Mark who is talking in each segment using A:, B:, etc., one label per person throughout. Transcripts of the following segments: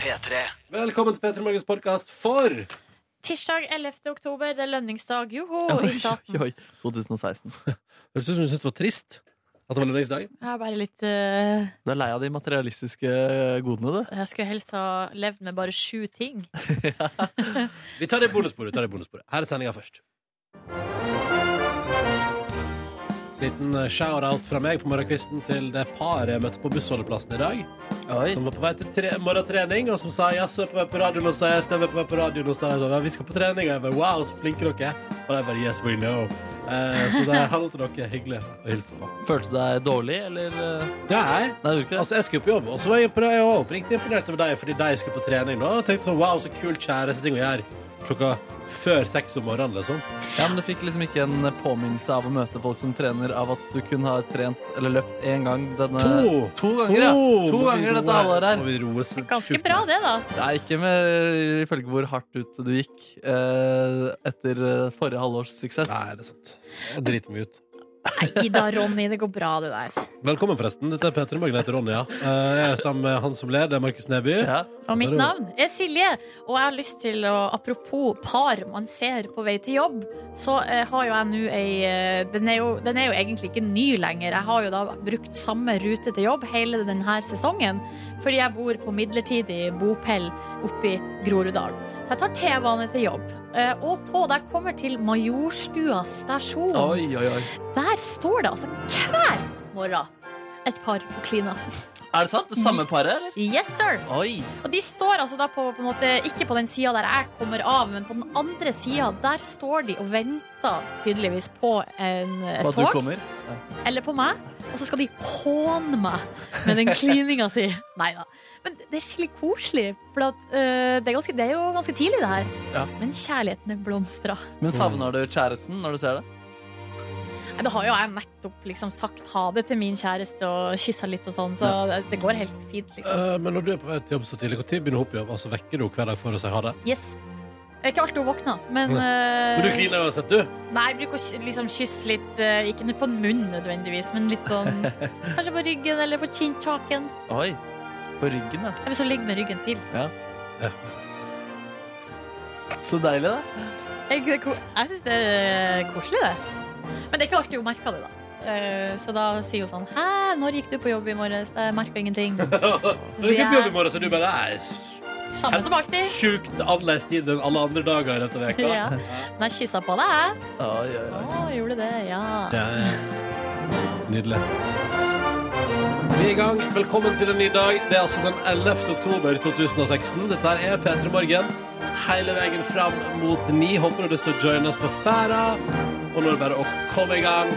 A: P3.
B: Velkommen til Petter Morgens podkast for
C: Tirsdag 11. oktober, det er lønningsdag. Joho! I staten.
D: Oi, oi, oi. 2016.
B: Høres ut som du syns det var trist at det var lønningsdag.
C: Jeg er bare litt eh,
D: Du er lei av de materialistiske godene, du.
C: Jeg skulle helst ha levd med bare sju ting.
B: Vi tar det bonussporet. vi tar det bonussporet. Her er sendinga først. Liten eh, shout-out fra meg på morgenkvisten til det paret jeg møtte på bussholdeplassen i dag. Som var på vei til tre morgentrening, og som sa jaså, jeg er på vei på radioen, og sa jeg stemmer på vei på radioen, og sa de sånn, ja, vi skal på trening, og jeg bare wow, så flinke dere er. Og de bare yes, we know. Eh, så det er hallo til dere. Hyggelig å hilse på.
D: Følte du deg dårlig, eller eh,
B: Ja, hei.
D: Nei, du gjorde ikke det?
B: Altså, jeg skulle på jobb, og så var jeg, impone- jeg var oppriktig imponert over deg fordi deg skulle på trening. nå, Og tenkte sånn, wow, så kult kjæresteting å gjøre klokka før seks om morgenen, liksom.
D: Ja, men Du fikk liksom ikke en påminnelse av å møte folk som trener, av at du kun har trent eller løpt én gang denne
B: To!
D: to ganger, ja. To
B: Må vi
D: ganger
B: roe
D: dette halvåret her.
B: Må vi roe oss
C: Ganske
B: sjukt
C: bra,
B: ned.
C: det, da.
D: Det er ikke med ifølge hvor hardt ut du gikk eh, etter eh, forrige halvårs suksess.
B: Nei, det er sant. Jeg driter meg ut.
C: Nei da, Ronny, det går bra, det der.
B: Velkommen, forresten. Dette er Peter i Morgen. Jeg heter Ronny, ja. Eh, Jeg er sammen med han som ler. Det er Markus Neby.
D: Ja.
C: Og
B: Altså, det
C: mitt
B: var-
C: navn er Silje, og jeg har lyst til å Apropos par man ser på vei til jobb, så eh, har jo jeg nå ei eh, den er, jo, den er jo egentlig ikke ny lenger. Jeg har jo da brukt samme rute til jobb hele denne sesongen, fordi jeg bor på midlertidig bopel oppe i Groruddalen. Så jeg tar T-bane til jobb. Eh, Og på da jeg kommer til Majorstua stasjon,
D: Oi, oi, oi.
C: der står det altså hver morgen et par på klina.
D: Er det sant? Det samme paret, eller?
C: Yes, sir!
D: Oi.
C: Og de står altså da på, på en måte, ikke på den sida der jeg kommer av, men på den andre sida. Der står de og venter tydeligvis på en, et
D: På at du
C: tog,
D: kommer?
C: eller på meg. Og så skal de håne meg med den klininga si. Nei da. Men det er skikkelig koselig, for at, eh, det, er ganske, det er jo ganske tidlig, det her.
D: Ja.
C: Men kjærligheten er blomstra.
D: Men savner du kjæresten når du ser det?
C: Nei, Da har jo jeg nettopp liksom sagt ha det til min kjæreste og kyssa litt og sånn, så det, det går helt fint, liksom.
B: Eh, Men når du er på vei til jobb så tidlig, når begynner hun på jobb? Altså, vekker du henne hver dag for å si ha det?
C: Yes. Det er ikke alltid hun våkner, men
B: Men du
C: eh,
B: kliner uansett, du.
C: Nei, jeg bruker å ky- liksom kysse litt eh, Ikke på munnen nødvendigvis, men litt sånn Kanskje på ryggen eller på kinntaken.
D: Oi. På ryggen, ja.
C: Jeg vil så ligge med ryggen til.
D: Så deilig, da.
C: Jeg, det ko- jeg syns det er koselig, det. Men det er ikke alltid hun merker det, da. Eh, Så da sier hun sånn Hæ, når gikk du på jobb i morges? Jeg merka ingenting.
B: Når du ikke er på jobb i morgen, så er du bare nei,
C: Samme som alltid.
B: sjukt annerledes tid enn alle andre dager i dette veka.
C: Eh. Ja. Men jeg kyssa på deg, jeg.
D: Oi, oi,
C: Å,
D: oi.
C: gjorde det, ja.
B: Nydelig. Vi er i gang. Velkommen til en ny dag. Det er altså den 11. oktober 2016. Dette her er P3 Morgen. Hele veien fram mot ni. Håper du har lyst til å joine oss på ferda. Og nå er det bare å komme i gang,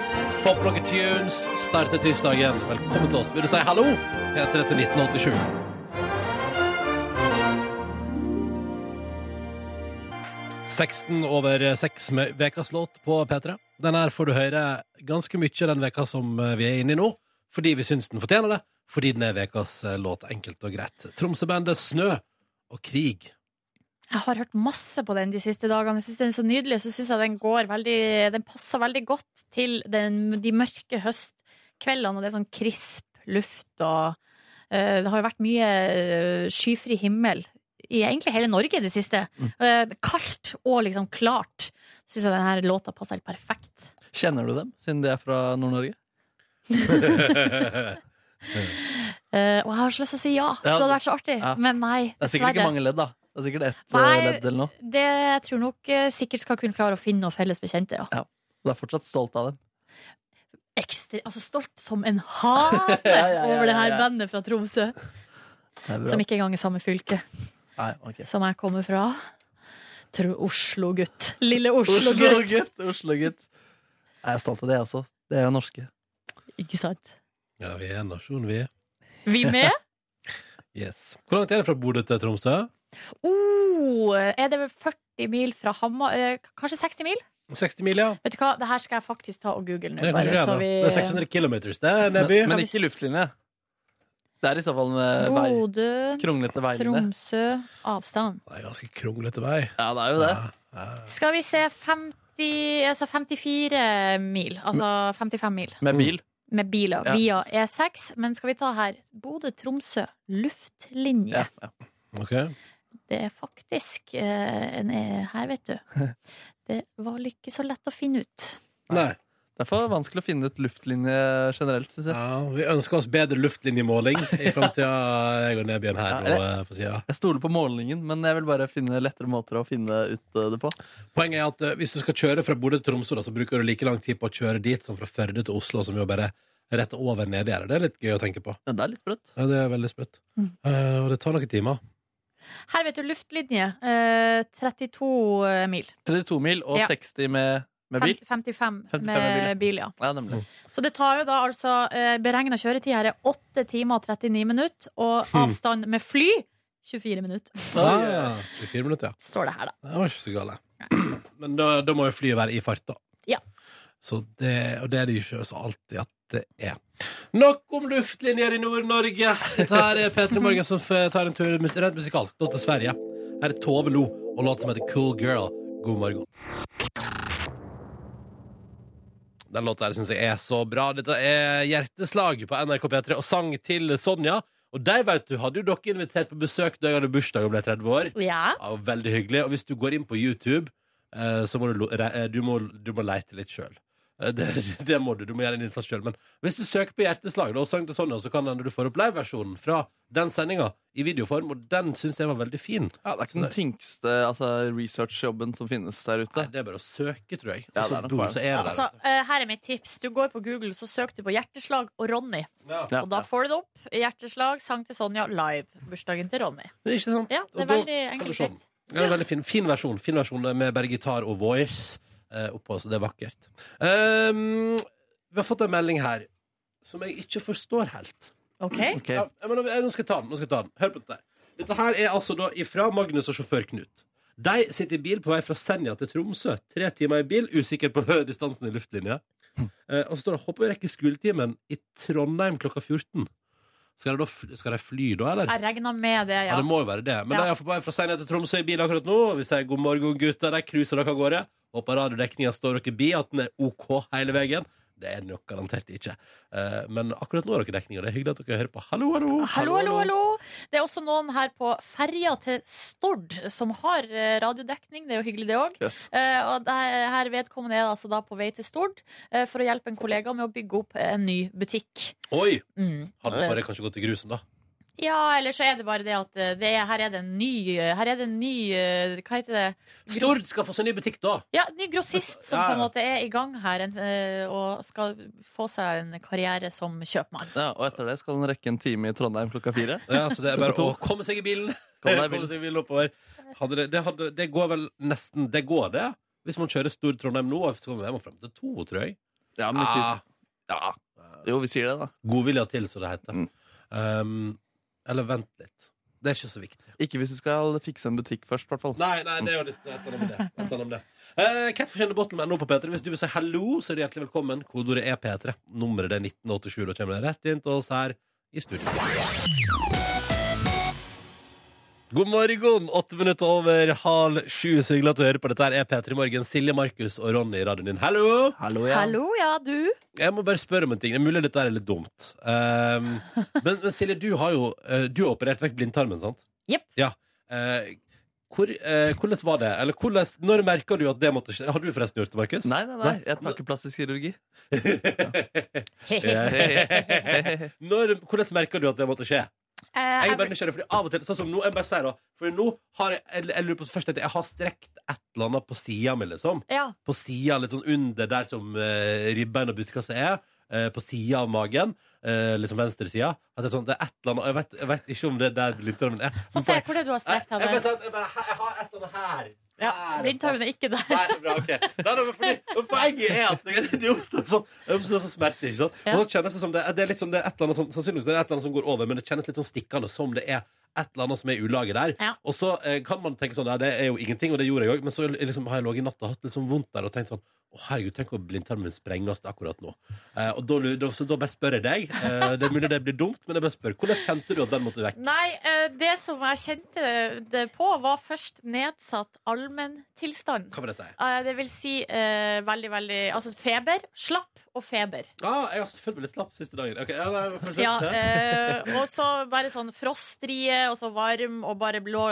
B: få på noen tunes, starte tirsdagen. Velkommen til oss. Vil du si hallo? P3 til 1987. Seksten over seks med vekas låt på P3. Den her får du høre ganske mye den veka som eh, vi er inne i nå, fordi vi syns den fortjener det, fordi den er vekas eh, låt, enkelt og greit. Tromsøbandet Snø og Krig.
C: Jeg har hørt masse på den de siste dagene. Jeg synes den er så nydelig, og så syns jeg den går veldig Den passer veldig godt til den, de mørke høstkveldene, og det er sånn krisp luft og eh, Det har jo vært mye eh, skyfri himmel i egentlig hele Norge i det siste.
D: Mm.
C: Eh, kaldt og liksom klart. Syns jeg denne låta passer helt perfekt.
D: Kjenner du dem, siden de er fra Nord-Norge?
B: Nei,
C: Eh, og jeg har så lyst til å si ja,
D: Ja,
C: så det hadde vært så artig,
D: ja.
C: men nei,
D: Det er sikkert ikke
C: dessverre.
D: mange ledd, da. Det er sikkert ett eh,
C: Nei.
D: ledd eller noe.
C: Det jeg tror nok eh, sikkert skal kunne klare å finne noen felles bekjente, ja.
D: Du er fortsatt stolt av dem.
C: ekstra, altså stolt som en hane
D: Ja, ja, ja,
C: over det
D: ja,
C: her
D: ja.
C: bandet fra Tromsø, som ikke engang er samme fylke
D: Nei, ok.
C: som jeg kommer fra. Tro- Oslo-gutt. Lille Oslo-gutt.
D: Oslo-gutt. Oslo-gutt. Jeg er stolt av det også. Det er jo norske.
C: Ikke sant?
B: ja, vi er en nasjon, vi.
C: Vi med?
B: Yes. Hvor langt er det fra Bodø til Tromsø?
C: Oh, er det vel 40 mil fra Hamar eh, Kanskje 60 mil?
B: 60 mil, ja.
C: Vet du hva, det her skal jeg faktisk ta og google nå.
B: Det er, kanskje
C: Bare,
B: det,
C: så
B: da.
C: vi
B: det er 600 kilometers, det,
D: Men,
B: Neby.
D: men ikke luftlinje. Det er i så fall
B: eh,
D: med vei.
C: Bodø,
D: Kronglete veilinje.
C: Tromsø, avstand.
B: Det er ganske kronglete vei.
D: Ja, det er jo det.
C: Skal vi se 50, altså 54 mil. Altså 55 mil.
D: Med bil.
C: med biler E
D: Ja.
C: via E6, men skal vi ta her Bodø-Tromsø luftlinje.
D: Ja, ja.
B: Ok.
C: Det er faktisk eh, en eh, her, vet du. Det var ikke så lett å finne ut.
B: Nei.
D: Det er for vanskelig å finne ut luftlinje generelt, syns jeg.
B: Ja, vi ønsker oss bedre luftlinjemåling i framtida, jeg og Nebjørn her
D: Ja,
B: nå eh, på sida.
D: Jeg stoler på målingen, men jeg vil bare finne lettere måter å finne ut eh, det på.
B: Poenget er at eh, hvis du skal kjøre fra Bodø til Tromsø, da, så bruker du like lang tid på å kjøre dit som fra Førde til Oslo, som jo bare er rett over nedi her. Det er litt gøy å tenke på.
D: Ja, Det er litt sprøtt.
B: Ja, det er veldig sprøtt.
C: Mm.
B: Eh, og det tar noen timer.
C: Her, vet du, luftlinje. Eh, 32 mil.
D: 32 mil og
C: Ja.
D: 60 med, med
C: Fem,
D: bil.
C: 55
D: 55
C: med
D: med
C: bil, ja.
D: Ja, nemlig.
C: Så det tar jo da altså eh, Beregna kjøretid her er 8 timer og 39 minutter, og avstand med fly 24 minutter.
B: Ah, 24 minutter, ja.
C: Står det her, da.
B: Det var ikke så galt. Men da, da må jo flyet være i fart, da.
C: Ja.
B: Så det, og det er det jo ikke så alltid at det er. Nok om luftlinjer i Nord-Norge. Dette her er P3 Morgen som f- tar en tur mus- rent musikalsk da til Sverige. Her er Tove Lo og låt som heter Cool Girl. God morgen. Den låta her syns jeg er så bra. Dette er Hjerteslag på NRK P3 og sang til Sonja. Og de, vet du, hadde jo dere invitert på besøk da jeg hadde bursdag og ble 30 år.
C: Ja.
B: Ja, veldig hyggelig. Og hvis du går inn på YouTube, eh, så må du, lo- re- eh, du, må, du må leite litt sjøl. Det, det må du. Du må gjøre en innsats sjøl. Men hvis du søker på Hjerteslag, da, og sang til Sonja, så kan hende du får opp liveversjonen fra den sendinga i videoform, og den syns jeg var veldig fin.
D: Ja, det er ikke den Sånn tyngste altså, researchjobben som finnes der ute.
B: Det er bare å søke, tror jeg.
D: Ja,
B: Og så
D: det er nok
B: boom,
D: bare-
B: så er det
C: Altså,
B: der.
C: eh, her er mitt tips. Du går på Google, så søker du på 'Hjerteslag' og 'Ronny'.
D: Ja.
C: Og da får du det opp. 'Hjerteslag', sang til Sonja, live. Bursdagen til Ronny.
B: Det er Ikke sant?
C: Ja, det
B: Og da
C: er veldig
B: kan
C: enkelt
B: du
C: og
B: se den.
C: greit.
B: Ja, det sånn. er en veldig fin, fin versjon. Fin versjon med bare gitar og voice eh, oppå, så det er vakkert. Ehm, vi har fått en melding her som jeg ikke forstår helt.
C: OK?
D: Ok.
B: Ja, men, nå- nå skal jeg ta den. nå skal jeg ta den Hør på dette. her. Dette her er altså da ifra Magnus og sjåfør Knut. De sitter i bil på vei fra Senja til Tromsø. Tre timer i bil, usikker på distansen i luftlinja. Eh, og så står det 'Håper vi rekker skoletimen i Trondheim klokka 14'. Skal de, da, fly- skal de fly da, eller?
C: Jeg regna med det,
B: Ja,
C: ja.
B: det må jo være det. Men
C: Ja.
B: de er iallfall på vei fra Senja til Tromsø i bil akkurat nå. Vi sier god morgen, gutter. De cruiser dere av gårde. Håper radiodekninga står dere bi, at den er OK hele veien. Det er den jo garantert ikke. Eh, men akkurat nå har dere dekning, og det er hyggelig at dere hører på. Hallo, hallo.
C: Hallo, hallo, hallo! Det er også noen her på ferja til Stord som har eh, radiodekning. Det er jo hyggelig, det òg.
D: Yes.
C: Eh, og det her vedkommende er altså da på vei til Stord eh, for å hjelpe en kollega med å bygge opp en ny butikk.
B: Oi!
C: Mm.
B: Hadde forrige kanskje gått i grusen, da.
C: Ja, eller så er det bare det at eh, det er, her er det en ny eh, Her er det en ny eh, Hva heter det? Gross-
B: Stord skal få seg ny butikk, da!
C: Ja, ny grossist som
B: Ja,
C: på en
B: ja.
C: måte er i gang her en, eh, og skal få seg en karriere som kjøpmann.
D: Ja, og etter det skal den rekke en time i Trondheim klokka fire.
B: Ja, så det er bare å komme seg i bilen.
D: Kom deg i
B: Komme
D: bilen.
B: seg i bilen oppover. Hadde det, det, hadde, det går vel nesten Det går, det. Hvis man kjører Stord Trondheim nå, så kommer man frem til to, tror jeg.
D: Ja, men ikke, jo, vi sier det, da.
B: Godvilja til, som det heter.
D: Mm.
B: Um, eller vent litt. Det er ikke så viktig.
D: Ikke hvis du skal fikse en butikk først, i hvert fall.
B: Nei, nei, det er jo litt et eller annet med det. Et eller annet med det. Eh, Catfish and the Bottleman nå på P3. Hvis du vil si hallo, så er du hjertelig velkommen. Kodeordet er P3. Nummeret det er 1987. Da kommer det rett inn til oss her i studio. God morgen! Åtte minutter over halv sju. Så hyggelig at du hører på. Dette her er P3 Morgen. Silje, Markus og Ronny i radioen din. Hallo!
D: Hallo,
C: Hallo, ja, du?
B: Jeg må bare spørre om en ting. Det er mulig dette er litt dumt. Ehm, men, men Silje, du har jo eh, Du har operert vekk blindtarmen, sant?
C: Jepp.
B: Ja. Eh, hvor, eh, hvordan var det? Eller hvordan, når merka du at det måtte skje? Har du forresten gjort det, Markus?
D: Nei, nei, nei. Jeg tar ikke plastisk kirurgi.
B: Ja. Når, hvordan merka du at det måtte skje?
C: Eh,
B: Jeg er bare nysgjerrig, fordi av og til Sånn som nå, jeg bare sier da Fordi nå har jeg, jeg, jeg lurer på først at jeg har strekt et eller annet på sida mi, liksom.
C: Ja.
B: på sida, litt sånn under der som eh, ribbein og brystkassa er, eh, på sida av magen, eh, liksom venstre sida, at det er sånn, det er et eller annet, og jeg vet, jeg vet ikke om det er der blindtarmen er.
C: Få se hvor det du har
B: Jeg, jeg,
C: strekt
B: bare
C: henne.
B: sa at jeg, bare, jeg har et eller annet her.
C: Ja,
B: Her.
C: blindtarmen er ikke der.
B: Nei, bra, ok. Nei, nei, men fordi, men poenget er at det oppstår sånn, det oppstår sånn smerte, ikke sant?
C: Ja.
B: Og så kjennes det som det, det er litt sånn, det er et eller annet som, sannsynligvis det er et eller annet som går over, men det kjennes litt sånn stikkende som det er et eller annet som er i ulaget der.
C: Ja.
B: Og så eh, kan man tenke sånn, ja, det er jo ingenting, og det gjorde jeg også, men så liksom, har jeg låget i natt og hatt litt sånn vondt der og tenkt sånn, Å, herregud, tenk om blindtarmen sprenges akkurat nå. Eh, og da, lu- da, så da bare spør jeg deg. Eh, det er mulig det blir dumt, men jeg bare spør. Hvordan kjente du at den måtte vekk?
C: Nei, eh, det som jeg kjente det på, var først nedsatt allmenntilstand.
B: Hva vil jeg si?
C: Eh, Det vil si eh, veldig, veldig Altså feber, slapp og feber.
B: Ah, jeg har selvfølgelig litt slapp siste dagen. Ok, ja, nei, fortsett.
C: Ja, eh, og så bare sånn frostrie, og så varm, og bare blå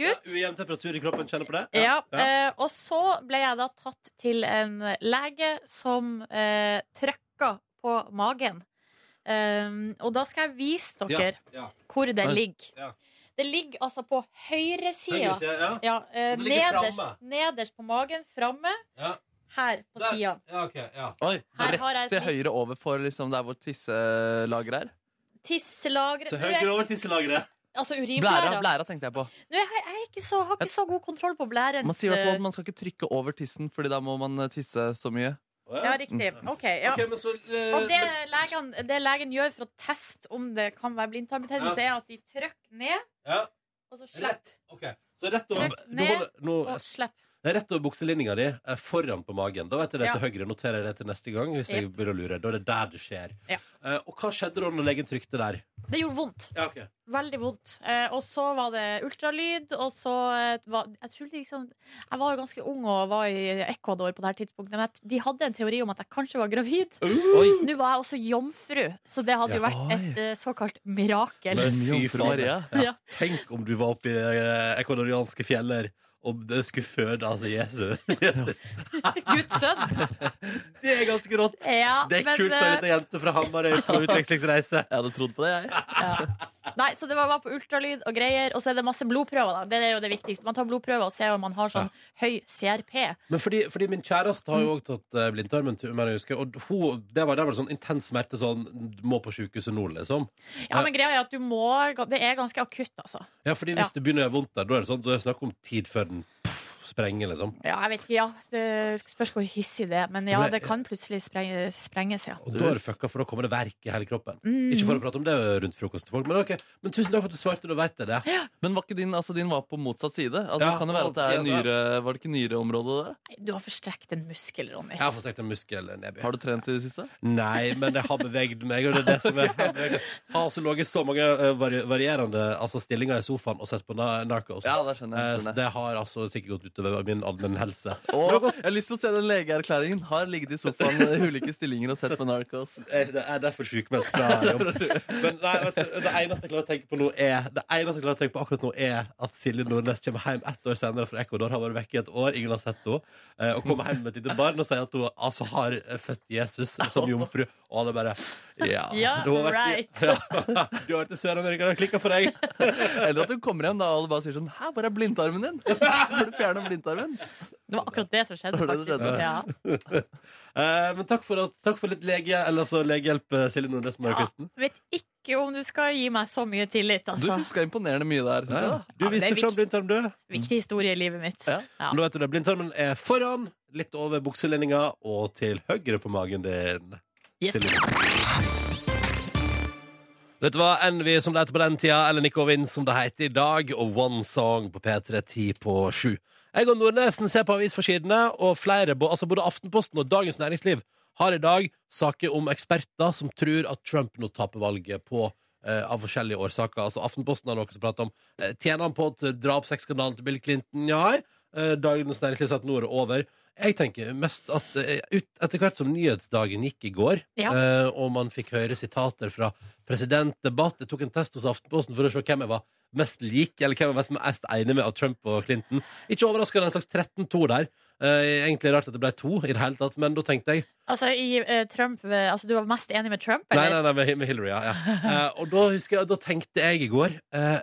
B: Ah,
C: ut.
B: ja, ujevn temperatur i kroppen, kjenner på det?
C: Ja, eh, og så ble jeg da tatt til en lege som eh, trøkka på magen. Um, og da skal jeg vise dere
B: ja.
C: hvor den
D: Oi.
C: ligger.
B: Ja.
C: Det ligger altså på høyresida.
B: Høyre side, ja.
C: Ja, eh,
B: Og det ligger
C: nederst,
B: framme.
C: nederst på magen, framme.
B: Ja.
C: Her på
B: Der.
C: sida.
B: Ja, ok, ja.
D: Oi,
C: Her har jeg
D: Rett
C: et
D: til
C: litt-
D: høyre over for liksom der hvor tisselager er.
C: Tisselagre
B: Så
C: Nå
B: høyre
C: er-
B: over tisselageret.
C: Altså
D: Blæra,
C: urinblæra.
D: blæra tenkte jeg på.
C: Nå er Jeg, jeg er ikke så, har ikke så god kontroll på blærens
D: Man sier i hvert fall
C: eh,
D: at man skal ikke trykke over tissen, Fordi da må man eh, tisse så mye.
B: Å, ja.
C: Ja, riktig.
D: Mm.
C: OK. Ja.
B: Ok, men så, eh,
C: Og det legen, det legen gjør for å teste om det kan være blindtarmbetennelse, er at de trykker ned,
B: ja.
C: og så slipper.
B: Ok, så rett over,
C: Trykk
B: nå,
C: ned,
B: holder- nå,
C: Og slipp.
B: Det er Rett over bukselinninga di, eh, foran på magen. Da vet jeg det til
C: Ja.
B: høyre. Noterer jeg det til neste gang. Hvis jeg
C: Jep.
B: begynner å lure Da er det der det skjer.
C: Ja.
B: Eh, og hva skjedde da når legen trykte der?
C: Det gjorde vondt.
B: Ja, ok
C: Veldig vondt. Eh, og så var det ultralyd, og så eh, var, Jeg tror liksom Jeg var jo ganske ung og var i Ecuador på det her tidspunktet, men jeg- de hadde en teori om at jeg kanskje var gravid.
D: Oi,
C: Nå var jeg også jomfru, så det hadde jo
B: Mm. Ja.
C: vært et eh, såkalt mirakel.
B: Men
D: Jomfru
B: fy faen.
D: Maria.
C: Ja.
B: Tenk om du var oppe i eh, ecuadorianske fjeller og det skulle føde altså Jesu.
C: Guds sønn.
B: det er ganske rått!
C: Ja,
B: Det er
C: men,
B: kult for ei
C: eh,
B: lita jente fra Hamarøy på utvekslingsreise.
D: Jeg hadde trodd på det, jeg.
C: Nei, så det var bare på ultralyd og greier, og så er det masse blodprøver. da Det er jo det viktigste. Man tar blodprøver og ser om man har sånn høy CRP.
B: Men fordi, fordi min kjæreste har jo òg tatt eh, blindtarmen, mener jeg husker, og hun, det var, der var det sånn intens smerte sånn Du må på sjukehuset nå, liksom.
C: Ja, men greia er at du må Det er ganske akutt, altså.
B: Ja, fordi hvis
C: Ja.
B: du begynner å gjøre vondt der, da er det sånn, da er det snakk om tid før den pff, sprenger, liksom.
C: Ja, jeg vet ikke, ja, det spørs hvor hissig det er, men ja,
B: Men-
C: det kan plutselig spreng- sprenges, ja.
B: Og da er det fucka, for da kommer det verk i hele kroppen. Ikke for å prate om det rundt frokost til folk, men ok. Men tusen takk for at du svarte, da veit jeg det.
D: Men var ikke din, altså din var på motsatt side? Altså,
B: Ja,
D: kan det være at det er
B: altså, ja.
D: nyre, Var det ikke nyreområdet der?
C: Nei, Du har forstrekt en muskel, Ronny.
B: Jeg har fått sagt en muskel nedby.
D: Har du trent i det siste?
B: Nei, men jeg har beveget meg, og det er det som er jeg har altså ligget så mange eh, vari varierende altså, stillinger i sofaen og sett på na- Narcos.
D: Ja, det skjønner
B: Eh,
D: jeg.
B: så
D: Skjønner. jeg.
B: det har altså sikkert gått utover min allmennhelse.
D: Og jeg har lyst til å se den legeerklæringen. Har ligget i sofaen i ulike stillinger og sett på Narcos.
B: Jeg jeg er derfor sykmeldt fra jobb. Men nei, vet du, det eneste jeg klarer å tenke på nå er Det eneste jeg klarer å tenke på akkurat nå er at Silje Nordnes kommer hjem ett år senere fra Ecuador, har vært vekke i et år, ingen har sett henne, eh, og kommer hjem med et lite barn og sier at hun altså har eh, født Jesus som jomfru, og alle bare Ja,
C: Ja,
B: du har vært
C: right.
B: i, ja, du har vært i Sør-Amerika, det har klikka for deg.
D: Eller at du kommer hjem da og alle bare sier sånn Hæ, hvor er blindtarmen din? Burde fjerne blindtarmen.
C: Det var akkurat det som skjedde,
D: Det var det som
C: faktisk.
D: skjedde.
C: Ja.
B: Eh, men takk for, at, takk for litt lege, eller altså legehjelp, eh, Silje Nordnes Mørkvisten.
C: Vet ikke om du skal gi meg så mye tillit,
D: Du
C: altså.
D: huska imponerende mye der, syns jeg. da
B: Du
C: Ja, men det
B: viste
C: er
B: fram blindtarm, du.
C: Viktig historie i livet mitt.
D: Ja.
C: Ja.
B: Men da vet du det, blindtarmen er foran, litt over bukselinninga og til høyre på magen din.
C: Yes.
B: Dette var Envy som det heter på den tida, eller Nico Vind som det heter i dag, og One Song på P3 10 på 7. Jeg og Nordnesen ser på avisforsidene, og flere, bo- altså både Aftenposten og Dagens Næringsliv har i dag saker om eksperter som tror at Trump nå taper valget på eh, av forskjellige årsaker. Altså Aftenposten har noe som prater om eh, Tjener han på til drapsskandalen til Bill Clinton? Ja. Eh, Dagens Næringsliv sa at nå er det over. Jeg tenker mest at eh, ut, etter hvert som nyhetsdagen gikk i går,
C: Ja.
B: eh, og man fikk høre sitater fra presidentdebatt Jeg tok en test hos Aftenposten for å se hvem jeg var mest lik, eller hvem jeg var mest enig med av Trump og Clinton. Ikke overraskende en slags 13-2 der. Eh, egentlig rart at det ble to, i det hele tatt, men da tenkte jeg
C: Altså, i, eh, Trump, eh, altså, du var mest enig med Trump,
B: Nei,
C: eller?
B: nei, nei med, med Hillary, ja. ja. Eh, og da husker jeg, da tenkte jeg i går eh,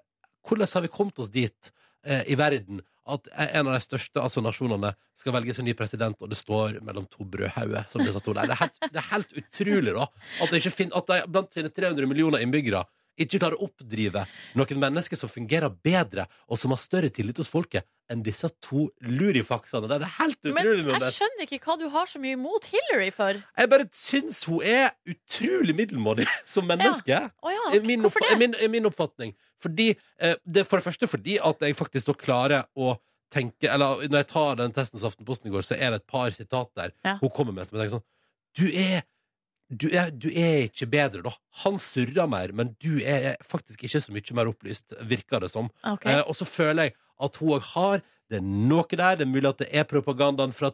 B: Hvordan har vi kommet oss dit eh, i verden at en av de største altså nasjonene skal velges en ny president, og det står mellom to brødhauger? som disse to der. Det er helt, det er helt utrolig, da. At, det ikke fin, at de blant sine 300 millioner innbyggere ikke klarer å oppdrive noen mennesker som fungerer bedre, og som har større tillit hos folket, enn disse to lurifaksene. Det er helt
C: Men
B: utrolig. Nordnes.
C: jeg skjønner ikke hva du har så mye imot Hillary for.
B: Jeg bare syns hun er utrolig middelmådig som menneske.
C: Å ja,
B: I Eh, min,
C: hvorfor
B: oppfa- i
C: det?
B: min, i min oppfatning. Fordi, eh, det er for det første fordi at jeg faktisk da klarer å tenker Eller når jeg tar den testen hos Aftenposten i går, så er det et par sitat der
C: Ja.
B: hun kommer med som jeg tenker sånn Du er du er, du er ikke bedre, da. Han surrer mer, men du er faktisk ikke så mye mer opplyst, virker det som.
C: Ok.
B: Eh, og så føler jeg at hun òg har det er noe der. Det er mulig at det er propagandaen fra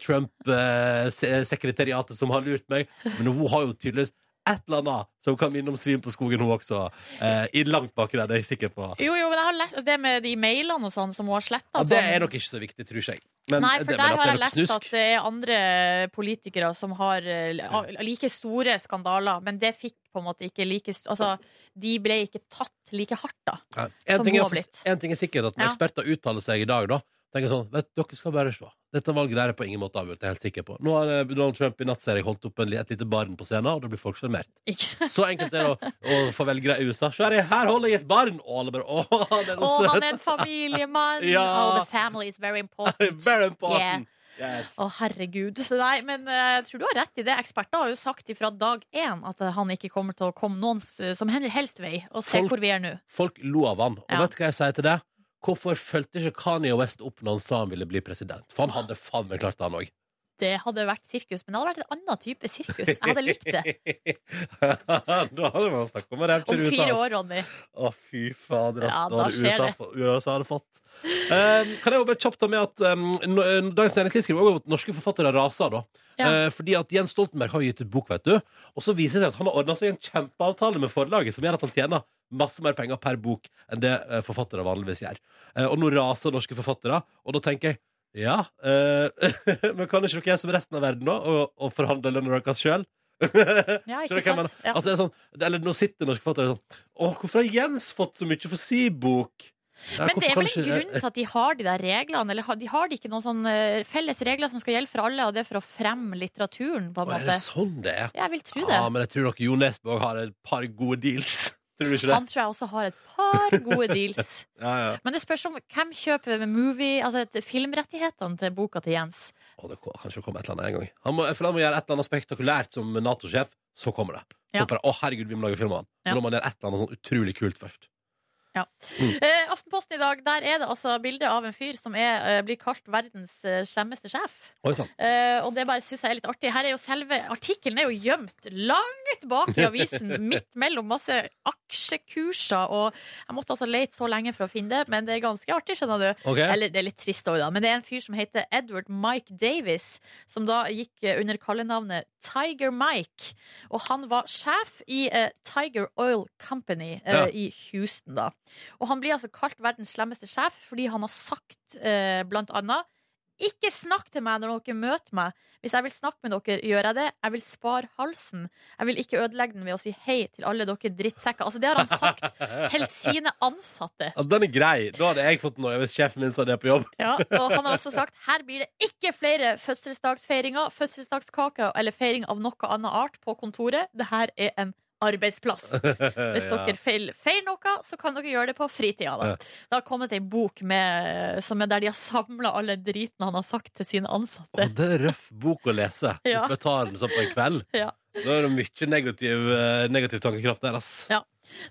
B: Trump-sekretariatet som har lurt meg, men hun har jo tydeligvis et eller annet som kan minne om svin på skogen, hun også. Eh, i langt baki der, det er jeg sikker på.
C: Jo, jo, men jeg har lest det med de mailene og sånn som hun har sletta.
B: Ja, det er nok ikke så viktig, tror jeg. Men,
C: Nei, for
B: det,
C: der
B: men at
C: har
B: det er
C: jeg
B: nok
C: lest at
B: snusk.
C: det er andre politikere som har eh, li- like store skandaler, men det fikk på en måte ikke like st- Altså, de ble ikke tatt like hardt, da.
B: Ja. En,
C: som
B: ting
C: hun
B: er,
C: har
B: for-
C: blitt.
B: en ting er sikkert at når
C: Ja.
B: eksperter uttaler seg i dag, da tenker jeg sånn Vet du, dere skal bare se. Dette valget der er på ingen måte avgjort, det er jeg helt sikker på. Nå har eh, Donald Trump i natt ser jeg holdt opp en, li- et lite barn på scenen, og da blir folk sjarmert.
C: Ikke sant?
B: Så enkelt er det å, å få velgere i USA. Se her, her holder jeg et barn! Og alle bare Å, den er
C: Å,
B: så
C: han
B: søt!
C: er en familiemann!
B: Ja.
C: Oh, the family is very important. Å,
B: Very important! Yes.
C: herregud. Nei, men eh, jeg tror du har rett i det. Eksperter har jo sagt ifra dag én at eh, han ikke kommer til å komme noen s- eh, som helst vei. Og se
B: Folk-
C: hvor vi er nå.
B: Folk lo av han. Og
C: Ja.
B: vet du hva jeg sier til det? Hvorfor fulgte ikke Kanye West opp når han sa han ville bli president? For han hadde faen meg klart det, han òg.
C: Det hadde vært sirkus, men det hadde vært en annen type sirkus. Jeg hadde likt det.
B: da hadde man snakket om å rappe
C: Om
B: til USA.
C: fire
B: ass.
C: år, Ronny.
B: Å, fy fader, ass.
C: Ja,
B: da
C: da
B: hadde
C: skjer
B: USA,
C: det.
B: få- USA hadde fått. Um, kan jeg jo bare kjapt ta med at um, no- eh, Dagens Næringsliv skriver også at norske forfattere raser, da.
C: Ja.
B: Eh, fordi at Jens Stoltenberg har jo gitt ut bok, vet du. Og så viser det seg at han har ordna seg en kjempeavtale med forlaget som gjør at han tjener masse mer penger per bok enn det eh, forfattere vanligvis gjør. Eh, og nå raser norske forfattere, og da tenker jeg ja, eh, men kan ikke dere gjøre som resten av verden, da, og, og forhandle lønna deres sjøl?
C: Ja,
B: Skjønner
C: ikke
B: du hva jeg
C: sant?
B: mener?
C: Ja.
B: Altså, det er sånn, det- eller nå sitter norske forfattere sånn Å, hvorfor har Jens fått så mye for si bok? Ja,
C: Men det
B: hvorfor
C: er
B: kan
C: vel en
B: ikke-
C: grunn til at de har de der reglene, eller har- de har de ikke noen sånn eh, felles regler som skal gjelde for alle, og det er for å fremme litteraturen, på en
B: Å, er det
C: måte.
B: sånn det er?
C: Ja, Jeg vil tro det.
B: Ja, men jeg tror nok Jo Nesbø har et par gode deals. Tror du ikke det?
C: Han tror jeg også har et par gode deals.
B: Ja, ja.
C: Men det spørs om hvem kjøper med movie, altså et- filmrettighetene til boka til Jens.
B: Å, det kom, kanskje det kommer et eller annet en gang. Han må, jeg føler han må gjøre et eller annet spektakulært som Nato-sjef, så kommer det. Så
C: Ja.
B: bare, å herregud, vi må lage film av han.
C: Ja.
B: Men nå må han gjøre et eller annet sånn utrolig kult først.
C: Eh, Aftenposten i dag, der er det altså bilde av en fyr som er, eh, blir kalt verdens eh, slemmeste sjef.
B: Oi sann.
C: Eh, og det bare synes jeg er litt artig. Her er jo selve artikkelen er jo gjemt langt bak i avisen, midt mellom masse aksjekurser, og jeg måtte altså lete så lenge for å finne det, men det er ganske artig, skjønner du.
B: Ok.
C: Eller det er litt trist òg, da. Men det er en fyr som heter Edward Mike Davis, som da gikk eh, under kallenavnet Tiger Mike. Og han var sjef i eh, Tiger Oil Company eh,
B: Ja.
C: i Houston, da. Og han blir altså kalt verdens slemmeste sjef fordi han har sagt eh, blant annet ikke snakk til meg når dere møter meg. Hvis jeg vil snakke med dere, gjør jeg det. Jeg vil spare halsen. Jeg vil ikke ødelegge den ved å si hei til alle dere drittsekker. Altså, det har han sagt til sine ansatte.
B: Ja, den er grei. Da hadde jeg fått noe hvis sjefen min sa det på jobb.
C: Ja, og han har også sagt her blir det ikke flere fødselsdagsfeiringer, fødselsdagskaker eller feiring av noe annet art på kontoret. Det her er en arbeidsplass. Hvis
B: Ja.
C: dere feil, feil noe, så kan dere gjøre det på fritida. Da.
B: Ja.
C: Det har kommet ei bok med, som er der de har samla alle driten han har sagt til sine ansatte.
B: Og det er røff bok å lese
C: Ja.
B: Hvis du tar den sånn på en kveld
C: Ja.
B: Da er det mye negativ, eh, negativ tankekraft der ass.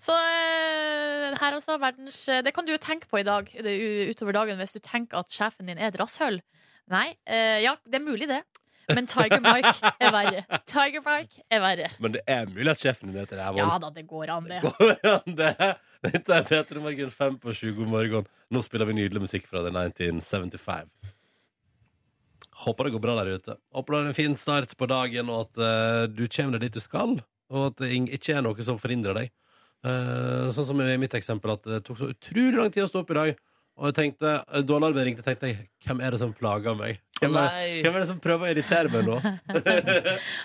C: Så eh, her altså, verdens Det kan du jo tenke på i dag det er u- utover dagen hvis du tenker at sjefen din er et rasshøl. Nei, eh, ja, det er mulig, det. Men Tiger Mike er verre. Tiger Mike er verre.
B: Men det er mulig at sjefen din heter
C: Ja
B: Rævål
C: da, det går an, det.
B: det Dette er Petra Morgen 5 på 7 God morgen Nå spiller vi nydelig musikk fra The 1975 Håper det går bra der ute Håper du har en fin start på dagen Og at eh, du kommer deg dit du skal Og at det ing- ikke er noe som forhindrer deg Eh, Sånn som i mitt eksempel At det tok så utrolig lang tid å stå opp i dag Og jeg tenkte, eh, da alarmen ringte Tenkte jeg, hvem er det som plager meg? Hvem er,
D: Nei.
B: hvem er det som prøver å irritere meg nå?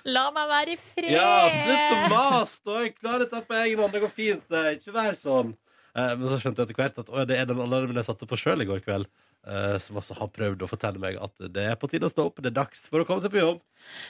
C: La meg være i fred!
B: Ja, slutt å mase! da. Jeg klarer dette på egen hånd. Det går fint. det. Ikke vær sånn. Eh, men så skjønte jeg etter hvert at å, ja, det er den alarmen jeg satte på sjøl i går kveld. eh, som altså har prøvd å fortelle meg at det er på tide å stå opp. Det er dags for å komme seg på jobb.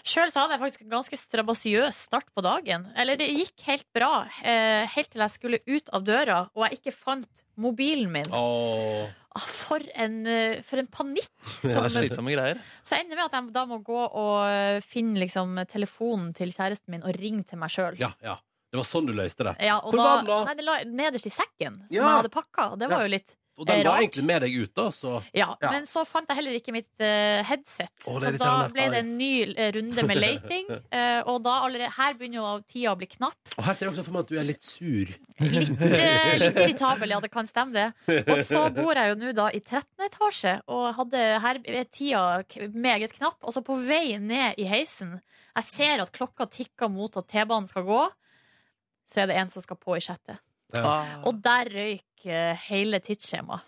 C: Sjøl så hadde jeg faktisk en ganske strabasiøs start på dagen. Eller det gikk helt bra, eh, helt til jeg skulle ut av døra og jeg ikke fant mobilen min.
B: Åh.
C: Ah, For en, eh, for en panikk!
D: Det
C: Som,
D: er slitsomme greier.
C: så jeg ender med at jeg da må gå og eh, finne liksom, telefonen til kjæresten min og ringe til meg sjøl.
B: Ja, ja. Det var sånn du løste det.
C: Ja, og
B: Hvor
C: da,
B: var den da?
C: Nei, det la jeg nederst i sekken som
B: Ja.
C: jeg hadde pakka, og det
B: Ja.
C: var jo litt
B: Og den var
C: Rart.
B: egentlig med deg ut, da, så
C: Ja,
B: Ja.
C: Men så fant jeg heller ikke mitt eh, headset,
B: Å, det er
C: så da
B: irriterende.
C: ble det en ny eh, runde med leiting. eh, og da allerede, her begynner jo tida å bli knapp.
B: Og her ser jeg også for meg at du er litt sur.
C: Litt, eh, litt irritabel, ja, det kan stemme det. Og så bor jeg jo nå da i 13. etasje, og hadde, her er tida k- meget knapp. Og så på vei ned i heisen, jeg ser at klokka tikker mot at T-banen skal gå, så er det en som skal på i sjette.
D: Ah.
C: Og der røyk eh, hele tidsskjemaet.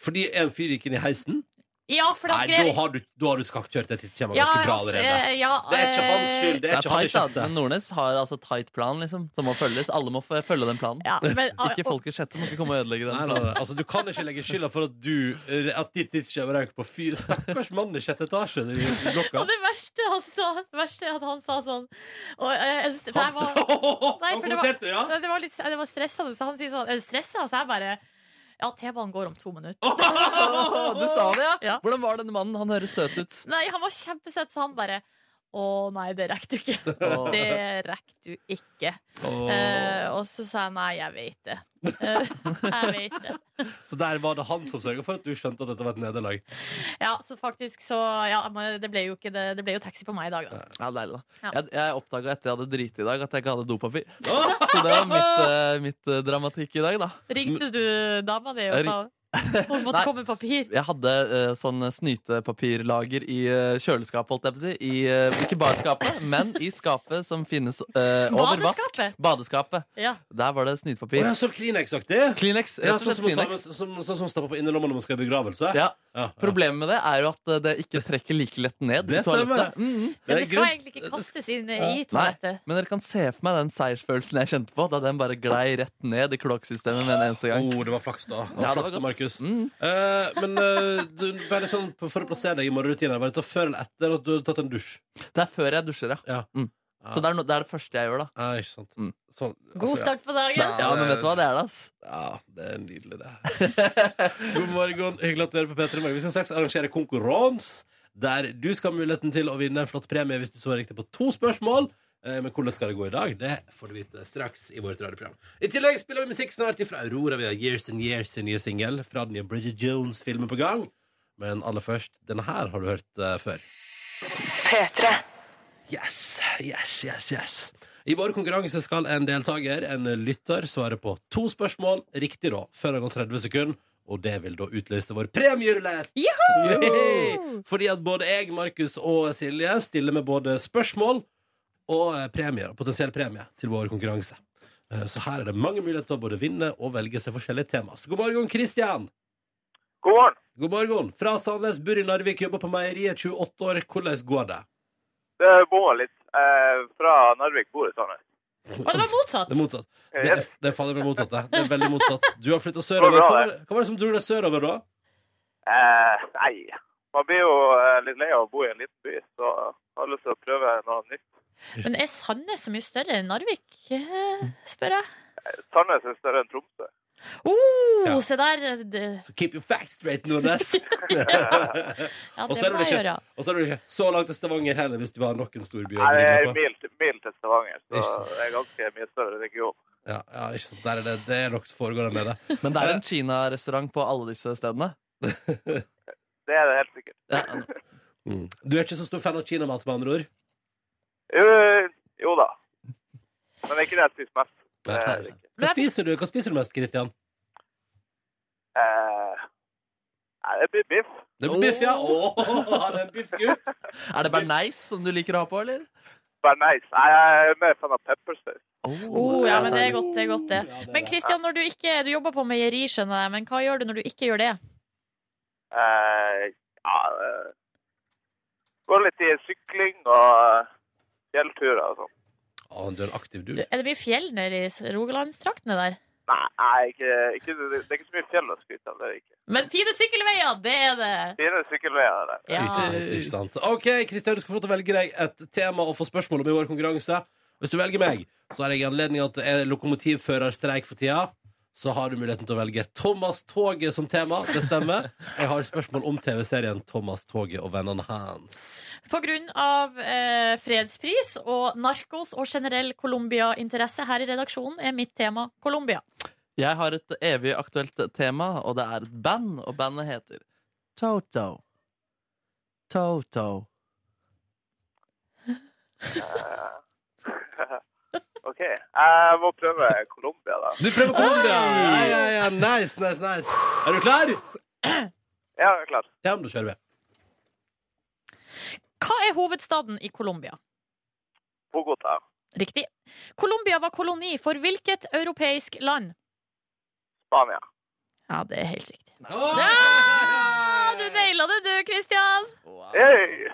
B: Fordi en fyr gikk inn i heisen?
C: Ja, for da
B: Nei,
C: grev-
B: da har du, da har du skakkjørt et tidsskjema
C: Ja,
B: ganske bra
C: altså,
B: allerede.
C: eh, ja,
B: Det er ikke hans
C: eh,
B: skyld. Det
D: Det
B: er
D: er
B: ikke han i
D: tight, da.
B: kjøttet.
D: Men Nordnes har altså tight plan, liksom, som må følges. Alle må f- følge den planen.
C: Ja, men,
D: Ikke folkets sjette som skal komme og ødelegge
B: Nei,
D: den.
B: nei, nei. Altså, du kan ikke legge skylda for at du At ditt tidsskjema røk på fyr. Stakkars mann i sjette etasje. Det er jo blokka.
C: Og det verste han sa, det verste er at han sa sånn og, eh, jeg- for
B: Han
C: jeg var- Nei, for det var- Eh.
B: kommenterte det, ja?
C: Nei, Det var, litt, det var stressende, så han sier sånn Er du stressa? Så jeg bare Ja, T-banen går om to minutter.
D: Åh, Du sa det, ja?
C: Ja.
D: Hvordan var denne mannen? Han høres søt ut.
C: Nei, han var kjempesøt, så han bare Å nei, det rekker du ikke.
D: Åh.
C: Det rekker du ikke. Eh, og så sa jeg nei, jeg veit det. Eh, jeg vet det.
B: Så der var det han som sørga for at du skjønte at dette var et nederlag.
C: Ja, så faktisk så Ja, men det ble jo ikke det. Det ble jo taxi på meg i dag, da.
D: Ja, deilig, da.
C: Ja.
D: Jeg, jeg oppdaga etter jeg hadde driti i dag, at jeg ikke hadde dopapir. Så det var mitt, eh, mitt eh, dramatikk i dag, da.
C: Ringte du dama di og
D: Jeg
C: sa hun måtte
D: Nei.
C: komme med papir?
D: Jeg hadde eh, sånn snytepapirlager i eh, kjøleskapet, holdt jeg på å si. I, eh, ikke badeskapet, men i skapet som finnes eh, over vask.
C: Badeskapet?
D: Badeskapet.
C: Ja.
D: Der var det
B: Å
D: snytepapir.
B: ja, som Kleenex-aktig?
D: Kleenex.
B: Ja,
D: Rett og
B: sånn
D: slett
B: som, man tar
D: Kleenex.
B: med- som, sånn som man stapper på innerlomma når man skal i begravelse?
D: Ja.
B: Ja, ja.
D: Problemet med det er jo at eh, det ikke trekker like lett ned. i
B: Det stemmer.
D: toalettet. Mhm.
C: Men
B: Det
C: det
B: er
C: skal
B: grunn-
C: egentlig ikke kastes inn i
D: Nei,
C: toalettet.
D: men dere kan se for meg den seiersfølelsen jeg kjente på da den bare glei rett ned i kloakksystemet med en eneste gang.
B: Oh, det var flaks, da.
D: Ja, det
B: Det var
D: var
B: flaks da,
D: godt.
B: Markus.
D: Mm.
B: Eh, men eh, du, bare sånn, på- for å plassere deg i morgenrutinen, var dette før eller etter at du hadde tatt en dusj?
D: Det er før jeg dusjer, ja.
B: Ja.
D: Mm.
B: Ja.
D: Så det er, no, det er det første jeg gjør, da.
B: Ja, ikke sant.
D: Mm.
B: Sånn,
C: God
B: altså, ja.
C: start på dagen.
B: Ja,
D: Ja, men
B: det-
D: vet du hva, det er det, ass.
B: Ja, det er nydelig, det. God morgen. Hyggelig at du hører på P3 Morgen. Vi skal straks arrangere konkurranse der du skal ha muligheten til å vinne en flott premie hvis du svarer riktig på to spørsmål. Eh, Men hvordan skal det gå i dag? Det får du vite straks i vårt radioprogram. I tillegg spiller vi musikk snart fra Aurora. Vi har Years and Years' sin nye singel fra den nye Bridget Jones-filmen på gang. Men aller først, denne her har du hørt eh, før. Yes, yes, yes, yes. I vår konkurranse skal en deltaker, en lytter, svare på to spørsmål riktig da, før det går 30 sekunder. Og det vil da utløse vår premierulett! Yay! Fordi at både jeg, Markus og Silje stiller med både spørsmål og eh, premier, potensiell premie til vår konkurranse. Eh, Så her er det mange muligheter til å både vinne og velge seg forskjellige tema. Så god morgen, Kristian!
A: God morgen.
B: God morgen! Fra Sandnes, bor i Narvik, jobber på meieriet, 28 år. Hvordan går det?
A: Det bomma litt. Eh, fra Narvik bor i Sandnes.
C: Og det var motsatt.
B: Det er motsatt. Det er, det er fader meg motsatt, det. Det er veldig motsatt. Du har flytta sørover.
A: Det var
B: Hva
A: bra,
B: var, hva var det som dro deg sørover, da?
A: Eh, nei, man blir jo eh, litt lei av å bo i en liten by, så jeg har lyst til å prøve noe nytt.
C: Men er Sandnes så mye større enn Narvik, eh, spør jeg?
A: Sandnes er større enn Tromsø.
C: Oh,
B: Ja.
C: Se der. Det,
B: Så keep your facts straight, Nordnes.
C: ja,
B: Og
C: det
B: så er det vel
C: må jeg
B: ikke-
C: gjøre.
B: Og så er det ikke så langt til Stavanger heller, hvis du har noen storbyer. å
A: Nei, det er
B: drive
A: en
B: på.
A: mil, til- mil til Stavanger, så
B: Ikke sant.
A: det er ganske mye større region.
B: Ja, ja, ikke sant. Der er det, det er noe som foregår der nede.
D: Men det er en kinarestaurant på alle disse stedene.
A: Det er det helt sikkert.
D: Ja,
B: Mm. Du er ikke så stor fan av kinamat, med andre ord?
A: Jo, jo da. Men det er ikke det jeg spiser mest. Det er det ikke.
B: Hva spiser du, hva spiser du mest, Kristian?
A: Eh, nei, det blir biff.
B: Det er biff, ja. Åh, han er en biffgutt.
D: Er det bearnés som du liker å ha på, eller?
A: Bare nice. Nei, jeg er mer fan av peppersaus.
C: Oh, ja, men det er godt, det er godt,
B: Ja,
C: det.
B: det er
C: Men
B: det.
C: Kristian, når du ikke Du jobber på meieri, skjønner jeg, men hva gjør du når du ikke gjør det?
A: Eh, ja eh, Går litt i sykling og eh, fjellturer og sånn.
B: Å, du er en aktiv
C: Du,
B: dude.
C: er det mye fjell nede i s- Rogalandstraktene der?
A: Nei, nei ikke, ikke, det er ikke så mye fjell å skryte av. det er det ikke.
C: Men fine sykkelveier, det er det!
A: Fine sykkelveier der.
C: Ja.
B: Ikke sant, ikke sant. OK, Kristian, du skal få lov til å velge deg et tema og få spørsmål om i vår konkurranse. Hvis du velger meg, så har jeg anledning at det er lokomotivførerstreik for tida. Så har du muligheten til å velge Thomas Toget som tema. Det stemmer. Jeg har spørsmål om TV-serien Thomas Toget og vennene hans.
C: På grunn av eh, fredspris og narkos og generell Colombia-interesse her i redaksjonen er mitt tema Colombia.
D: Jeg har et evig aktuelt tema, og det er et band, og bandet heter Toto. Toto.
A: OK. Jeg må prøve Colombia, da.
B: Du prøver Colombia! Ja, ja, ja. Nice, nice, nice. Er du klar?
A: Ja, jeg er klar.
B: Ja, men da kjører vi.
C: Hva er hovedstaden i Colombia?
A: Bogotá.
C: Riktig. Colombia var koloni for hvilket europeisk land?
A: Spania.
C: Ja, det er helt riktig.
B: Åh!
C: Ja, du naila det, du, Christian!
A: Hey!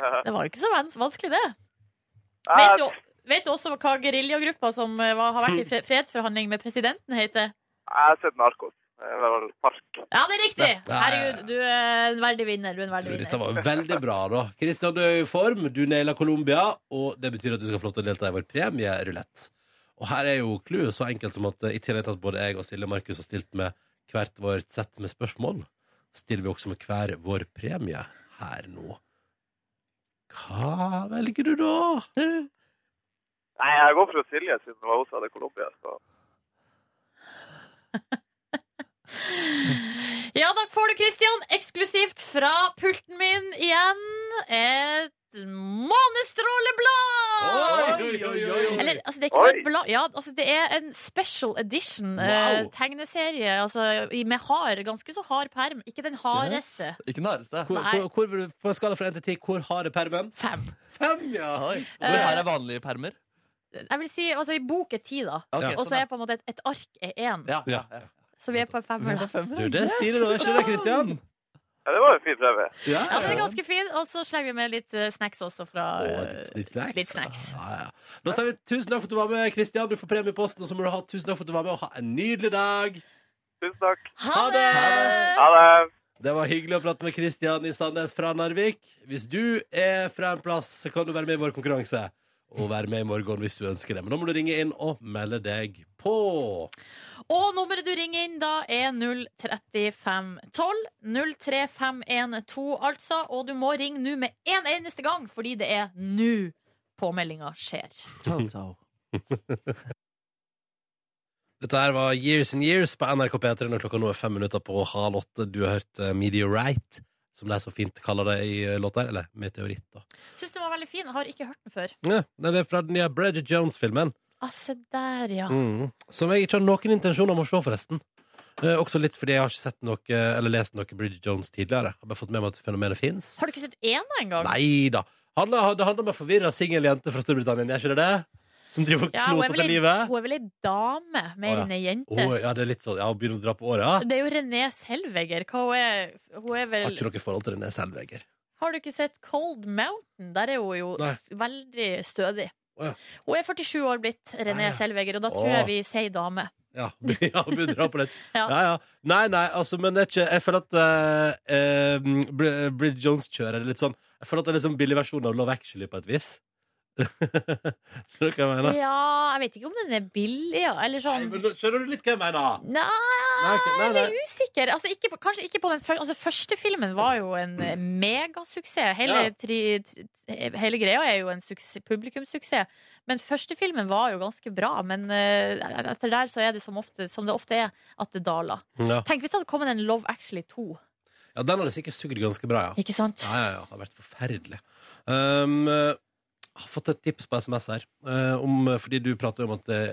C: Det var jo ikke så vans- vanskelig, det. Vet du,
A: Jeg,
C: vet du også hva geriljagruppa som eh, var, har vært i fre- fredsforhandling med presidenten, heter?
A: jeg har sett Narkos. Det var vel park.
C: Ja, det er riktig!
B: Ja.
C: Herregud, du er en verdig vinner. Du er en
B: Du,
C: verdig
B: dette
C: vinner.
B: var veldig bra, da. Kristian, du er i form. Du naila Colombia, og det betyr at du skal få lov til å delta i vår premierulett. Og her er jo clouet så enkelt som at eh, i tillegg til at både jeg og Silje Markus har stilt med hvert vårt sett med spørsmål, stiller vi også med hver vår premie her nå. Hva velger du da?
A: Nei, jeg går for Silje, siden det var hun som hadde Colombia. Så.
C: Ja, da får du, Christian, eksklusivt fra pulten min igjen et månestråleblad! Eller, altså, det er ikke
A: Oi.
C: bare et blad. Ja, altså, det er en special edition eh,
B: Wow.
C: tegneserie altså, i- med hard, ganske så hard perm. Ikke den hardeste.
D: Yes. Ikke den hardeste.
B: Hvor,
C: Nei.
B: hvor, hvor, vil du- på en skala fra 1 til 10, hvor hard er permen?
C: Fem.
B: Fem, ja!
D: Oi.
C: Eh,
D: Hvor her er vanlige permer?
C: Jeg vil si, altså, I bok er ti, da.
D: Ok,
C: Og så
D: sånn,
C: er på en måte et, et ark er én.
D: ja. Ja, ja.
C: Så vi er på en femmer. da.
B: Du, det er stilig, da. Er ikke det, Kristian?
A: Ja, det var en fin prøve.
B: Ja,
C: Ja, den er ganske fin. Og så slenger vi med litt eh, snacks også fra
B: Og
C: eh,
B: litt snacks.
C: Litt snacks.
B: Ja, ja. Da sier vi tusen takk for at du var med, Kristian. Du får premie i posten. Og så må du ha tusen takk for at du var med, og ha en nydelig dag.
A: Tusen takk.
C: Ha det!
A: Ha det.
B: Det var hyggelig å prate med Kristian i Sandnes fra Narvik. Hvis du er fra en plass, så kan du være med i vår konkurranse. Og være med i morgen hvis du ønsker det. Men da må du ringe inn og melde deg på.
C: Og nummeret du ringer inn da er 03512. 03512 altså. Og du må ringe nå med en eneste gang, fordi det er nå påmeldinga skjer.
B: Dette her var Years and Years på NRK P3 når klokka nå er fem minutter på halv åtte. Du har hørt eh, Meteorite, som de så fint kaller det i eh, låta her. Eller meteoritt, da.
C: Syns den var veldig fin. Jeg har ikke hørt den før.
B: Ja, det er fra den nye Bridget Jones-filmen.
C: Ah, se der, ja.
B: Mm. Som jeg ikke har noen intensjon om å se, forresten. Eh, også litt fordi jeg har ikke sett noe, eller lest noe Bridget Jones tidligere. Har bare fått med meg at fenomenet fins.
C: Har du ikke sett ena engang?
B: Nei da. Handler- Det handler om ei forvirra singel jente fra Storbritannia, er ikke det det? Som driver og
C: Ja, hun, er
B: knoter
C: vel
B: til
C: ei,
B: livet?
C: hun er vel ei dame
B: Å,
C: mer
B: ja.
C: enn ei jente?
B: Åh, ja, det er litt sånn. Ja, hun begynner å dra på åra.
C: Det er jo René Selveger. Hva hun er Hun er
B: Har
C: vel
B: ikke noe forhold til René Selveger.
C: Har du ikke sett Cold Mountain? Der er hun jo
B: Nei.
C: s- veldig stødig.
B: Å, ja.
C: Hun er 47 år blitt, René
B: Nei, ja.
C: Selveger, og da tror
B: Å.
C: jeg vi sier dame.
B: Ja, ja begynner å dra på litt. ja.
C: Ja.
B: Ja, Nei, nei, altså, men det er ikke Jeg føler at eh, eh, Bri- Bridget Jones kjører det litt sånn Jeg føler at det er liksom billig versjon av Love Actually på et vis. Skjønner du hva jeg mener?
C: Ja, jeg vet ikke om den er billig, ja, eller
B: Nei,
C: sånn
B: men nå skjønner du litt hva jeg mener?
C: Nei,
B: Nei, ok, nei,
C: jeg
B: nei.
C: er usikker. Altså, ikke på, kanskje ikke på den første Altså, første filmen var jo en eh, megasuksess. Hele,
B: Ja.
C: tri, t- t- hele greia er jo en suksess, publikumssuksess. Men første filmen var jo ganske bra. Men eh, etter der så er det som, ofte, som det ofte er, at det daler.
B: Ja.
C: Tenk hvis det hadde kommet en Love Actually 2.
B: ja, den hadde sikkert sugd ganske bra, ja.
C: Ikke sant?
B: Ja, ja, ja. Det har vært forferdelig. Um, eh, jeg har fått et tips på SMS her, eh, om, eh, fordi du prater jo om at eh,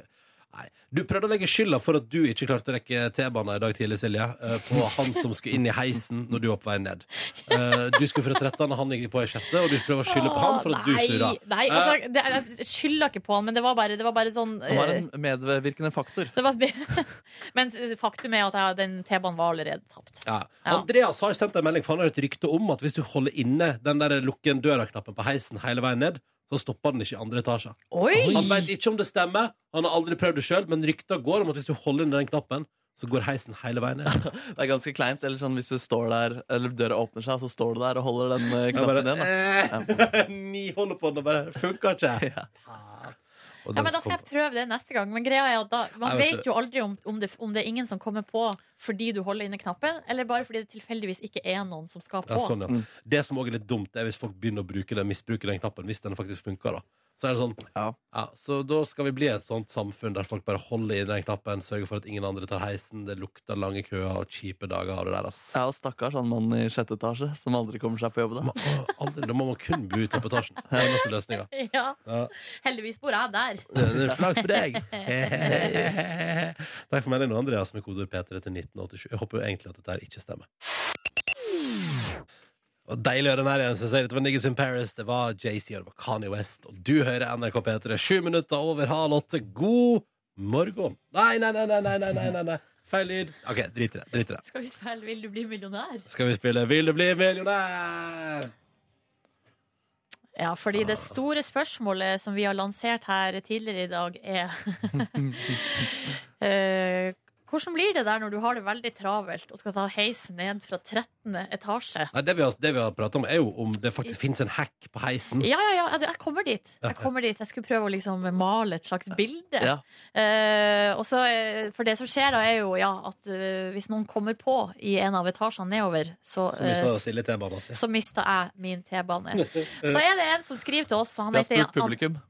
B: Nei. Du prøvde å legge skylda for at du ikke klarte å rekke T-banen i dag tidlig, Silje, eh, på han som skulle inn i heisen når du var på vei ned. Eh, Du skulle fra 13, og han gikk på i sjette, og du prøver å skylde på han for at du
C: Ah,
B: Eh.
C: Nei,
B: surra.
C: Nei, altså, det, jeg skylder ikke på han, men det var bare, det var bare sånn
D: Han var
C: eh,
D: en medvirkende faktor.
C: det var, men faktum er at jeg, den T-banen var allerede tapt.
B: Ja.
C: Ja.
B: Andreas har sendt en melding, for han har et rykte om at hvis du holder inne den der lukken døra-knappen på heisen hele veien ned, så stopper den ikke i andre etasje.
C: Oi!
B: Han vet ikke om det stemmer, han har aldri prøvd det sjøl, men rykta går om at hvis du holder inn den knappen, så går heisen hele veien ned.
D: Det er ganske kleint. Eller sånn hvis du står der, eller døra åpner seg, og så står du der og holder den eh,
B: Jeg
D: knappen igjen. da.
B: bare eh, Ni holder på den og bare funker ikke. Og
C: Ja,
B: den
C: men Da
B: som
C: skal jeg
B: kom-
C: prøve det neste gang. Men greia er at da, man
B: Jeg vet
C: vet jo aldri om, om, det, om det er ingen som kommer på fordi du holder inne knappen, eller bare fordi det tilfeldigvis ikke er noen som skal på.
B: sånn, Mm. ja, sånn, ja. Det som òg er litt dumt, er hvis folk begynner å bruke den, misbruke den knappen hvis den faktisk funker. da Så er det sånn
D: Ja.
B: ja, Så da skal vi bli et sånt samfunn der folk bare holder i den knappen, sørger for at ingen andre tar heisen, det lukter lange køer og kjipe dager av det der, ass.
D: Ja, og stakkars han mannen i sjette etasje som aldri kommer seg på jobb. da
B: Man, å, aldri, da må man kun bo i toppetasjen. Det er eneste løsninga.
C: Ja,
B: Ja.
C: heldigvis bor jeg der.
B: Det er Flaks for deg! Takk for meldingen, Andreas, med kode P3 til 1987. Jeg håper jo egentlig at dette her ikke stemmer. Og Deilig å høre den her igjen. så jeg sier Det var Niggas in Paris, det var JC og det var Kanye West. Og du hører NRK P3 sju minutter over halv åtte. God morgen! Nei, nei, nei, nei, nei, nei, nei, nei, nei. feil lyd. OK, drit i det. drit i det
C: Skal vi spille 'Vil du bli millionær'?
B: Skal vi spille Vil du bli millionær?
C: Ja, fordi
D: Ah.
C: det store spørsmålet som vi har lansert her tidligere i dag, er eh, Hvordan blir det der når du har det veldig travelt og skal ta heisen ned fra 13. etasje?
B: Nei, det vi, har, det vi har pratet om, er jo om det faktisk finnes en hack på heisen.
C: Ja, ja, ja, jeg- jeg kommer dit. Jeg kommer dit. Jeg skulle prøve å liksom male et slags bilde.
D: Ja.
C: Eh, og så, eh, for det som skjer da, er jo ja, at eh, hvis noen kommer på i en av etasjene nedover, så,
B: Som vi
C: eh,
B: sa, Silje T-banen. altså.
C: så mister jeg min T-bane. Så er det en som skriver til oss, og han
D: Vi har
C: heter
D: spurt publikum.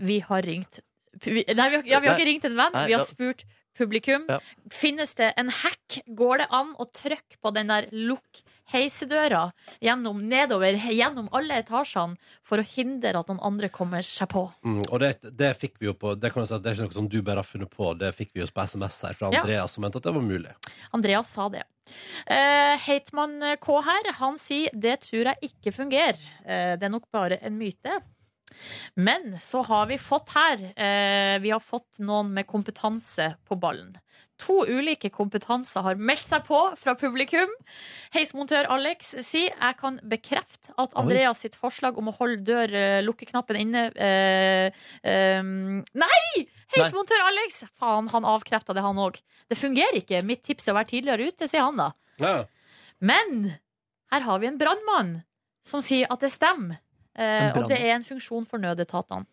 C: Vi har ringt vi, Nei, vi har, ja, vi har ikke ringt en venn,
D: Nei,
C: vi har
D: da-
C: spurt publikum.
D: Ja.
C: Finnes det en hack? Går det an å trykke på den der lukk heisedøra gjennom, nedover he- gjennom alle etasjene for å hindre at noen andre kommer seg på?
B: Mm, og det, det fikk vi jo på Det kan jeg si at det er ikke noe som du bare har funnet på. Det fikk vi jo på SMS her fra
C: Ja.
B: Andreas, som mente at det var mulig.
C: Andreas sa det. Uh, Heitmann K her, han sier det tror jeg ikke fungerer. Eh, det er nok bare en myte. Men så har vi fått her eh, Vi har fått noen med kompetanse på ballen. To ulike kompetanser har meldt seg på fra publikum. Heismontør Alex sier jeg kan bekrefte at Andreas sitt forslag om å holde dør, eh, lukkeknappen inne eh, eh, Nei! Heismontør Alex! Faen, han avkrefta det, han òg. Det fungerer ikke. Mitt tips er å være tidligere ute, sier han da.
B: Ja.
C: Men her har vi en brannmann som sier at det stemmer. Eh,
D: En
C: og det er en funksjon for nødetatene.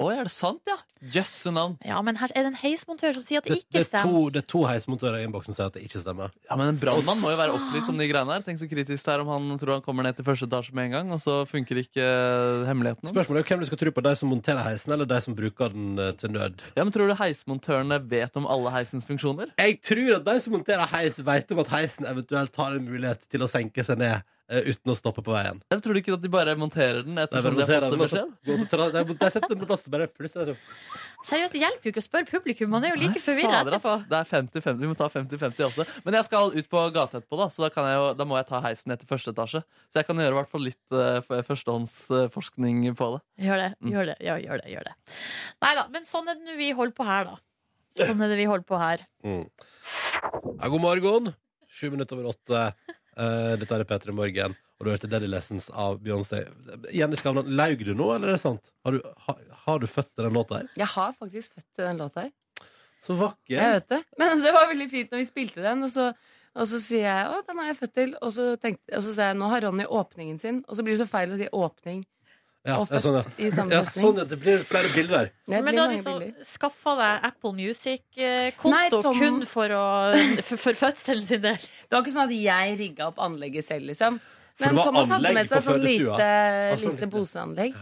D: Å, er det sant, ja? Jøsse navn.
C: Ja, men her er det en heismontør som sier at det
B: Det,
C: ikke
B: det, er
C: stemmer.
B: to, det er to heismontører i innboksen som sier at det ikke stemmer.
D: Ja, men En brannmann må jo være opplyst om de
C: Ah.
D: greiene her. Tenk så kritisk det er om han tror han kommer ned til første etasje med en gang, og så funker ikke eh, hemmeligheten hans.
B: Spørsmålet er jo hvem du skal tro på. De som monterer heisen, eller de som bruker den eh, til nød?
D: Ja, men Tror du heismontørene vet om alle heisens funksjoner?
B: Jeg tror at de som monterer heis, vet om at heisen eventuelt har en mulighet til å senke seg ned eh, uten å stoppe på veien.
D: Eller tror du ikke at de bare monterer den altså. ettersom
B: De,
D: de har fått en
B: altså.
D: beskjed?
B: setter den på plass, bare plutselig er det sånn.
C: Seriøst, det hjelper jo ikke å spørre publikum. Man er jo
D: Nei,
C: like forvirra
D: fader, ass.
C: etterpå.
D: Det er 50-50. Vi må ta 50-50 også. Men jeg skal ut på gata etterpå, da, så da, kan jeg jo, da må jeg ta heisen ned til første etasje. Så jeg kan gjøre i hvert fall litt eh, f- førstehåndsforskning på det.
C: Gjør det,
B: Mm.
C: gjør det, gjør, gjør det. gjør det Nei da, men sånn er det nå vi holder på her, da. Sånn er det vi holder på her.
B: Mm. Ja, god morgen. Sju minutter over åtte. Eh, dette er P3 Morgen, og du hørte Daddy Lessons av Beyoncé. Jenny Skavlan, laug du nå, eller er det sant? Har du, ha, har du født til den låta her?
E: Jeg har faktisk født til den låta her.
B: Så
E: Jeg
B: vakker.
E: vet det. Men det var veldig fint når vi spilte den, og så, og så sier jeg å, den har jeg født til. Og så, tenkte, og så sier jeg nå har Ronny åpningen sin, og så blir det så feil å si åpning
B: Ja,
E: og
B: det er
E: født
B: sånn, ja.
E: i samme
B: ja,
E: setning.
B: sånn at det blir flere bilder der.
E: Det
C: Men
E: blir
C: du har
E: mange
C: liksom
E: bilder.
C: skaffa deg Apple
E: Nei,
C: Music-konto
E: Tom-
C: kun for, å, for, for fødselen sin del.
E: Det var ikke sånn at jeg rigga opp anlegget selv, liksom.
B: For
E: Men
B: det var
E: Thomas hadde
B: anlegg
E: med
B: på
E: seg sånn
B: fødestua.
E: lite,
B: sånn
E: lite
B: lite.
E: poseanlegg.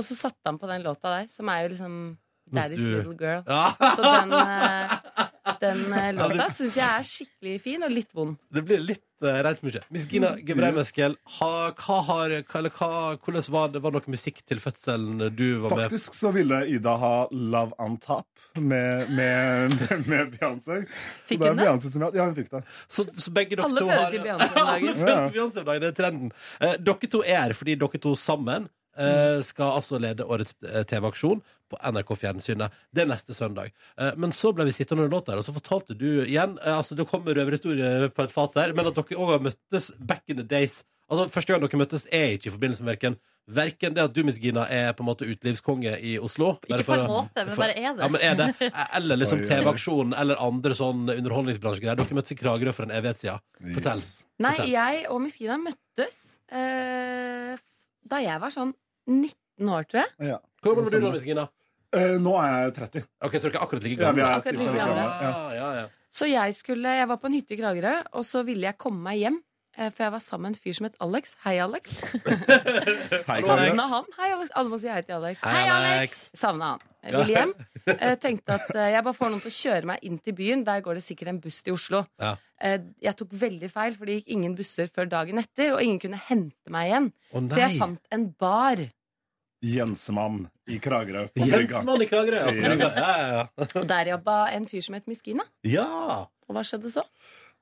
E: Og så satte han på den låta der, som er jo liksom
B: Mens
E: Daddy's
B: du-
E: Little Girl.
B: Ja,
E: Så den, eh, den eh, låta syns jeg er skikkelig fin, og litt vond.
B: det blir litt uh, rent mye. Miss Gina Gebreimeskel, ha, hva har, hva, eller hva, hvordan var det var det noe musikk til fødselen du var med på?
F: Faktisk så ville Ida ha Love on Top med, med, med, med Beyoncé. Så
E: Fikk
F: det er
E: hun det?
F: Beyoncé som- Ja, hun fikk det.
B: Så, så begge dere
E: Alle
B: to
E: føler
B: har
E: til Beyoncé om dagen.
B: Alle føler til Beyoncé om dagen, det er trenden. Eh, dere to er her fordi dere to sammen
E: Mm.
B: eh, skal altså lede årets eh, TV-aksjon på NRK Fjernsynet. Det er neste søndag. Eh, men så ble vi sittende under låta her, og så fortalte du igjen eh, Altså, det kommer røverhistorie på et fat her, men at dere òg har møttes back in the days. Altså, Første gang dere møttes, er ikke i forbindelse med verken Verken det at du, Miss Gina, er på en måte utelivskonge i Oslo bare
C: Ikke
B: for
C: på en
B: å-
C: måte, men bare er
B: ja,
C: det.
B: men er det Eller liksom
F: Oi, oi, oi.
B: TV-aksjonen eller andre sånn underholdningsbransjegreier. Dere møttes i Kragerø for en evighet siden. Fortell.
F: Yes.
E: Nei,
B: Fortell.
E: jeg og Miss Gina møttes eh, f- da jeg var sånn 19 år, tror jeg.
F: Ja.
B: Hvor gammel var du da, Miss Gina?
F: Eh, nå er jeg 30.
B: Ok, Så dere er akkurat like
F: Ja, vi
B: gamle?
F: er
E: Akkurat
F: cirka
E: like
F: like
E: gamle.
F: gamle. Ja.
B: ja, ja.
E: Så jeg, skulle, jeg var på en hytte i Kragerø, og så ville jeg komme meg hjem. eh, for jeg var sammen med en fyr som het Alex. Hei, Alex.
F: Hei,
E: Savna han. Hei, Alex. Alle må si hei til Alex.
C: Hei, Alex!
E: Savna han. Jeg Ville hjem. Eh, tenkte at eh, jeg bare får noen til å kjøre meg inn til byen. Der går det sikkert en buss til Oslo.
B: Ja.
E: Eh, jeg tok veldig feil, for det gikk ingen busser før dagen etter, og ingen kunne hente meg igjen.
B: Å
E: Så jeg
B: nei!
E: fant en bar.
F: Jensemann i Kragerø. på brygga.
B: Jensmann i Kragerø, ja. på
F: Yes.
B: brygga. Ja, ja,
E: Og der jobba en fyr som het Miskina.
B: ja.
E: Og hva skjedde så?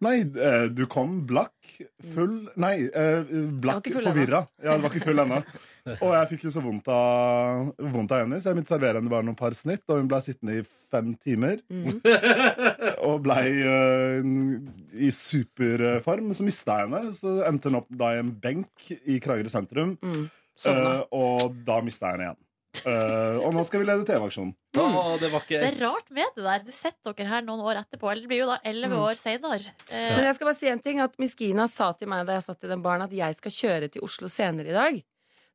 F: Nei, eh, du kom blakk, full Nei, eh,
E: Jeg
F: blakk,
E: var ikke full
F: forvirra. Ja, du var ikke full ennå. Og jeg fikk jo så vondt av, vondt av Jenny, så jeg måtte servere henne bare noen par snitt. Og hun blei sittende i fem timer,
E: Mm.
F: og blei eh, i superform. Så mista jeg henne. Så endte hun opp da i en benk i Kragerø sentrum,
E: Mm. Sovna.
F: eh, og da mista jeg henne igjen. Eh, og nå skal vi lede TV-aksjonen.
B: ja. Å, det var ikke
C: Det er rart med det der. Du sitter dere her noen år etterpå. Eller det blir jo da elleve
E: Mm.
C: år senere. Eh,
E: Men jeg skal bare si en ting At Miskina sa til meg da jeg satt i den baren, at jeg skal kjøre til Oslo senere i dag.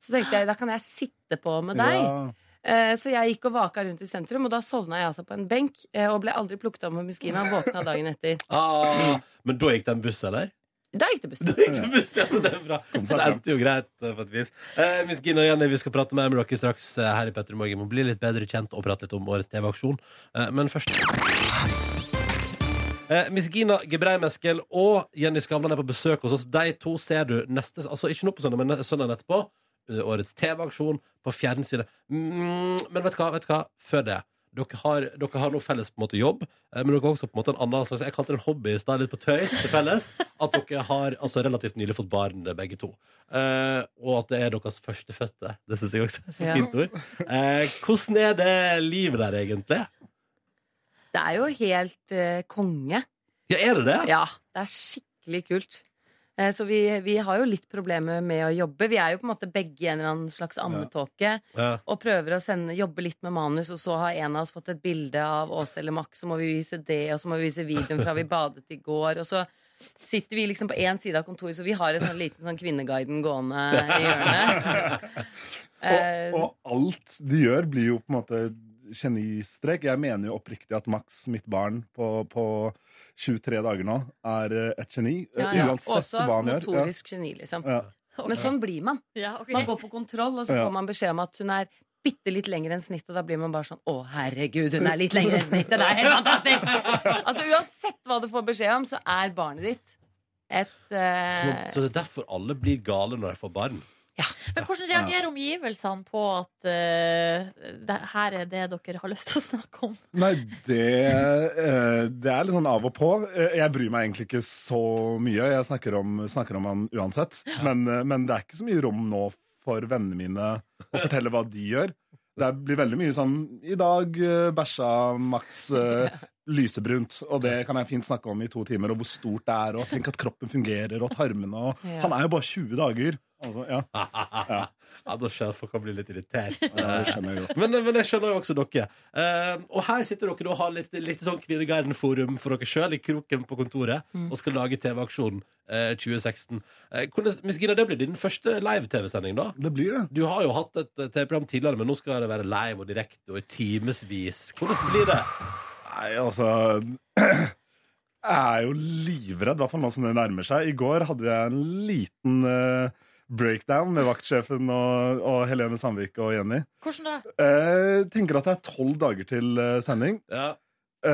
E: Så tenkte jeg da kan jeg sitte på med deg.
F: Ja.
E: Eh, Så jeg gikk og vaka rundt i sentrum, og da sovna jeg altså på en benk. eh, Og ble aldri plukket opp av Miskina. Våkna dagen etter.
B: Ah, men da gikk det en buss, eller?
E: Da gikk det buss.
B: Da gikk det en buss, ja, men det er bra.
F: Kom
B: Så
F: seg
B: det
F: fram.
B: endte jo greit, eh, på et vis. Eh, Miss Gina og Jenny, vi skal prate mer med dere straks eh, her i Petter i morgen. Må bli litt bedre kjent og prate litt om årets TV-aksjon. Eh, men først Eh, Miss Gina Gebreimeskel og Jenny Skavlan er på besøk hos oss. De to ser du neste Altså ikke nå på søndag, men ne- søndagen etterpå. Under eh, årets TV-aksjon på fjernsynet. Mm, men vet du hva? vet du hva? Før det. Dere har, dere har noe felles på en måte jobb, eh, men dere har også på en måte en annen slags Jeg kalte det en hobby i stad, litt på tøys til felles. At dere har altså, relativt nylig fått barn, eh, begge to. Eh, og at det er deres førstefødte. Det syns jeg også er så
E: Ja.
B: fint ord. Eh, hvordan er det livet der, egentlig?
E: Det er jo helt eh, konge.
B: Ja, er det det?
E: Ja, det er skikkelig kult. Eh, Så vi, vi har jo litt problemer med å jobbe. Vi er jo på en måte begge i en eller annen slags ammetåke.
B: Ja.
E: Og prøver å sende, jobbe litt med manus, og så har en av oss fått et bilde av oss eller Max, så må vi vise det, og så må vi vise videoen fra vi badet i går. Og så sitter vi liksom på én side av kontoret, så vi har en sånn liten sånn Kvinneguiden gående i hjørnet. Eh,
F: Og, og alt de gjør, blir jo på en måte genistrek. Jeg mener jo oppriktig at Max, mitt barn på, på 23 dager nå, er eh, et geni.
E: ja,
F: eh,
E: ja.
F: Uansett
E: Også
F: hva han gjør. Ja.
E: motorisk geni, liksom.
F: Ja.
E: Men sånn blir man.
C: ja, ok.
E: Man går på kontroll, og så
F: Ja.
E: får man beskjed om at hun er bitte litt lengre enn snitt, og da blir man bare sånn Å, herregud, hun er litt lengre enn snittet! Det er helt fantastisk! Altså Uansett hva du får beskjed om, så er barnet ditt et
B: Så,
E: eh,
B: så det er derfor alle blir gale når de får barn?
C: Men hvordan reagerer omgivelsene på at eh, det her er det dere har lyst til å snakke om?
F: Nei, det, eh, det er litt sånn av og på. Eh, Jeg bryr meg egentlig ikke så mye. Jeg snakker om, snakker om han uansett. Men, eh, men det er ikke så mye rom nå for vennene mine å fortelle hva de gjør. Det blir veldig mye sånn I dag eh, bæsja Max eh, lysebrunt, og det kan jeg fint snakke om i to timer, og hvor stort det er, og tenk at kroppen fungerer, og tarmene og
E: Ja.
F: Han er jo bare 20 dager. Altså, ja.
B: ja, da skjønner jeg at folk kan bli litt irritert.
F: Ja, det skjønner jeg godt.
B: Men, men jeg skjønner jo også dere. Eh, og her sitter dere da og har litt, litt sånn Kvinneguiden-forum for dere sjøl i kroken på kontoret og skal lage TV-aksjon eh, 2016. Eh, hvordan, Miss Gina, det blir din første live-TV-sending, da?
F: Det blir det.
B: Du har jo hatt et eh, TV-program tidligere, men nå skal det være live og direkte og i timevis. Hvordan blir det?
F: Nei, altså Jeg er jo livredd, i hvert fall nå som det nærmer seg. I går hadde jeg en liten eh, breakdown med vaktsjefen og, og Helene Sandvik og Jenny.
C: Hvordan da?
F: Eh, tenker at det er tolv dager til eh, sending.
B: Ja.
F: Eh,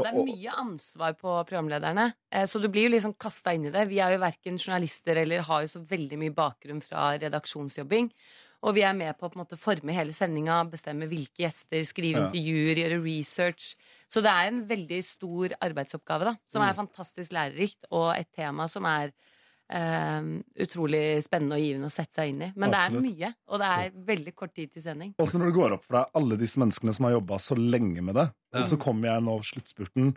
E: Det er
F: og-
E: mye ansvar på programlederne, eh, så du blir jo liksom kasta inn i det. Vi er jo verken journalister eller har jo så veldig mye bakgrunn fra redaksjonsjobbing. Og vi er med på å på en måte forme hele sendinga, bestemme hvilke gjester, skrive
F: Ja.
E: intervjuer, gjøre research. Så det er en veldig stor arbeidsoppgave, da, som er
F: Mm.
E: fantastisk lærerikt, og et tema som er eh, utrolig spennende og givende å sette seg inn i. Men det
F: Absolutt.
E: er mye, og det er veldig kort tid til sending.
F: Og så når det går opp for deg alle disse menneskene som har jobba så lenge med det,
B: Ja.
F: og så kommer jeg nå sluttspurten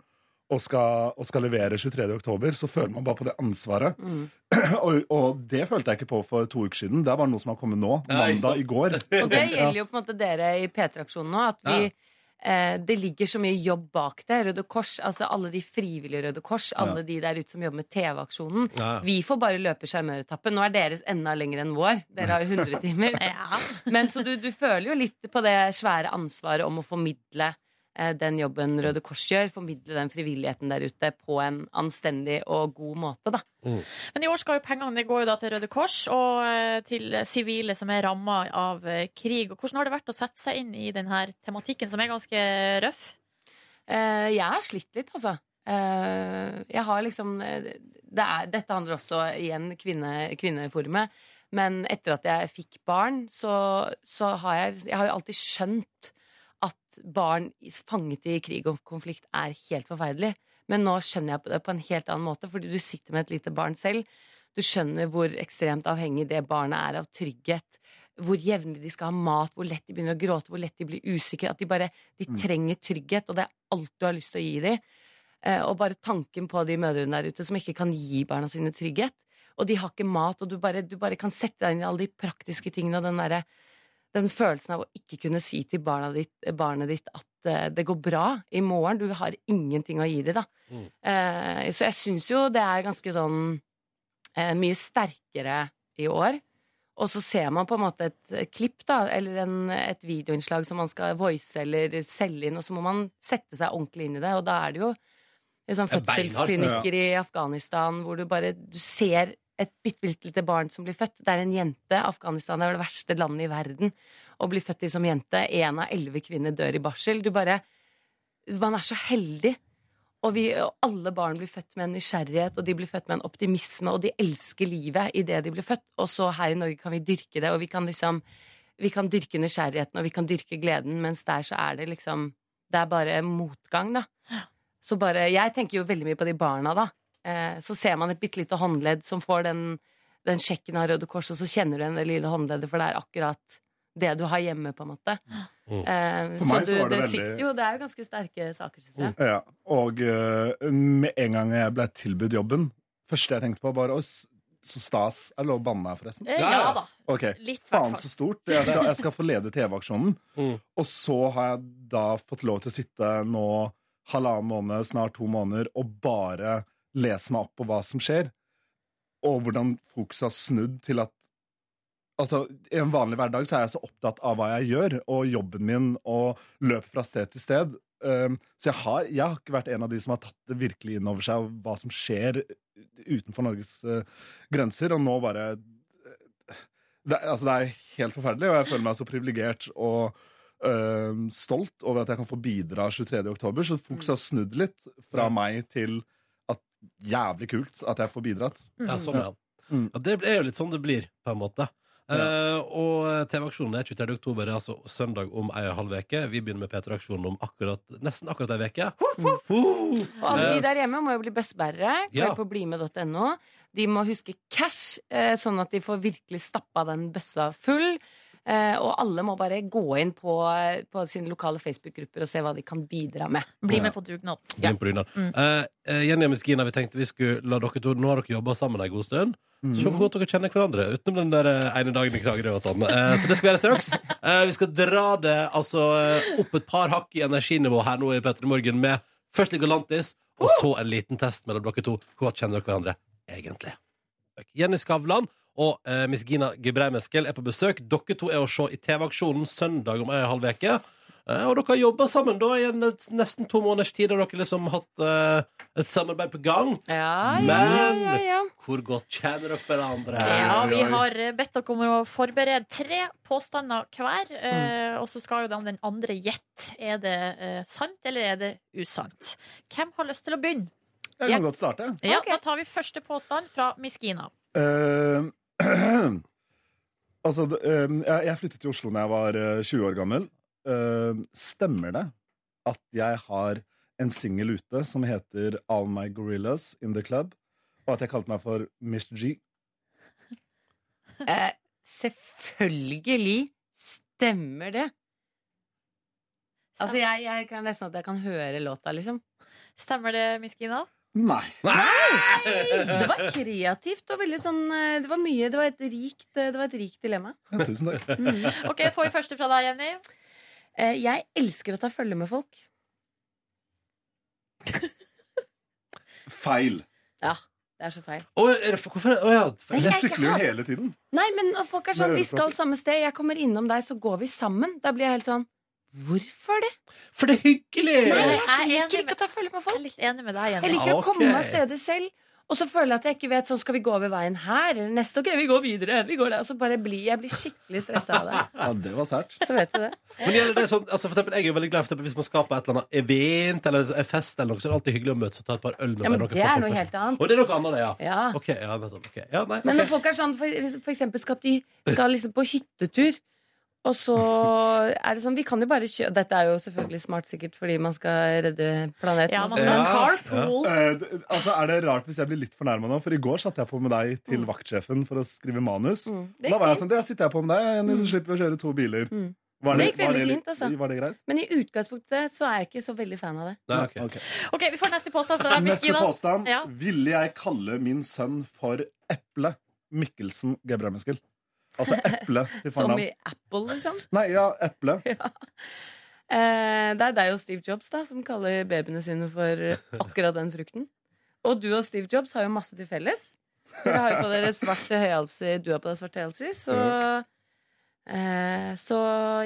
F: og skal, og skal levere 23. oktober, så føler man bare på det ansvaret.
E: Mm.
F: og, og det følte jeg ikke på for to uker siden. Det er bare noe som har kommet nå.
B: Ja, ikke sant?
F: Mandag i går.
E: Og det gjelder jo på en måte dere i P3-aksjonen nå. At vi, eh, det ligger så mye jobb bak det. Røde Kors, altså alle de frivillige Røde Kors, alle de der ute som jobber med TV-aksjonen.
B: Ja.
E: Vi får bare løpe sjarmøretappen. Nå er deres enda lenger enn vår. Dere har jo 100 timer.
C: Ja.
E: Men så du, du føler jo litt på det svære ansvaret om å formidle eh, eh, den jobben Røde Kors gjør, formidle den frivilligheten der ute på en anstendig og god måte, da.
C: Men i år skal jo pengene det går jo da til Røde Kors og eh, til sivile som er ramma av eh, krig. Og hvordan har det vært å sette seg inn i denne tematikken, som er ganske røff?
E: Eh, jeg har slitt litt, altså. Eh, jeg har liksom eh, det er, Dette handler også igjen kvinne, kvinneforumet. Men etter at jeg fikk barn, så, så har jeg Jeg har jo alltid skjønt at barn i- fanget i krig og konflikt er helt forferdelig. Men nå skjønner jeg det på en helt annen måte, fordi du sitter med et lite barn selv. Du skjønner hvor ekstremt avhengig det barnet er av trygghet. Hvor jevnlig de skal ha mat, hvor lett de begynner å gråte, hvor lett de blir usikre. At de bare de
F: Mm.
E: trenger trygghet, og det er alt du har lyst til å gi dem. Eh, og bare tanken på de mødrene der ute som ikke kan gi barna sine trygghet. Og de har ikke mat, og du bare, du bare kan sette deg inn i alle de praktiske tingene og den derre den følelsen av å ikke kunne si til barna ditt, barnet ditt at eh, det går bra i morgen. Du har ingenting å gi dem, da.
B: Mm.
E: Eh, så jeg syns jo det er ganske sånn eh, mye sterkere i år. Og så ser man på en måte et eh, klipp da, eller en, et videoinnslag som man skal voice eller selge inn, og så må man sette seg ordentlig inn i det. Og da er det jo
B: Det er
E: liksom,
B: beinhardt,
E: fødselsklinikker i Afghanistan hvor du bare du ser et bitte, bitte lite barn som blir født. Det er en jente. Afghanistan er vel det verste landet i verden å bli født i som jente. Én av elleve kvinner dør i barsel. Du bare Man er så heldig. Og, vi, og alle barn blir født med en nysgjerrighet, og de blir født med en optimisme, og de elsker livet idet de blir født. Og så her i Norge kan vi dyrke det, og vi kan liksom Vi kan dyrke nysgjerrigheten, og vi kan dyrke gleden, mens der så er det liksom Det er bare motgang, da. Så bare Jeg tenker jo veldig mye på de barna, da. Eh, så ser man et bitte lite håndledd som får den, den sjekken av Røde Kors, og så kjenner du igjen det lille håndleddet, for det er akkurat det du har hjemme, på en måte.
B: Mm.
E: Eh,
F: For
E: så
F: meg
E: du,
F: så var det
E: det,
F: veldig-
E: sitter jo Det er jo ganske sterke saker, syns jeg.
F: Ja, og eh, med en gang jeg ble tilbudt jobben, første jeg tenkte på, var oss. Så stas. Er det lov å banne her, forresten?
C: Eh,
B: Ja,
C: ja,
B: ja.
C: da.
F: Ok,
C: Litt, i
F: Faen
C: hvert
F: så
C: fall.
F: stort. Jeg skal, jeg skal få lede TV-aksjonen.
B: Mm.
F: Og så har jeg da fått lov til å sitte nå halvannen måned, snart to måneder, og bare lese meg opp på hva som skjer. Og hvordan fokuset har snudd til at Altså, I en vanlig hverdag så er jeg så opptatt av hva jeg gjør, og jobben min, og løper fra sted til sted. Um, så jeg har, jeg har ikke vært en av de som har tatt det virkelig inn over seg, og hva som skjer utenfor Norges eh, grenser. Og nå bare det, er- altså, det er helt forferdelig, og jeg føler meg så privilegert og øhm, stolt over at jeg kan få bidra 23. oktober. Så fokuset har snudd litt fra meg til at jævlig kult at jeg får bidratt.
B: Ja, sånn, ja.
F: Mm.
B: Ja, det er jo litt sånn det blir, på en måte.
F: Ja.
B: Eh, og TV-aksjonen er 23. oktober, det er altså søndag om ei og en halv uke. Vi begynner med P3-aksjonen om akkurat, nesten akkurat ei uke. Ho!
E: Og alle
B: Eh,
E: de der hjemme må jo bli bestbærere. Gå
B: Ja.
E: inn på blimed.no. De må huske cash, eh, sånn at de får virkelig stappa den bøssa full. Eh, Og alle må bare gå inn på, på sine lokale Facebook-grupper og se hva de kan bidra med.
C: Bli med på dugnad.
B: Bli med på dugnad. Eh, eh, Jenny og Meskina, vi tenkte vi skulle la dere to Nå har dere jobba sammen ei god stund. Se hvor godt dere kjenner hverandre, utenom den der eh, ene dagen i Kragerø og sånn. Eh, så det skal være straks. Eh, vi skal dra det altså eh, opp et par hakk i energinivå her nå i Petter i Morgen med først litt Galantis, og så en liten test mellom dere to. Hvor godt kjenner dere hverandre egentlig? Takk. Jenny Skavlan og eh, Miss Gina Gebreimeskel er på besøk. Dere to er å se i TV-aksjonen søndag om ei og en halv uke. Eh, og dere har jobba sammen da i en, et, nesten to måneders tid, og dere liksom hatt eh, et samarbeid på gang.
E: Ja, ja, ja,
B: Men-
E: ja, ja.
B: Hvor godt kjenner dere hverandre?
C: Ja, vi har eh, bedt dere om å forberede tre påstander hver. eh, Og så skal jo da den andre gjette. Er det eh, sant, eller er det usant? Hvem har lyst til å begynne?
F: Jeg kan godt starte.
C: Ja,
E: Ok.
C: Da tar vi første påstand fra Miskina.
F: Øhm, altså, det- øhm, jeg, jeg flyttet til Oslo da jeg var øh, 20 år gammel. Øhm, stemmer det at jeg har en singel ute som heter All My Gorillas In The Club, og at jeg kalte meg for Miss G?
E: Eh, selvfølgelig stemmer det. Altså, jeg, jeg kan nesten at jeg kan høre låta, liksom.
C: Stemmer det, Miskina?
F: Nei.
B: Eh,
E: Det var kreativt og veldig sånn eh, Det var mye, det var et rikt, eh, det var et rikt dilemma.
F: Ja, tusen takk.
C: Ok, Får vi første fra deg, Jenny?
E: Eh, Jeg elsker å ta følge med folk.
F: Feil.
E: Ja, det er så feil.
B: Å, er det, hvorfor er det- å, ja.
E: Nei,
F: Jeg
E: jeg-
F: sykler jo hele tiden.
E: Nei, men folk er
F: Nei,
E: sånn
F: det er
E: Vi skal samme sted, jeg kommer innom deg, så går vi sammen. Da blir jeg helt sånn Hvorfor det?
B: For det er hyggelig!
C: jeg er
E: Jeg
C: enig
E: liker
C: med,
E: ikke å ta følge med
C: jeg er
E: folk.
C: litt enig med deg,
E: Jeg
C: Jenny.
E: liker å
B: Ok.
E: komme meg av steder selv. Og så føler jeg at jeg ikke vet sånn skal vi gå over veien her eller neste. Ok, vi går videre. Vi går der. Og så bare blir jeg blir skikkelig stressa av det.
F: Ja, det var sært.
E: Så vet du det.
B: Men gjelder det sånn, altså for eksempel, Jeg er jo veldig glad for eksempel, hvis man skal på et eller annet event eller en fest, eller noe, så er det alltid hyggelig å møtes og ta et par øl. med
E: Ja, men
B: noen
E: det
B: folk
E: er noe
B: først.
E: helt annet.
B: Og det er noe annet, det, ja.
E: Ja.
B: Ok, ja, nettopp. ok. Ja, nei,
E: Men
B: ok.
E: når folk er sånn, for, for eksempel skal de skal liksom på hyttetur, og så er det sånn Vi kan jo bare kjøre Dette er jo selvfølgelig smart sikkert fordi man skal redde planeten.
C: Ja,
E: og
C: man
E: sånn.
C: skal ha
B: Ja.
C: carpool.
F: Eh, d- altså, er det rart hvis jeg blir litt fornærma nå? For i går satt jeg på med deg til vaktsjefen for å skrive manus.
E: Mm. Det
F: Da var jeg
E: gikk
F: sånn, det sitter jeg på med deg, Jenny, så slipper vi å kjøre to biler.
E: Mm.
F: Var
E: Det gikk
F: var
E: veldig
F: litt-
E: fint, altså.
F: Var det greit?
E: Men i utgangspunktet så er jeg ikke så veldig fan av det.
B: Nei, ok.
F: Ok.
C: Ok, vi får neste påstand fra deg,
F: Neste
C: Miskina.
F: påstand.
C: Ja.
F: Ville jeg kalle min sønn for Eple Mikkelsen Gebremeskel? Altså Eple til
E: Som
F: fornavn.
E: i Apple, liksom.
F: Nei, ja, Eple.
E: Eh, det er deg og Steve Jobs da som kaller babyene sine for akkurat den frukten. Og du og Steve Jobs har jo masse til felles. Dere har jo på dere svarte høyhalser, du har på deg svarte høyhalser, så eh, Så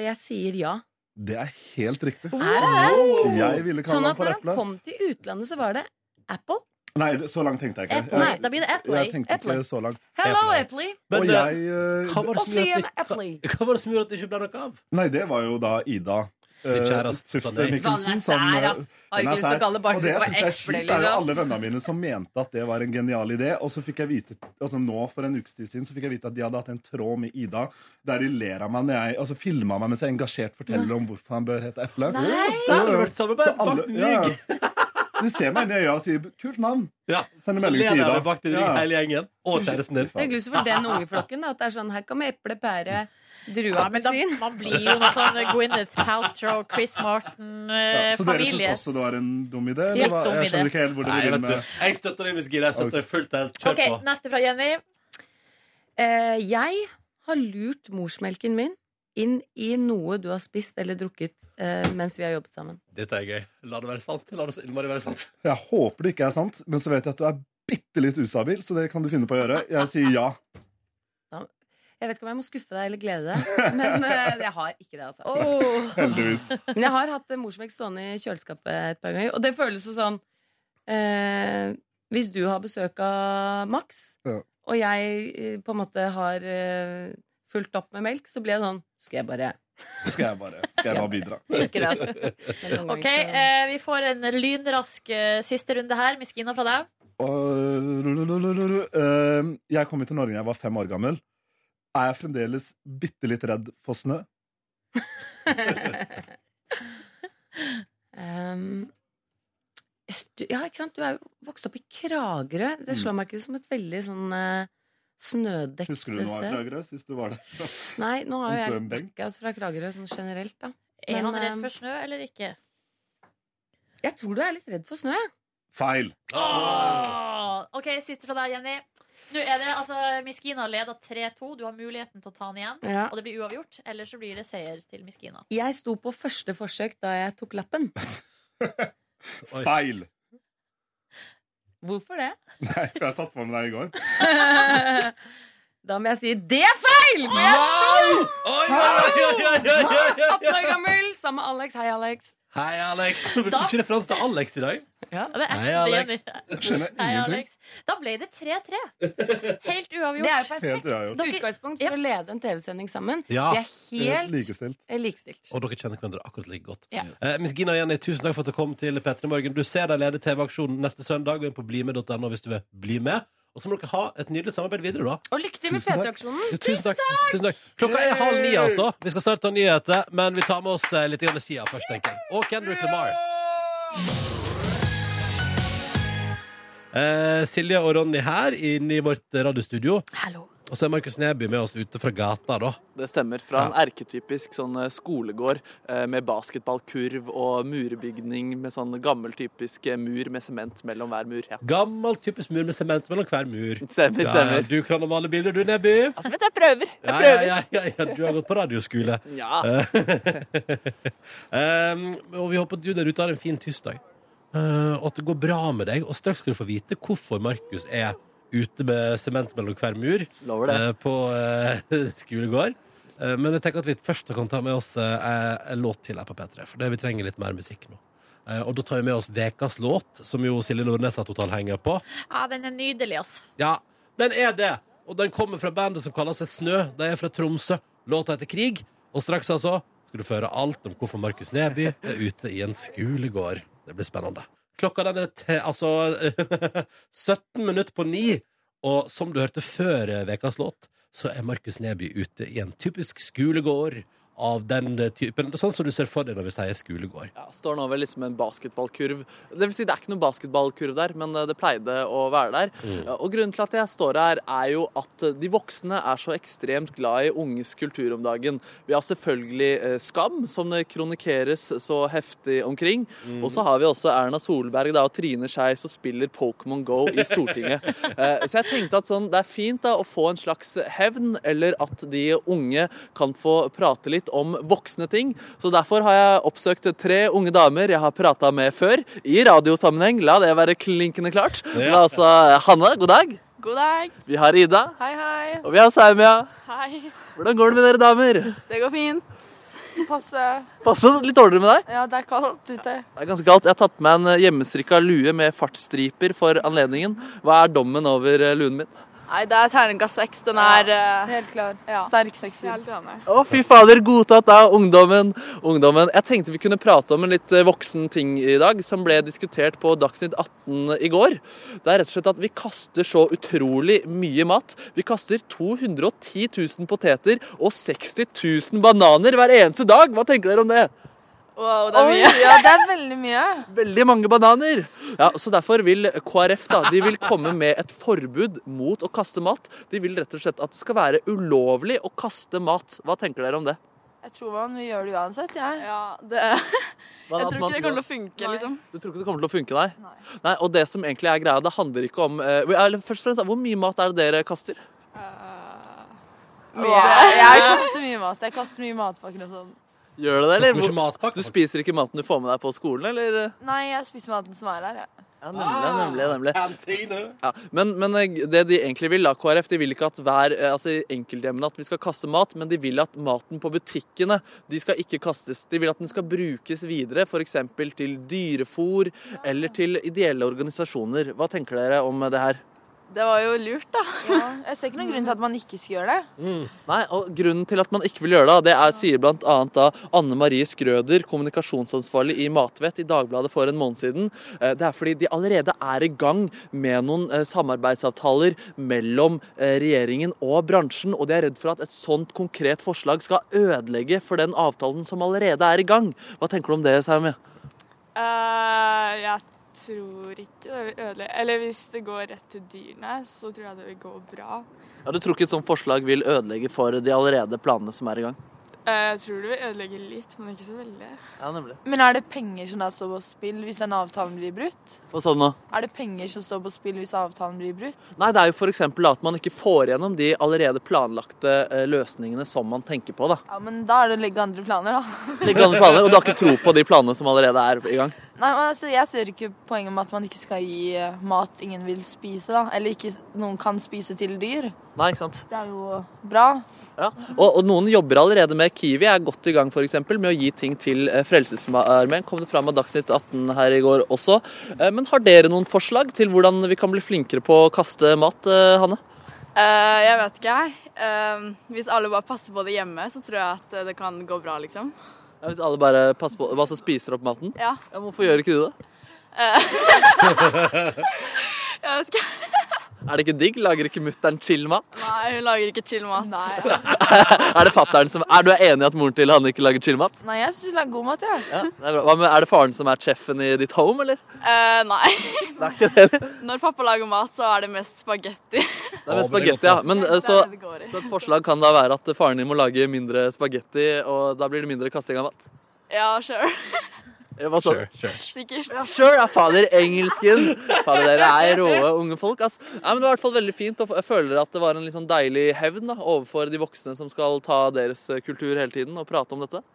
E: jeg sier ja.
F: Det er helt riktig.
E: Er
F: Jeg ville kalle
E: Sånn
F: ham
E: at
F: for
E: når han
F: Eple.
E: kom til utlandet, så var det Apple.
F: Nei, det- så langt tenkte jeg ikke.
C: Apple. Nei, da blir det
F: Jeg,
C: Apple.
F: jeg tenkte
E: Apple.
F: ikke så langt.
E: Hello,
B: Apple.
E: Apple!
B: Men,
F: Og
B: eh,
F: jeg eh,
B: hva, var det
E: Og
B: som gjorde
E: CM
B: at det,
E: Apple.
B: hva, hva var det som gjorde at det ikke ble noe av?
F: Nei, det var jo da Ida.
B: Min
F: eh,
B: kjæreste,
F: Tufte
B: sa nei.
F: Mikkelsen, som,
E: Faen, den er sær,
F: eh,
E: ass. Har ikke
F: den er
E: lyst til å
F: sær.
E: kalle barnet
F: Og det
E: sitt for
F: synes jeg er
E: eple,
F: kjipt. Det er jo
E: liksom.
F: alle vennene mine som mente at det var en genial idé. Og så fikk jeg vite altså nå for en ukes tid siden så fikk jeg vite at de hadde hatt en tråd med Ida der de ler av meg når jeg altså filma meg mens jeg engasjert forteller om hvorfor han bør hete Eple.
B: Der
F: Jo,
B: har det
F: jo.
B: vært samarbeid!
F: Så alle-
B: Bakt en
F: ja, ja.
B: rygg!
F: De ser meg inn i øya og sier 'kult navn'.
B: Ja.
F: Sender
B: Så
F: melding
B: ler
F: til
B: dere
F: Ida.
B: bakt en rygg,
F: Ja.
B: hele gjengen. Og kjæresten din.
E: Det er gluset for den ungeflokken. da, At det er sånn, Her kommer eple, pære, drue,
C: Ja, men da,
E: appelsin.
C: man blir jo noe sånn Gwyneth Paltrow, Chris eh,
E: Eh,
F: Ja, så dere syns
C: Martin-familie.
F: også det var en dum idé?
C: Helt
F: Eller hva?
C: dum idé.
F: Jeg skjønner ikke helt hvor
B: Nei,
F: dere vil
B: vet du.
F: med
B: Jeg støtter deg, Miss Gide. Jeg støtter deg fullt helt. Kjør
C: ok,
B: på.
C: neste fra Jenny.
E: Eh, jeg har lurt morsmelken min inn i noe du har spist eller drukket eh, mens vi har jobbet sammen.
B: Dette er gøy. La det være sant. La det så innmari være sant.
F: Jeg håper det ikke er sant, men så vet jeg at du er bitte litt ustabil, så det kan du finne på å gjøre. Jeg sier ja.
E: Jeg vet ikke om jeg må skuffe deg eller glede deg, men eh, jeg har ikke det, altså.
C: Oh.
F: Heldigvis.
E: Men jeg har hatt eh, morsmelk stående i kjøleskapet et par ganger, og det føles jo sånn eh, Hvis du har besøk av Max,
F: Ja.
E: og jeg eh, på en måte har eh, fulgt opp med melk, så blir jeg sånn Skal jeg bare
F: Skal jeg bare, skal jeg bare bidra.
E: Ikke det, altså. Men noen ganger
C: Ok,
E: så-
C: eh, vi får en lynrask eh, siste runde her. Miskina fra deg.
F: Og- Eh, Jeg kom jo til Norge da jeg var fem år gammel. Er jeg fremdeles bitte litt redd for snø?
E: Ehm, du, ja, ikke sant? Du er jo vokst opp i Kragerø. Det slår meg ikke som et veldig sånn eh, snødekt
F: Mm. Husker du noe av
E: sted.
F: Kragerø sist du var der?
E: Nei, nå har jo jeg litt
F: På en benk?
E: blackout fra Kragerø sånn generelt, da.
C: Er
E: Men,
C: han redd
E: eh,
C: for snø eller ikke?
E: Jeg tror du er litt redd for snø. jeg.
F: Feil!
C: Åh, Ok, siste fra deg, Jenny. Nå er det, altså, Miskina leder 3-2. Du har muligheten til å ta han igjen.
E: Ja.
C: Og det blir uavgjort, eller så blir det seier til Miskina.
E: Jeg sto på første forsøk da jeg tok lappen.
B: Oi.
F: Feil!
E: Hvorfor det?
F: Nei, for jeg satt på med deg i går.
E: da må jeg si det er feil! For jeg
B: Oi, oi, oi, oi, oi, oi,
E: er
B: oi.
E: 18 år gammel sammen med Alex. Hei, Alex.
B: Hei, Alex. Du tok ikke referanse til Alex i dag?
C: Ja, det er
B: Hei,
C: eksen til
B: Alex.
C: Jenny.
F: Jeg skjønner
C: Hei,
F: ingenting.
C: Alex. Da ble det 3-3. Helt
E: Det er
C: uavgjort.
E: jo perfekt
F: Helt uavgjort.
C: Dere-
E: utgangspunkt for å lede en TV-sending sammen.
B: Ja.
E: Vi er helt
F: Likestilt.
E: eh, likestilt.
B: Og dere kjenner hverandre akkurat like godt.
E: Ja.
B: Eh, Miss Gina og Jenny, tusen takk for at du kom til P3 Morgen. Du ser deg lede TV-aksjonen neste søndag. Gå inn på blimed.no hvis du vil bli med. Og så må dere ha et nydelig samarbeid videre, da.
E: Og lykke til med
F: Tusen takk.
E: P3-aksjonen.
B: Jo, tusen, takk. tusen takk. Klokka er halv ni, altså. Vi skal snart ta nyheter, men vi tar med oss eh, litt grann Sia først, tenker jeg. Og Kendrick Lamar. Eh, Silje og Ronny her inne i vårt radiostudio.
C: Hallo.
B: Og så er Markus Neby med oss ute fra gata, da.
G: Det stemmer. Fra en erketypisk sånn eh, skolegård eh, med basketballkurv og murbygning med sånn gammel typisk eh, mur med sement mellom hver mur. Ja.
B: Gammel typisk mur med sement mellom hver mur.
G: Stemmer,
B: Ja, ja,
G: stemmer.
B: du kan å male bilder, du, Neby.
G: Altså, vet du, jeg prøver. Jeg
B: Ja, ja,
G: prøver.
B: ja, ja, ja, du har gått på radioskole.
G: Ja.
B: um, og vi håper at du der ute har en fin tirsdag. Uh, og at det går bra med deg. Og straks skal du få vite hvorfor Markus er ute med sement mellom hver mur
G: Lover det.
B: eh, på eh, skolegård. Eh, Men jeg tenker at vi først kan ta med oss eh, en låt til her på P3, for det vi trenger litt mer musikk nå. Eh, Og da tar vi med oss Vekas låt, som jo Silje Nordnes har totalhenger på.
C: Ja, den er nydelig, altså.
B: Ja, den er det. Og den kommer fra bandet som kaller seg Snø. De er fra Tromsø. Låta heter Krig. Og straks altså skal du få høre alt om hvorfor Markus Neby er ute i en skolegård. Det blir spennende. Klokka den er te, altså 17 minutter på ni. Og som du hørte før eh, vekas låt, så er Markus Neby ute i en typisk skolegård av den eh, typen. Sånn som du ser for deg når vi sier skolegård.
D: Ja, står nå vel liksom en basketballkurv. Det vil si, det er ikke noen basketballkurv der, men eh, det pleide å være der. Ja, Og grunnen til at jeg står her, er jo at eh, de voksne er så ekstremt glad i unges kultur om dagen. Vi har selvfølgelig eh, Skam, som det kronikeres så heftig omkring. Og så har vi også Erna Solberg da, og Trine Skei som spiller Pokémon Go i Stortinget. Eh, Så jeg tenkte at sånn, det er fint da, å få en slags hevn, eller at de unge kan få prate litt om voksne ting. Så derfor har jeg oppsøkt tre unge damer jeg har prata med før, i radiosammenheng. La det være klinkende klart. Vi har altså Hanne, god dag.
H: God dag.
D: Vi har Ida.
H: Hei, hei.
D: Og vi har Saumia.
H: Hei.
D: Hvordan går det med dere damer?
H: Det går fint. Passe.
D: Passe litt dårligere med deg.
H: Ja, det er kaldt ute.
D: Det er ganske galt. Jeg har tatt med en hjemmestrikka lue med fartsstriper for anledningen. Hva er dommen over eh, luen min?
H: Nei, det er terningkast seks. Den er eh,
I: Helt klar.
H: Ja.
I: Sterk sekser.
H: helt enig.
D: Å, fy fader, godtatt av ungdommen. ungdommen. Jeg tenkte vi kunne prate om en litt eh, voksen ting i dag, som ble diskutert på Dagsnytt 18 i går. Det er rett og slett at vi kaster så utrolig mye mat. Vi kaster 210 000 poteter og 60 000 bananer hver eneste dag. Hva tenker dere om det?
H: Wow, det er
I: Oi,
H: mye.
I: ja, det er veldig mye.
D: Veldig mange bananer! Ja, så Derfor vil KrF da, de vil komme med et forbud mot å kaste mat. De vil rett og slett at det skal være ulovlig å kaste mat. Hva tenker dere om det?
I: Jeg tror man gjør det uansett, jeg.
H: Ja, det Jeg tror ikke det kommer til å funke, liksom.
D: Du tror ikke det kommer til å funke, nei? Nei. og det som egentlig er greia, det handler ikke om eh, eller Først og fremst, da, hvor mye mat er det dere kaster?
I: Mye. Jeg kaster mye mat. Jeg kaster mye matpakker og sånn.
D: Gjør det det,
B: Det
D: eller?
B: kommer ikke matpakke.
D: Du spiser ikke maten du får med deg på skolen, eller?
I: Nei, jeg spiser maten som er der, jeg.
D: Ja, nemlig, nemlig, nemlig.
B: Kantine.
D: Ja, men, men eh, det de egentlig vil, da, KrF, de vil ikke at hver, eh, altså i enkelthjemmene at vi skal kaste mat, men de vil at maten på butikkene de skal ikke kastes. De vil at den skal brukes videre, f.eks. til dyrefôr eller til ideelle organisasjoner. Hva tenker dere om eh, det her?
H: Det var jo lurt, da.
I: Ja. Jeg ser ikke noen grunn til at man ikke skal gjøre det.
D: Nei, og Grunnen til at man ikke vil gjøre det, det er, sier bl.a. da Anne Marie Skrøder, kommunikasjonsansvarlig i Matvett i Dagbladet for en måned siden. Eh, Det er fordi de allerede er i gang med noen eh, samarbeidsavtaler mellom eh, regjeringen og bransjen, og de er redd for at et sånt konkret forslag skal ødelegge for den avtalen som allerede er i gang. Hva tenker du om det, Saumi?
H: Eh, jeg tror ikke det vil ødelegge Eller hvis det går rett til dyrene, så tror jeg det vil gå bra.
D: Ja, du tror ikke et sånt forslag vil ødelegge for de allerede planene som er i gang?
H: Eh, jeg tror det vil ødelegge litt, men ikke så veldig.
D: Ja, nemlig.
I: Men er det penger som da står på spill hvis den avtalen blir brutt?
D: Hva sa du sånn nå?
I: Er det penger som står på spill hvis avtalen blir brutt?
D: Nei, det er jo f.eks. at man ikke får gjennom de allerede planlagte eh, løsningene som man tenker på. da.
I: Ja, men da er det å legge andre planer, da.
D: Legge andre planer, Og du har ikke tro på de planene som allerede er i gang?
I: Nei, men altså, Jeg ser ikke poenget med at man ikke skal gi eh, mat ingen vil spise, da. Eller ikke noen kan spise til dyr.
D: Nei, ikke sant?
I: Det er jo bra.
D: Ja. Og, og noen jobber allerede med Kiwi, er godt i gang for eksempel, med å gi ting til eh, Frelsesarmeen. Kom det fram av Dagsnytt 18 her i går også. Eh, Men har dere noen forslag til hvordan vi kan bli flinkere på å kaste mat, eh, Hanne?
H: Eh, jeg vet ikke, jeg. Eh, hvis alle bare passer på det hjemme, så tror jeg at eh, det kan gå bra, liksom.
D: Ja, hvis alle bare passer på, altså spiser opp maten?
H: Ja.
D: ja. Hvorfor gjør ikke du det?
H: Jeg vet ikke.
D: Er det ikke digg? Lager ikke mutter'n chill-mat?
H: Nei, hun lager ikke chill mat. Nei.
D: Er det fatteren som... Er du enig i at moren til Hanne ikke lager chill-mat?
I: Nei, jeg syns hun lager god mat, jeg. Ja.
D: Ja, det er bra. Hva med, er det faren som er sjefen i ditt home, eller?
H: Eh, nei.
D: Det er ikke det, eller?
H: Når pappa lager mat, så er det mest spagetti.
D: Det er med
B: Å, men det er godt,
D: spagetti, ja. Men eh, så,
H: Det er det det går i.
D: så et forslag kan da være at faren din må lage mindre spagetti, og da blir det mindre kasting av mat.
H: Ja, sure.
D: Eh, Hva sa du?
H: Sikkert.
D: Sure, ja, fader, engelsken! Fader, dere er råe unge folk, ass. Nei, men det var i hvert fall veldig fint, og jeg føler at det var en litt sånn deilig hevn da, overfor de voksne som skal ta deres eh, kultur hele tiden og prate om dette.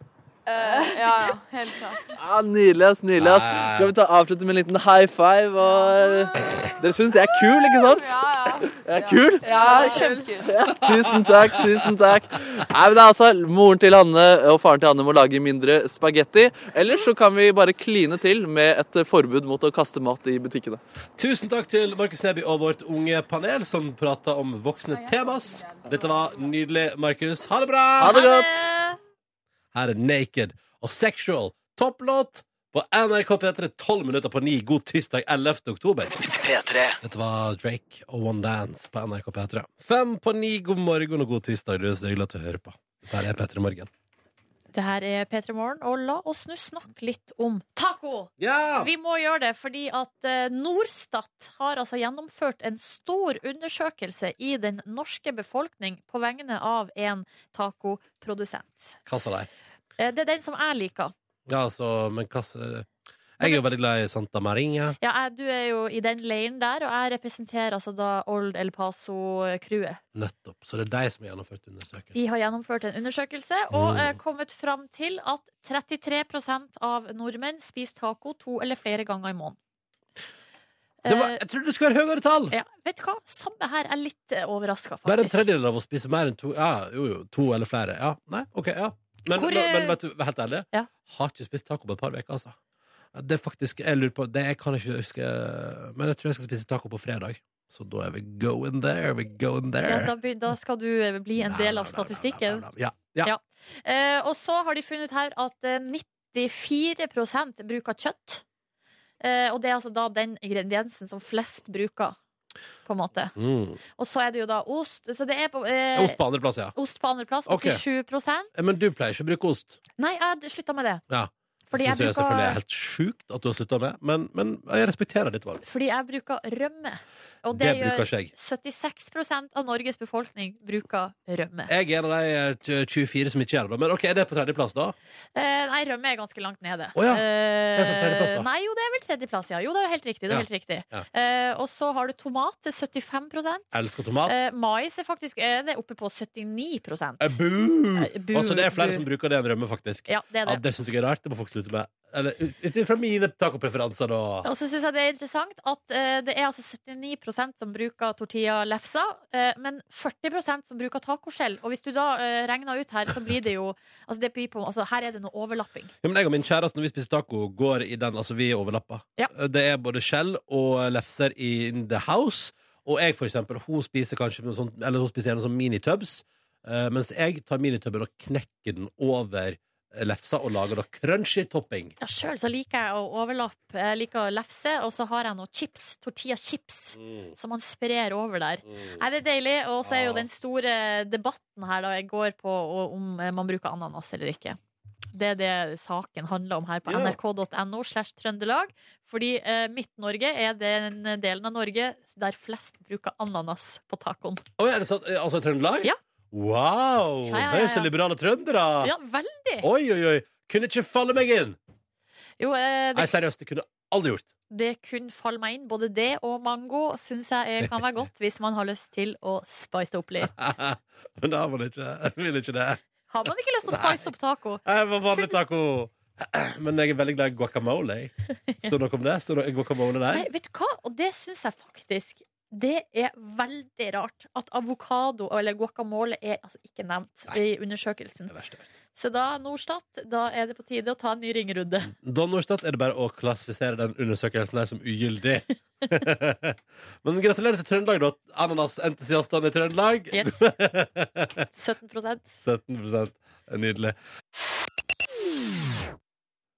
H: Eh, ja, ja, helt klart.
G: Ja, nydelig, ass. Nydelig, ass. Skal vi ta avslutte med en liten high five? Og...
D: eh,
G: Dere syns jeg er kul, ikke sant?
H: Ja, ja.
G: Jeg er kul?
I: Ja, kjempekult.
G: Tusen takk, tusen takk. Nei, men det er altså Moren til Hanne og faren til Hanne må lage mindre spagetti. Ellers så kan vi bare kline til med et eh, forbud mot å kaste mat i butikkene.
B: Tusen takk til Markus Neby og vårt unge panel som prata om voksne temas. Dette var nydelig, Markus. Ha det bra!
G: Ha det godt!
B: Her er Naked og Sexual topplåt på NRK P3 12 minutter på 9. God tirsdag 11. oktober. Dette var Drake og One Dance på NRK P3. Fem på ni, god morgen og god tirsdag. Du, så hyggelig at du hører på. Der er P3 Morgen.
C: Det her er P3 Morgen, og la oss nå snakke litt om taco!
B: Ja!
C: Vi må gjøre det, fordi at eh, Norstat har altså gjennomført en stor undersøkelse i den norske befolkning på vegne av en tacoprodusent.
B: Hva sa de?
C: Eh, Det er den som jeg liker.
B: Ja, altså, men hva s- Jeg er jo veldig glad i Santa Maria.
C: Ja, jeg, du er jo i den leiren der, og jeg representerer altså da Old El Paso-crewet.
B: Nettopp. Så det er de som har gjennomført undersøkelsen.
C: De har gjennomført en undersøkelse og
B: Mm.
C: eh, kommet fram til at 33 av nordmenn spiser taco to eller flere ganger i måneden.
B: Det var,
C: Eh,
B: jeg trodde det skulle være høyere tall!
C: ja, vet du hva? Samme her. Jeg er litt overraska, faktisk.
B: Bare en tredjedel av å spise mer enn to Ja, jo, jo, to eller flere. Ja, nei, ok, ja Men,
C: Hvor,
B: nå- men
C: eh,
B: vet du, vær helt ærlig
C: Ja.
B: Har ikke spist taco på et par veker, altså Det er faktisk, jeg lurer på Det jeg kan ikke huske Men jeg tror jeg skal spise taco på fredag Så da er vi going there, we going there
C: Ja, da, be- da skal du eh, bli en
B: Nei,
C: del av
B: nei, nei, nei, nei,
C: statistikken.
B: nei, nei. Ja, ja.
C: Ja. Eh, og så har de funnet ut her at eh, 94 bruker kjøtt. Eh, og det er altså da den ingrediensen som flest bruker, på en måte.
B: Mm.
C: Og så er det jo da ost. Så det er på, eh,
B: Ost på andre plass, ja
C: ost på andreplass.
B: Ok.
C: 87
B: Eh, Men du pleier ikke å bruke ost
C: Nei, jeg slutta med det.
B: Ja.
C: Fordi
B: Synes
C: jeg,
B: jeg selvfølgelig er
C: bruker,
B: helt sjukt at du har sluttet med Men, men jeg respekterer ditt valg
C: fordi jeg bruker rømme. Og
B: Det
C: det,
B: bruker
C: gjør
B: ikke jeg
C: 76 av Norges befolkning bruker rømme.
B: Jeg er en av de eh, 24 som ikke gjør det da. Men ok, er det på tredjeplass da?
C: Eh, nei, rømme er ganske langt nede.
B: Å ja.
C: Eh,
B: Det er sånn tredjeplass, da.
C: nei, jo, det er vel tredjeplass, ja. Jo, det er helt riktig. Det
B: Ja.
C: er helt riktig.
B: Ja.
C: Eh, og så har du tomat til 75
B: Elsker tomat
C: eh, Mais er faktisk eh, det er oppe på 79
B: Eh, Boo!
C: Eh, bu,
B: Altså, det er flere
C: bu.
B: som bruker det enn rømme, faktisk. Ja,
C: Ja, det er
B: det
C: det.
B: synes jeg er rart. Det må folk slutte med. Eller ut ifra mine tacopreferanser, da.
C: Og så syns jeg det er interessant at eh, det er altså 79 som bruker tortilla-lefsa, eh, men 40 som bruker tacoskjell. Og hvis du da eh, regner ut her, så blir det jo Altså, det blir på, altså her er det noe overlapping.
B: Ja, men jeg og min kjæreste, når vi spiser taco, går i den Altså, vi er overlappa.
C: Ja.
B: Det er både skjell og lefser in the house. Og jeg, for eksempel, hun spiser kanskje noe sånt Eller hun spiser gjerne sånn minitubs. eh, mens jeg tar minitubben og knekker den over eh, lefsa og lager da crunchy topping.
C: Ja, Sjøl så liker jeg å overlappe. Jeg liker å lefse, og så har jeg noe chips, tortilla-chips,
B: Mm,
C: som man sprer over der. Nei, det er deilig. Og så er jo
B: Ah.
C: den store debatten her da i går på og- om eh, man bruker ananas eller ikke. Det er det saken handler om her på
B: Ja.
C: nrk.no slash Trøndelag. Fordi eh, Midt-Norge er den delen av Norge der flest bruker ananas på tacoen.
B: Å, er det sant? Eh, Altså Trøndelag?
C: Ja.
B: Wow!
C: Ja, ja, ja,
B: Det er jo så
C: ja.
B: liberale trøndere!
C: Ja, veldig!
B: Oi, oi, oi! Kunne ikke falle meg inn!
C: Jo,
B: Nei,
C: eh, det,
B: seriøst, det kunne jeg aldri gjort.
C: det kun faller meg inn. Både det og mango syns jeg eh, kan være godt hvis man har lyst til å spice det opp litt.
B: Men da var det ikke Jeg vil ikke det.
C: Har man ikke lyst til å spice opp taco?
B: Jeg var vanlig taco. Men jeg er veldig glad i guacamole. Står det noe om det? Står det guacamole der?
C: Nei, vet du hva? Og det syns jeg faktisk det er veldig rart at avokado eller guacamole er altså ikke nevnt i undersøkelsen.
B: Det verste. jeg vet.
C: Så da, Norstat, da er det på tide å ta en ny ringerunde.
B: Da Norstad, er det bare å klassifisere den undersøkelsen der som ugyldig. Men gratulerer til Trøndelag, da. Ananasentusiastene i Trøndelag.
C: Yes. 17
B: 17 Nydelig.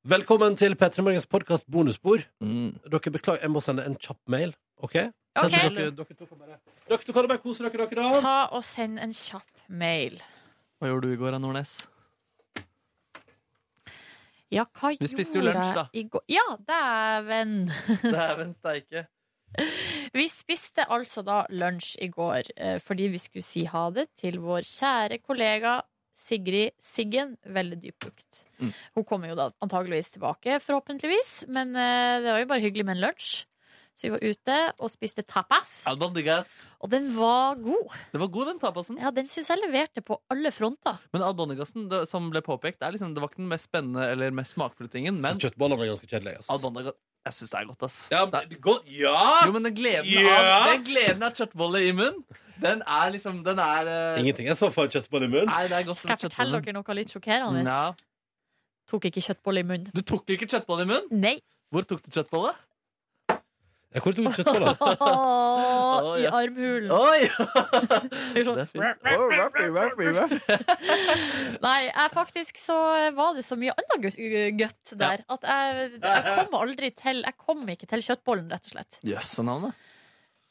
B: Velkommen til P3 Morgens podkast bonusbord.
G: Mm.
B: Dere, beklager, jeg må sende en kjapp mail. OK? Kanskje
C: Ok.
B: Dere, dere to kan bare, dere to kan bare kose dere, dere, da.
C: Ta og send en kjapp mail.
D: Hva gjorde du i går, da, Nordnes?
C: Ja, hva
D: Vi spiste jo
C: gjorde
D: lunsj,
C: jeg
D: da.
C: i går? Ja, dæven!
D: Dæven steike.
C: Vi spiste altså da lunsj i går eh, fordi vi skulle si ha det til vår kjære kollega Sigrid Siggen, veldig dypbukt.
D: Mm.
C: Hun kommer jo da antageligvis tilbake, forhåpentligvis, men eh, det var jo bare hyggelig med en lunsj. Så vi var ute og spiste tapas,
D: Albondigas.
C: og den var god.
D: Det var god, den tapasen.
C: Ja, Den syns jeg leverte på alle fronter.
D: Men albondigasen, det, som ble påpekt, det, er liksom, det var ikke den mest spennende eller mest smakfulle tingen. Men
B: Kjøttbollene er ganske kjedelige. ass.
D: albondigas Jeg syns det er godt, ass.
B: Ja,
D: det
B: men det går- ja!
D: Jo, men den gleden
B: Ja!
D: av Den gleden av kjøttbolle i munnen, den er liksom Den er eh,
B: Ingenting er så for kjøttboller i munnen.
D: Nei, det er godt
C: Skal
D: med
C: jeg fortelle
D: kjøttbolle.
C: dere noe litt sjokkerende?
D: Ja.
C: Tok ikke kjøttbolle i munnen.
D: Du tok ikke kjøttbolle i munnen?
C: Nei.
D: Hvor tok du kjøttbolle?
B: Ja, Hvor tok du kjøttboller?
D: Å,
C: I
D: ja.
C: armhulen.
D: Oi!
C: Det Mm. er sånn-
D: Det er fint. Oh, ruffy, ruffy, ruffy.
C: Nei, jeg faktisk så var det så mye annet gø- gøtt der at jeg, jeg kom aldri til Jeg kom ikke til kjøttbollen, rett og slett.
D: Jøsse navnet.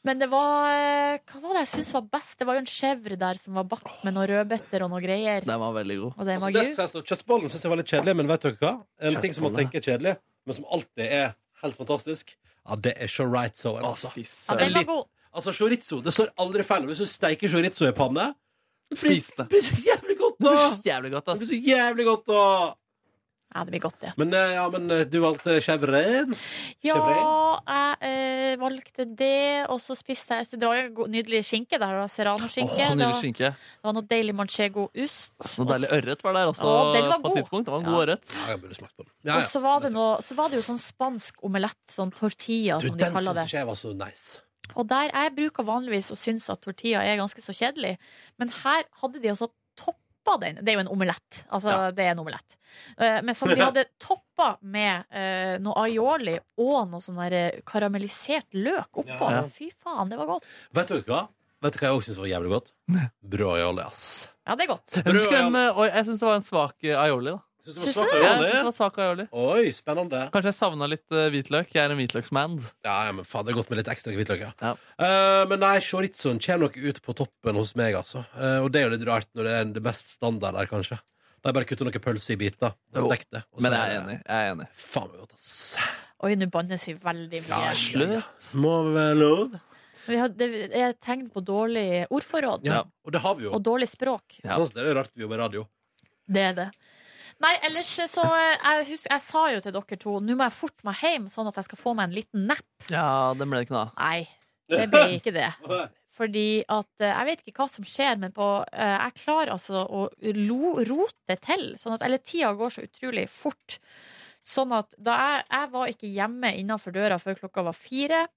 C: Men det var eh, Hva var det jeg syntes var best? Det var jo en chèvre der som var bakt med noen rødbeter og noe greier.
D: Den var veldig god.
C: Og det
B: Altså,
C: var
B: det skal
C: gud.
B: sies da, Kjøttbollen syns jeg var litt kjedelig, men vet dere hva? En ting som man
D: Kjøttboller.
B: tenker er kjedelig, men som alltid er helt fantastisk, ja, det er chorizo. so
D: Altså,
B: Altså,
D: fy
C: Ja,
D: søren.
C: den var god.
B: altså chorizo, det står aldri feil. Og Hvis du steiker chorizo i panne,
D: Spis det.
B: det blir så jævlig godt, da!
D: Jævlig godt,
B: Det
D: ass.
B: blir så jævlig godt, da!
C: Ja, det blir godt, det.
B: Men, eh, ja, men eh, du valgte chèvre.
C: Ja,
B: Chèvre?
C: jeg eh, valgte det, og så spiste jeg Det var jo god- nydelig skinke der. da, Serrano-skinke.
D: Åh,
C: det,
D: nydelig
C: var-
D: skinke.
C: det var noe deilig manchego-ost.
D: Noe deilig ørret var der også.
C: Å, den var
D: på
C: god.
D: et tidspunkt. Det var en
C: Ja.
D: god ørret.
B: Ja, jeg burde smakt på den. Ja, ja.
C: Og så var, det noe, så var det jo sånn spansk omelett, sånn tortilla,
B: Du,
C: som de
B: den
C: kaller det.
B: syns ikke jeg var så nice.
C: Og der jeg bruker vanligvis å synes at tortilla er ganske så kjedelig, men her hadde de altså toppa den. Det er jo en omelett. Altså,
D: Ja.
C: det er en omelett. Eh, Men som de hadde toppa med eh, noe aioli og noe sånn der eh, karamellisert løk oppå.
D: Ja.
C: Fy faen, det var godt.
B: Vet dere hva? Vet dere hva jeg også syns var jævlig godt? Brødaioli, ass.
C: Ja, det er godt.
D: Jeg syns den, eh, oi, jeg syns det var en svak eh, aioli, da.
B: Syns
C: Syns
B: svart
C: du
D: Ja, jeg
B: aioli?
D: syns det var svak aioli.
B: Oi, spennende.
D: Kanskje jeg savna litt eh, hvitløk. Jeg er en hvitløksman.
B: Ja, ja, men faen, det er godt med litt ekstra hvitløk, ja.
D: Ja.
B: Eh, men nei, chorizoen kommer nok ut på toppen hos meg, altså. Eh, og det er jo litt rart når det er det mest standard der, kanskje. Da jeg bare kutter noen pølser i biter og
D: Jo,
B: steker det. og så
D: Men jeg er enig. Jeg er enig.
B: Faen meg godt, ass.
C: Oi, nå bannes vi veldig mye.
D: Slutt.
B: Må være lov.
C: Vi har- Det er et tegn på dårlig ordforråd.
B: Ja, og det har vi jo.
C: Og dårlig språk.
D: Ja.
B: Sånn, det er jo rart vi jobber med radio.
C: Det er det. Nei, ellers så eh, jeg, husker, jeg sa jo til dere to Nå må jeg forte meg hjem, sånn at jeg skal få meg en liten napp.
D: Ja, den ble det ikke noe av.
C: Nei, det ble ikke det. Fordi at eh, Jeg vet ikke hva som skjer, men på, eh, jeg klarer altså å lo, rote til. Sånn at, eller tida går så utrolig fort. Sånn at da jeg, jeg var ikke hjemme innafor døra før klokka var fire.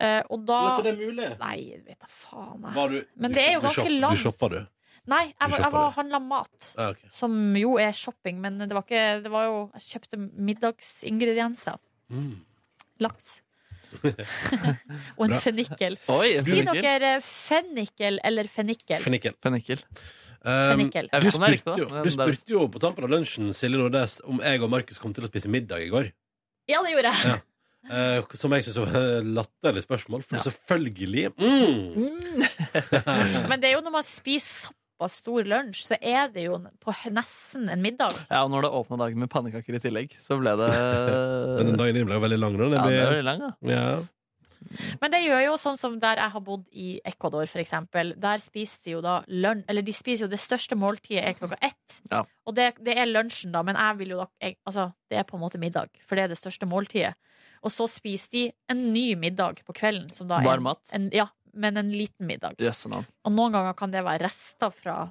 C: eh, og da
B: Men så det er mulig.
C: Nei, vet da faen. Jeg.
B: Var du,
C: Men
B: du
C: det er
B: shop-
C: jo ganske
B: du shop-
C: langt.
B: Du shoppa, du.
C: Nei, jeg, var-
B: shopper
C: jeg var
B: det.
C: handla mat.
B: Ja, ok.
C: Som jo er shopping, men det var ikke det var jo, Jeg kjøpte middagsingredienser.
B: Mm.
C: Laks. og en
B: Bra.
C: fennikel.
D: Oi,
C: Si dere eh, fennikel eller fennikel.
B: Fennikel.
D: Fennikel.
B: Um,
C: Fennikel.
D: Jeg
B: du
D: vet ikke om det er
B: spurte,
D: riktig,
B: jo,
D: da.
B: du
D: men det er-
B: spurte jo på tampen av lunsjen Silje Nordnes, om jeg og Markus kom til å spise middag i går.
C: Ja, det gjorde jeg.
B: Eh, som jeg syns var et latterlig spørsmål, for selvfølgelig mm,
C: Men det er jo når man spiser såpass stor lunsj, så er det jo på nesten en middag.
D: Ja, og når det åpna dagen med pannekaker i tillegg, så ble det
B: Men den dagen din ble jo veldig lang. nå, det
D: Ja, det var
B: blir-
D: veldig lang, da.
B: Ja.
C: Men det gjør jo sånn som der jeg har bodd i Ecuador, for eksempel. Der spiser de jo da lunsj Eller de spiser jo det største måltidet er klokka ett.
D: Ja.
C: Og det, det er lunsjen, da, men jeg vil jo da jeg, Altså, det er på en måte middag, for det er det største måltidet. Og så spiser de en ny middag på kvelden, som da er
D: Bare
C: en-
D: mat?
C: En, ja, men en liten middag.
D: Jøsse navn.
C: Og noen ganger kan det være rester fra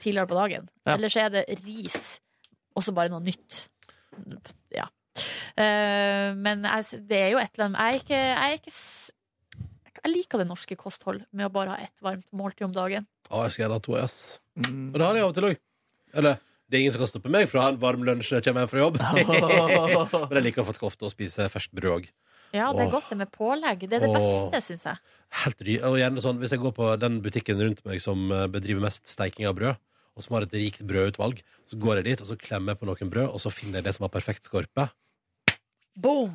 C: tidligere på dagen.
D: Ja.
C: Eller så er det ris, og så bare noe nytt. Ja. Eh, men jeg, s- det er jo et eller annet Jeg er ikke, jeg er ikke s- jeg liker det norske kosthold med å bare ha ett varmt måltid om dagen.
B: Å, jeg skulle gjerne hatt to, ass. Og det har jeg av og til òg. Eller det er ingen som kan stoppe meg fra å ha en varm lunsj når jeg kommer hjem fra jobb. Men jeg liker faktisk ofte å spise ferskt brød òg.
C: Ja, det er
B: Åh.
C: godt det med pålegg. Det er det
B: Åh.
C: beste, syns jeg.
B: Helt ry og gjerne sånn, Hvis jeg går på den butikken rundt meg som eh, bedriver mest steiking av brød, og som har et rikt brødutvalg, så går jeg dit og så klemmer jeg på noen brød, og så finner jeg det som har perfekt skorpe.
C: Boom!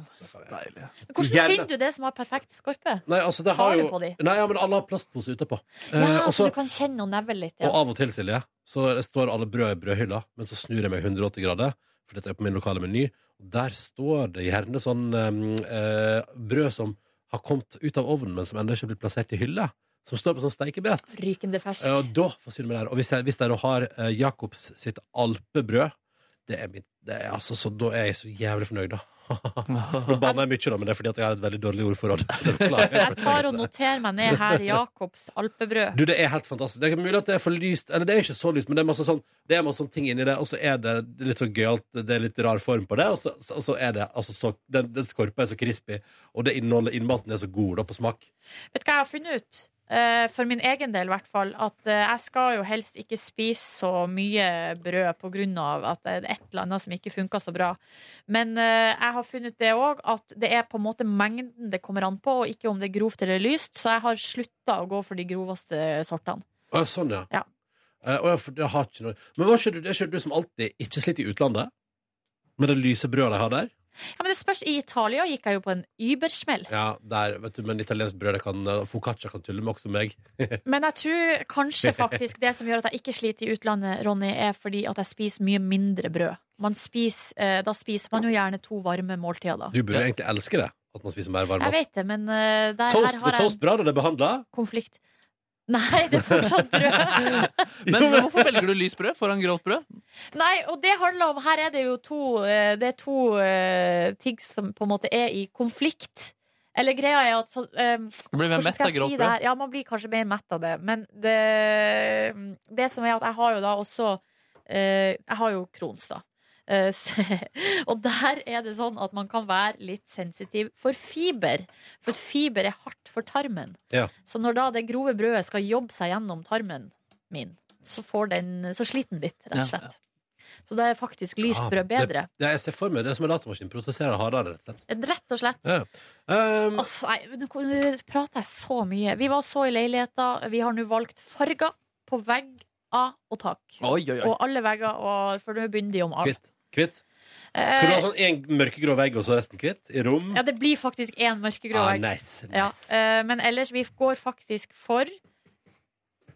D: Deilig.
C: Men Hvordan
B: Gjerne.
C: finner du det som har perfekt skorpe?
B: Nei, altså, det
C: Tar
B: har
C: du
B: jo,
C: på de?
B: nei, ja, men alle har plastpose utapå. Eh,
C: Ja,
B: og
C: så
B: så-
C: du kan kjenne og nevle litt.
B: Og
C: Ja.
B: av og til, Silje, så det står alle brød i brødhylla, men så snur jeg meg 180 grader, for dette er på min lokale meny, og der står det gjerne sånn eh, eh, brød som har kommet ut av ovnen, men som ennå ikke er blitt plassert i hylla, som står på sånn steikebrett.
C: Rykende fersk.
B: Eh, Og da forsyner jeg meg der. Og hvis jeg, hvis jeg da har eh, Jacobs sitt alpebrød, det er mitt det er, altså, så, da er jeg så jævlig fornøyd, da. Nå banner jeg mye, da, men det er fordi at jeg har et veldig dårlig ordforråd. Det beklager jeg.
C: Jeg tar og noterer meg ned her Jacobs alpebrød.
B: Du, det er helt fantastisk. Det er mulig at det er for lyst, eller det er ikke så lyst, men det er masse sånn, det er masse sånn ting inni det, og så er det litt sånn gøyalt, det er litt rar form på det, og så, og så er det altså så Den, den skorpa er så crispy, og det innholdet innmaten er så god da, på smak.
C: Vet du hva jeg har funnet ut? Eh, For min egen del, i hvert fall. At eh, jeg skal jo helst ikke spise så mye brød pga. at det er et eller annet som ikke funker så bra. Men eh, jeg har funnet ut det òg, at det er på en måte mengden det kommer an på, og ikke om det er grovt eller lyst. Så jeg har slutta å gå for de groveste sortene.
B: Å, ja, sånn, ja.
C: Ja.
B: Eh, å, ja, for det har ikke noe Men var ikke du, det er ikke du som alltid ikke sliter i utlandet? Med det lyse brødet de har der?
C: Ja, men det spørs. I Italia gikk jeg jo på en übersmell.
B: Ja, der, vet du, men italiensk brød det kan eh, Focaccia kan tulle med også meg.
C: Men jeg tror kanskje faktisk det som gjør at jeg ikke sliter i utlandet, Ronny, er fordi at jeg spiser mye mindre brød. Man spiser, eh, da spiser man jo gjerne to varme måltider. da.
B: Du burde egentlig elske det, at man spiser mer varm
C: Jeg
B: mat.
C: vet det, men eh, der,
B: Toast,
C: her
B: går
C: har jeg
B: toast bra når det er behandla?
C: konflikt. Nei, det er fortsatt brød.
D: Men hvorfor velger du lyst brød foran grovt brød?
C: Nei, og det handler om Her er det jo to eh, Det er to eh, ting som på en måte er i konflikt. Eller greia er at så, eh,
D: Du blir mer
C: Hvordan
D: mett
C: skal
D: av
C: jeg si
D: grovt
C: det
D: brød.
C: her? Ja, man blir kanskje mer mett av det. Men det, det som er at jeg har jo da også eh, Jeg har jo Crohns, da. Eh, så- og der er det sånn at man kan være litt sensitiv for fiber. For fiber er hardt for tarmen.
B: Ja.
C: Så når da det grove brødet skal jobbe seg gjennom tarmen min, så, får den, så sliter den litt, rett og
D: Ja.
C: slett. Så da er faktisk lyst
B: Ah,
C: brød bedre.
B: Det, det, jeg ser for meg det er som en datamaskin prosesserer hardere, rett og slett.
C: Rett og slett.
B: Ja. Um,
C: Uff, nei, nå kom- nå prater jeg så mye. Vi var så i leiligheter. Vi har nå valgt farger på vegg, av og tak.
D: Oi, oi, oi.
C: Og alle vegger, og, for nå begynner de om alt.
B: kvitt. Kvitt. Skal du ha sånn en mørkegrå vegg og så resten kvitt? I rom?
C: Eh. Ja, det blir faktisk én mørkegrå
B: ah,
C: vegg.
B: nice. nice.
C: Ja, eh, men ellers, vi går faktisk for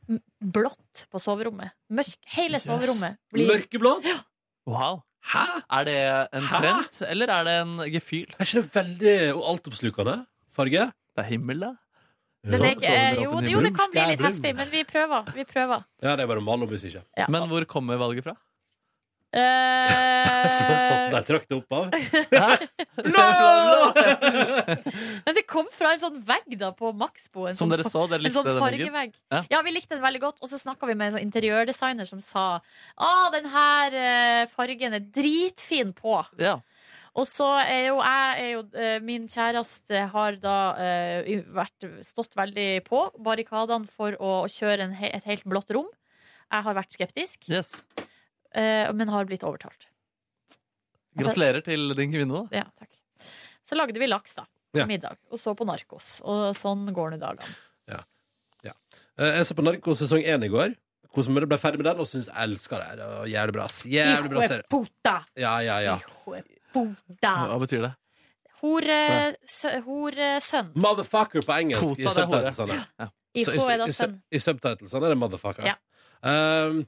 C: m- blått på soverommet. Mørk, hele
D: Yes.
C: soverommet blir
B: Mørkeblått?
D: Wow.
B: Hæ?
D: Er det en
B: Hæ?
D: trend, eller er det en gefühl?
B: Er ikke det veldig og altoppslukende farge?
D: Det er himmel, da.
C: den er ikke, eh, jo, det- jo, det kan bli litt
D: Skæbrum.
C: heftig, men vi prøver. Vi prøver.
B: Ja, det er bare å male om hvis ikke.
C: Ja.
D: Men hvor kommer valget fra?
B: Så satt
C: Eh,
B: Sånn, der, trakk det opp av.
C: men det kom fra en sånn vegg da på Maxbo. En
D: Som
C: sånn
D: dere så, dere
C: En
D: likte
C: sånn
D: den veggen.
C: fargevegg. Ja.
D: Ja.
C: vi likte den veldig godt. Og så snakka vi med en sånn interiørdesigner som sa Å, den her eh, fargen er dritfin på.
D: Ja.
C: Og så er jo jeg er jo, eh, Min kjæreste har da eh, i- vært, stått veldig på barrikadene for å kjøre en, he- et helt blått rom. Jeg har vært skeptisk,
D: Yes.
C: eh, men har blitt overtalt.
D: Gratulerer til din kvinne, da.
C: Ja, takk. Så lagde vi laks, da.
B: Ja.
C: Middag. Og så på Narkos. Og sånn går nå dagene.
B: Eh, Jeg så på Narko sesong 1 i går. Hvordan ble ferdig med den, og syns jeg elsker det. det var jævlig bra. ass. Jævlig bra serie.
C: Puta!
B: Ja, ja, ja.
C: Hijo de puta.
D: Hva betyr det?
C: Hore- sø- Horesønn.
B: Motherfucker på engelsk.
D: Pota, det er
B: i subtitlesene.
C: I
B: Mm. Så
C: K er da
B: i- i-
C: sønn.
B: I subtitlesene er det motherfucker.
C: Ja.
B: Um,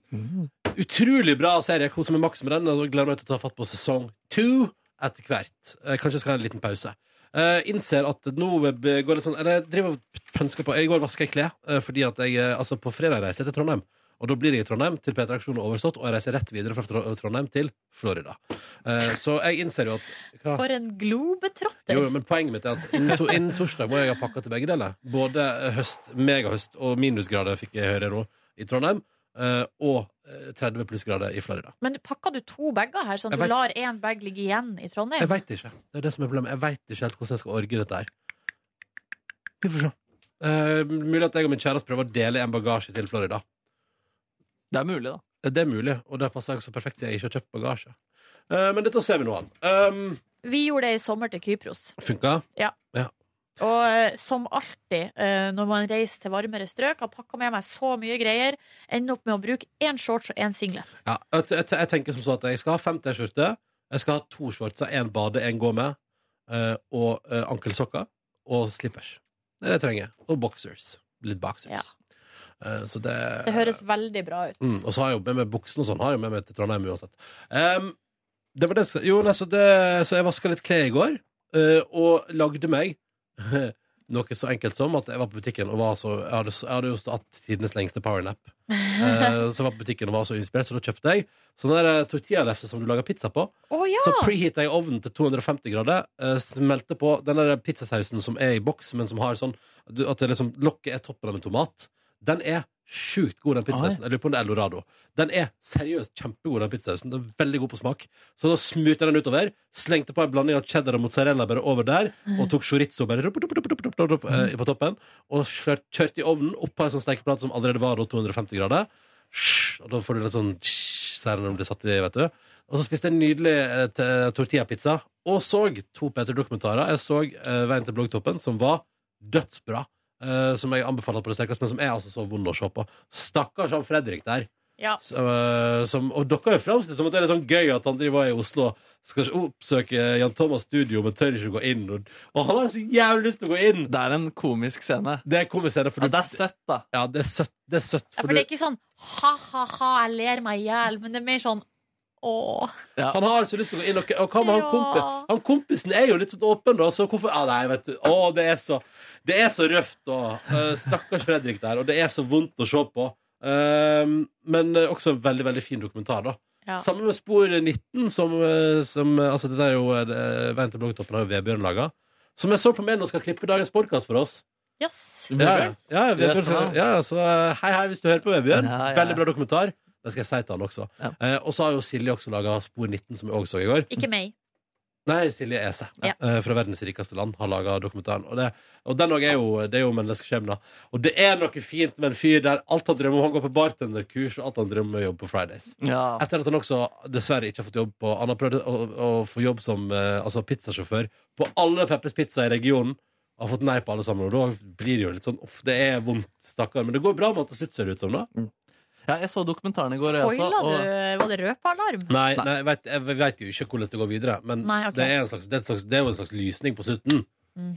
B: utrolig bra serie. Jeg koser meg maks med den. Og gleder meg til å ta fatt på sesong to etter hvert. Eh, kanskje jeg skal ha en liten pause. Eh, innser at nå eh, går det sånn Eller jeg driver og pønsker på I går vasker jeg klær, eh, fordi at jeg eh, altså på fredag reiser jeg til Trondheim. Og da blir jeg i Trondheim til P3 Aksjon er overstått, og jeg reiser rett videre fra Tro- Trondheim til Florida. Eh, så jeg innser jo at Hva?
C: For en globetrotter.
B: Jo, jo, men poenget mitt er at innen, to, innen torsdag må jeg ha pakka til begge deler. Både eh, høst, megahøst og minusgrader fikk jeg høre nå i Trondheim. eh, og eh, 30 plussgrader i Florida.
C: Men pakka du to bager her, sånn at
B: Jeg vet-
C: du lar én bag ligge igjen i
B: Jeg
C: Trondheim?
B: veit ikke. Det er det som er problemet. Jeg vet ikke helt hvordan jeg skal orge dette her. Vi får se. Eh, mulig at jeg og min kjæreste prøver å dele en bagasje til Florida.
D: Det er mulig, da.
B: Eh, Det er mulig, og det passer jeg så perfekt siden jeg ikke har kjøpt bagasje. Eh, men dette ser vi nå an. Um,
C: Vi gjorde det i sommer til Kypros.
B: Funka?
C: Og eh, som alltid eh, når man reiser til varmere strøk, har pakka med meg så mye greier, ender opp med å bruke én shorts og én singlet.
B: Ja, jeg, jeg, jeg tenker som så at jeg skal ha fem T-skjorter, jeg skal ha to shortser, en bade, en gå med, eh, og eh, ankelsokker og slippers. Det er det jeg trenger. Og boxers. Litt boxers.
C: Ja.
B: Eh, så det,
C: Det høres veldig bra ut.
B: mm, Og så har jeg jo med meg buksen og sånn, har jeg jo med meg til Trondheim uansett. Em, det var det, som- jo, nei, så, det, så jeg vaska litt klær i går, eh, og lagde meg Noe så enkelt som at jeg var på butikken og var så Jeg hadde, jeg hadde jo hatt tidenes lengste powernap. Eh, så jeg var på butikken og var så inspirert, så da kjøpte jeg sånne der tortillalefser som du lager pizza på.
C: Å ja!
B: Så preheatet jeg ovnen til 250 grader, eh, smelte på den der pizzasausen som er i boks, men som har sånn du- at det liksom, lokket er toppen av en tomat. Den er sjukt god, den pizzasausen. Jeg lurer på om det er Eldorado. Den er seriøst kjempegod, den pizzasausen. Den er veldig god på smak. Så da smurte jeg den utover, slengte på en blanding av cheddar og mozzarella bare over der, og tok chorizo bare rup, rup, rup, rup, rup, rup, eh, på toppen, og kjør- kjørte i ovnen opp på en sånn stekeplate som allerede var da 250 grader. Sj, Og da får du litt sånn sj, så er det når det blir satt i, vet du. Og så spiste jeg en nydelig eh, t- tortillapizza. Og så to P3-dokumentarer. Jeg så eh, Veien til bloggtoppen, som var dødsbra. eh, som jeg anbefaler på det sterkeste, men som er altså så vond å se på. Stakkars han Fredrik der.
C: Ja.
B: Som, eh, som, og dere er jo framstilt som at det er litt sånn gøy at han driver i Oslo skal oppsøke Jan Thomas' studio, men tør ikke å gå inn. Og, og han har så jævlig lyst til å gå inn!
D: Det er en komisk scene.
B: Det kommer senere, for
D: Ja,
B: du,
D: det er søtt, da.
B: ja, det er søtt. Det er søtt for
C: Ja, for det er
B: du,
C: ikke sånn ha-ha-ha, jeg ler meg i hjel, men det er mer sånn åh.
B: han har så lyst til å gå inn. Og, og hva med han,
C: Ja.
B: kompi, han kompisen er jo litt sånn åpen, da, så hvorfor ah, Nei, vet du. Å, det er så, det er så røft, da. Eh, stakkars Fredrik der. Og det er så vondt å se på. Ehm, men eh, også en veldig, veldig fin dokumentar, da.
C: Ja.
B: Sammen med Spor 19, som, eh, som eh, Altså, dette er jo eh, Veien til bloggtoppen har jo Vebjørn laga. Som jeg så på med og skal klippe dagens podkast for oss.
C: Jøss.
B: Ja,
D: Vebjørn?
B: ja, Vebjørn
D: Yes,
B: skal,
D: man.
B: ja, så eh, hei, hei, hvis du hører på Vebjørn.
D: Ja, ja, ja.
B: Veldig bra dokumentar. Det skal jeg si til han også.
D: Ja.
B: Eh, og så har jo Silje også laga Spor 19, som jeg også så i går.
C: Ikke meg.
B: Nei, Silje Ese
C: Ja.
B: eh, fra verdens rikeste land har laga dokumentaren. Og, det, og den også er jo, det er jo menneskeskjebner. Og det er noe fint med en fyr der alt han drømmer om, han går på bartenderkurs, og alt han drømmer om er å jobbe på Fridays.
D: Ja.
B: Etter at han også dessverre ikke har fått jobb på Han har prøvd å, å få jobb som eh, altså pizzasjåfør på alle Peppers Pizza i regionen. Har fått nei på alle sammen, og da blir det jo litt sånn Uff, det er vondt, stakkar. Men det går bra med at til slutt ser det ut som, da.
D: ja, jeg så dokumentaren i går. jeg også,
C: Spoila du?
D: og-
C: Var det røpealarm?
B: altså? Nei, nei. jeg, vet, jeg vet jo ikke hvordan det går videre, men
C: Nei, ok.
B: det, er en slags, det, er en slags, det er jo en slags lysning på slutten.
C: Mm.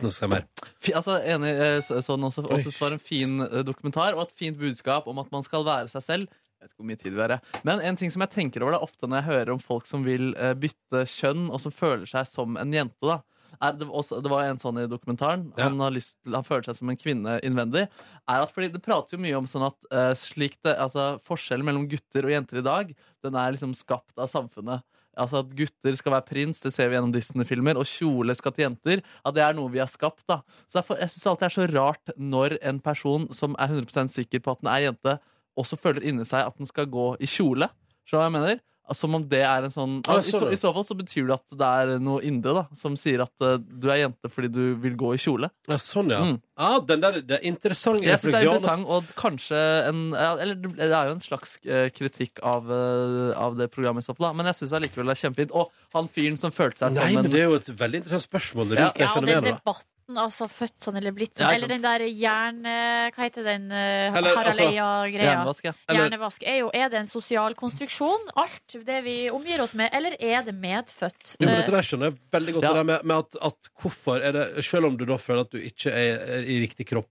B: Nå skal jeg mer.
D: Fi- Altså, enig, eh, så- sånn også, også synes det var en fin eh, dokumentar og et fint budskap om at man skal være seg selv. Jeg vet ikke hvor mye tid vi har, jeg. Men en ting som jeg tenker over det er ofte når jeg hører om folk som vil eh, bytte kjønn, og som føler seg som en jente, da. Er det, også, det var en sånn i dokumentaren.
B: Ja.
D: Han, har lyst, til- han føler seg som en kvinne innvendig. Er at, fordi det prater jo mye om sånn at eh, slik det, altså, forskjellen mellom gutter og jenter i dag, den er liksom skapt av samfunnet. Altså At gutter skal være prins, det ser vi gjennom Disney-filmer. Og kjole skal til jenter. At det er noe vi har skapt. da Så derfor, Jeg syns alltid det er så rart når en person som er 100 sikker på at den er jente, også føler inni seg at den skal gå i kjole. Skjønner du hva jeg mener? Altså, Som om det er en sånn
B: Ah,
D: i, så,
B: sorry.
D: I så fall så betyr det at det er noe indre da som sier at eh, du er jente fordi du vil gå i kjole.
B: Ja, sånn, ja.
D: Mm.
B: Ah, den der, det er interessant
D: Jeg synes det er
B: refleksjon.
D: interessant, og kanskje en ja, Eller det det er jo en slags eh, kritikk av, eh, av det programmet, i så fall, da. men jeg syns allikevel det er kjempefint. Og han fyren som følte seg
B: Nei,
D: som en
B: men det er jo et veldig interessant spørsmål rundt
D: sånn, Ja.
B: det
C: Ja, og den
B: fenomenet. da.
C: debatten, altså født sånn eller blitt
D: Ja,
C: sånn,
D: ikke
C: eller den
D: sant.
C: der jern... eh, Hva heter den? eh,
B: Eller,
C: Harald
B: altså,
C: Eia-greia.
D: Jernvask, ja.
B: Eller-
C: Hjernevask er jo Er det en sosial konstruksjon, alt det vi omgir oss med, eller er det medfødt? Eh,
B: Jo, men dette der skjønner jeg veldig godt
D: Ja.
B: det der med, med at, at hvorfor er det Selv om du da føler at du ikke er, er i riktig kropp,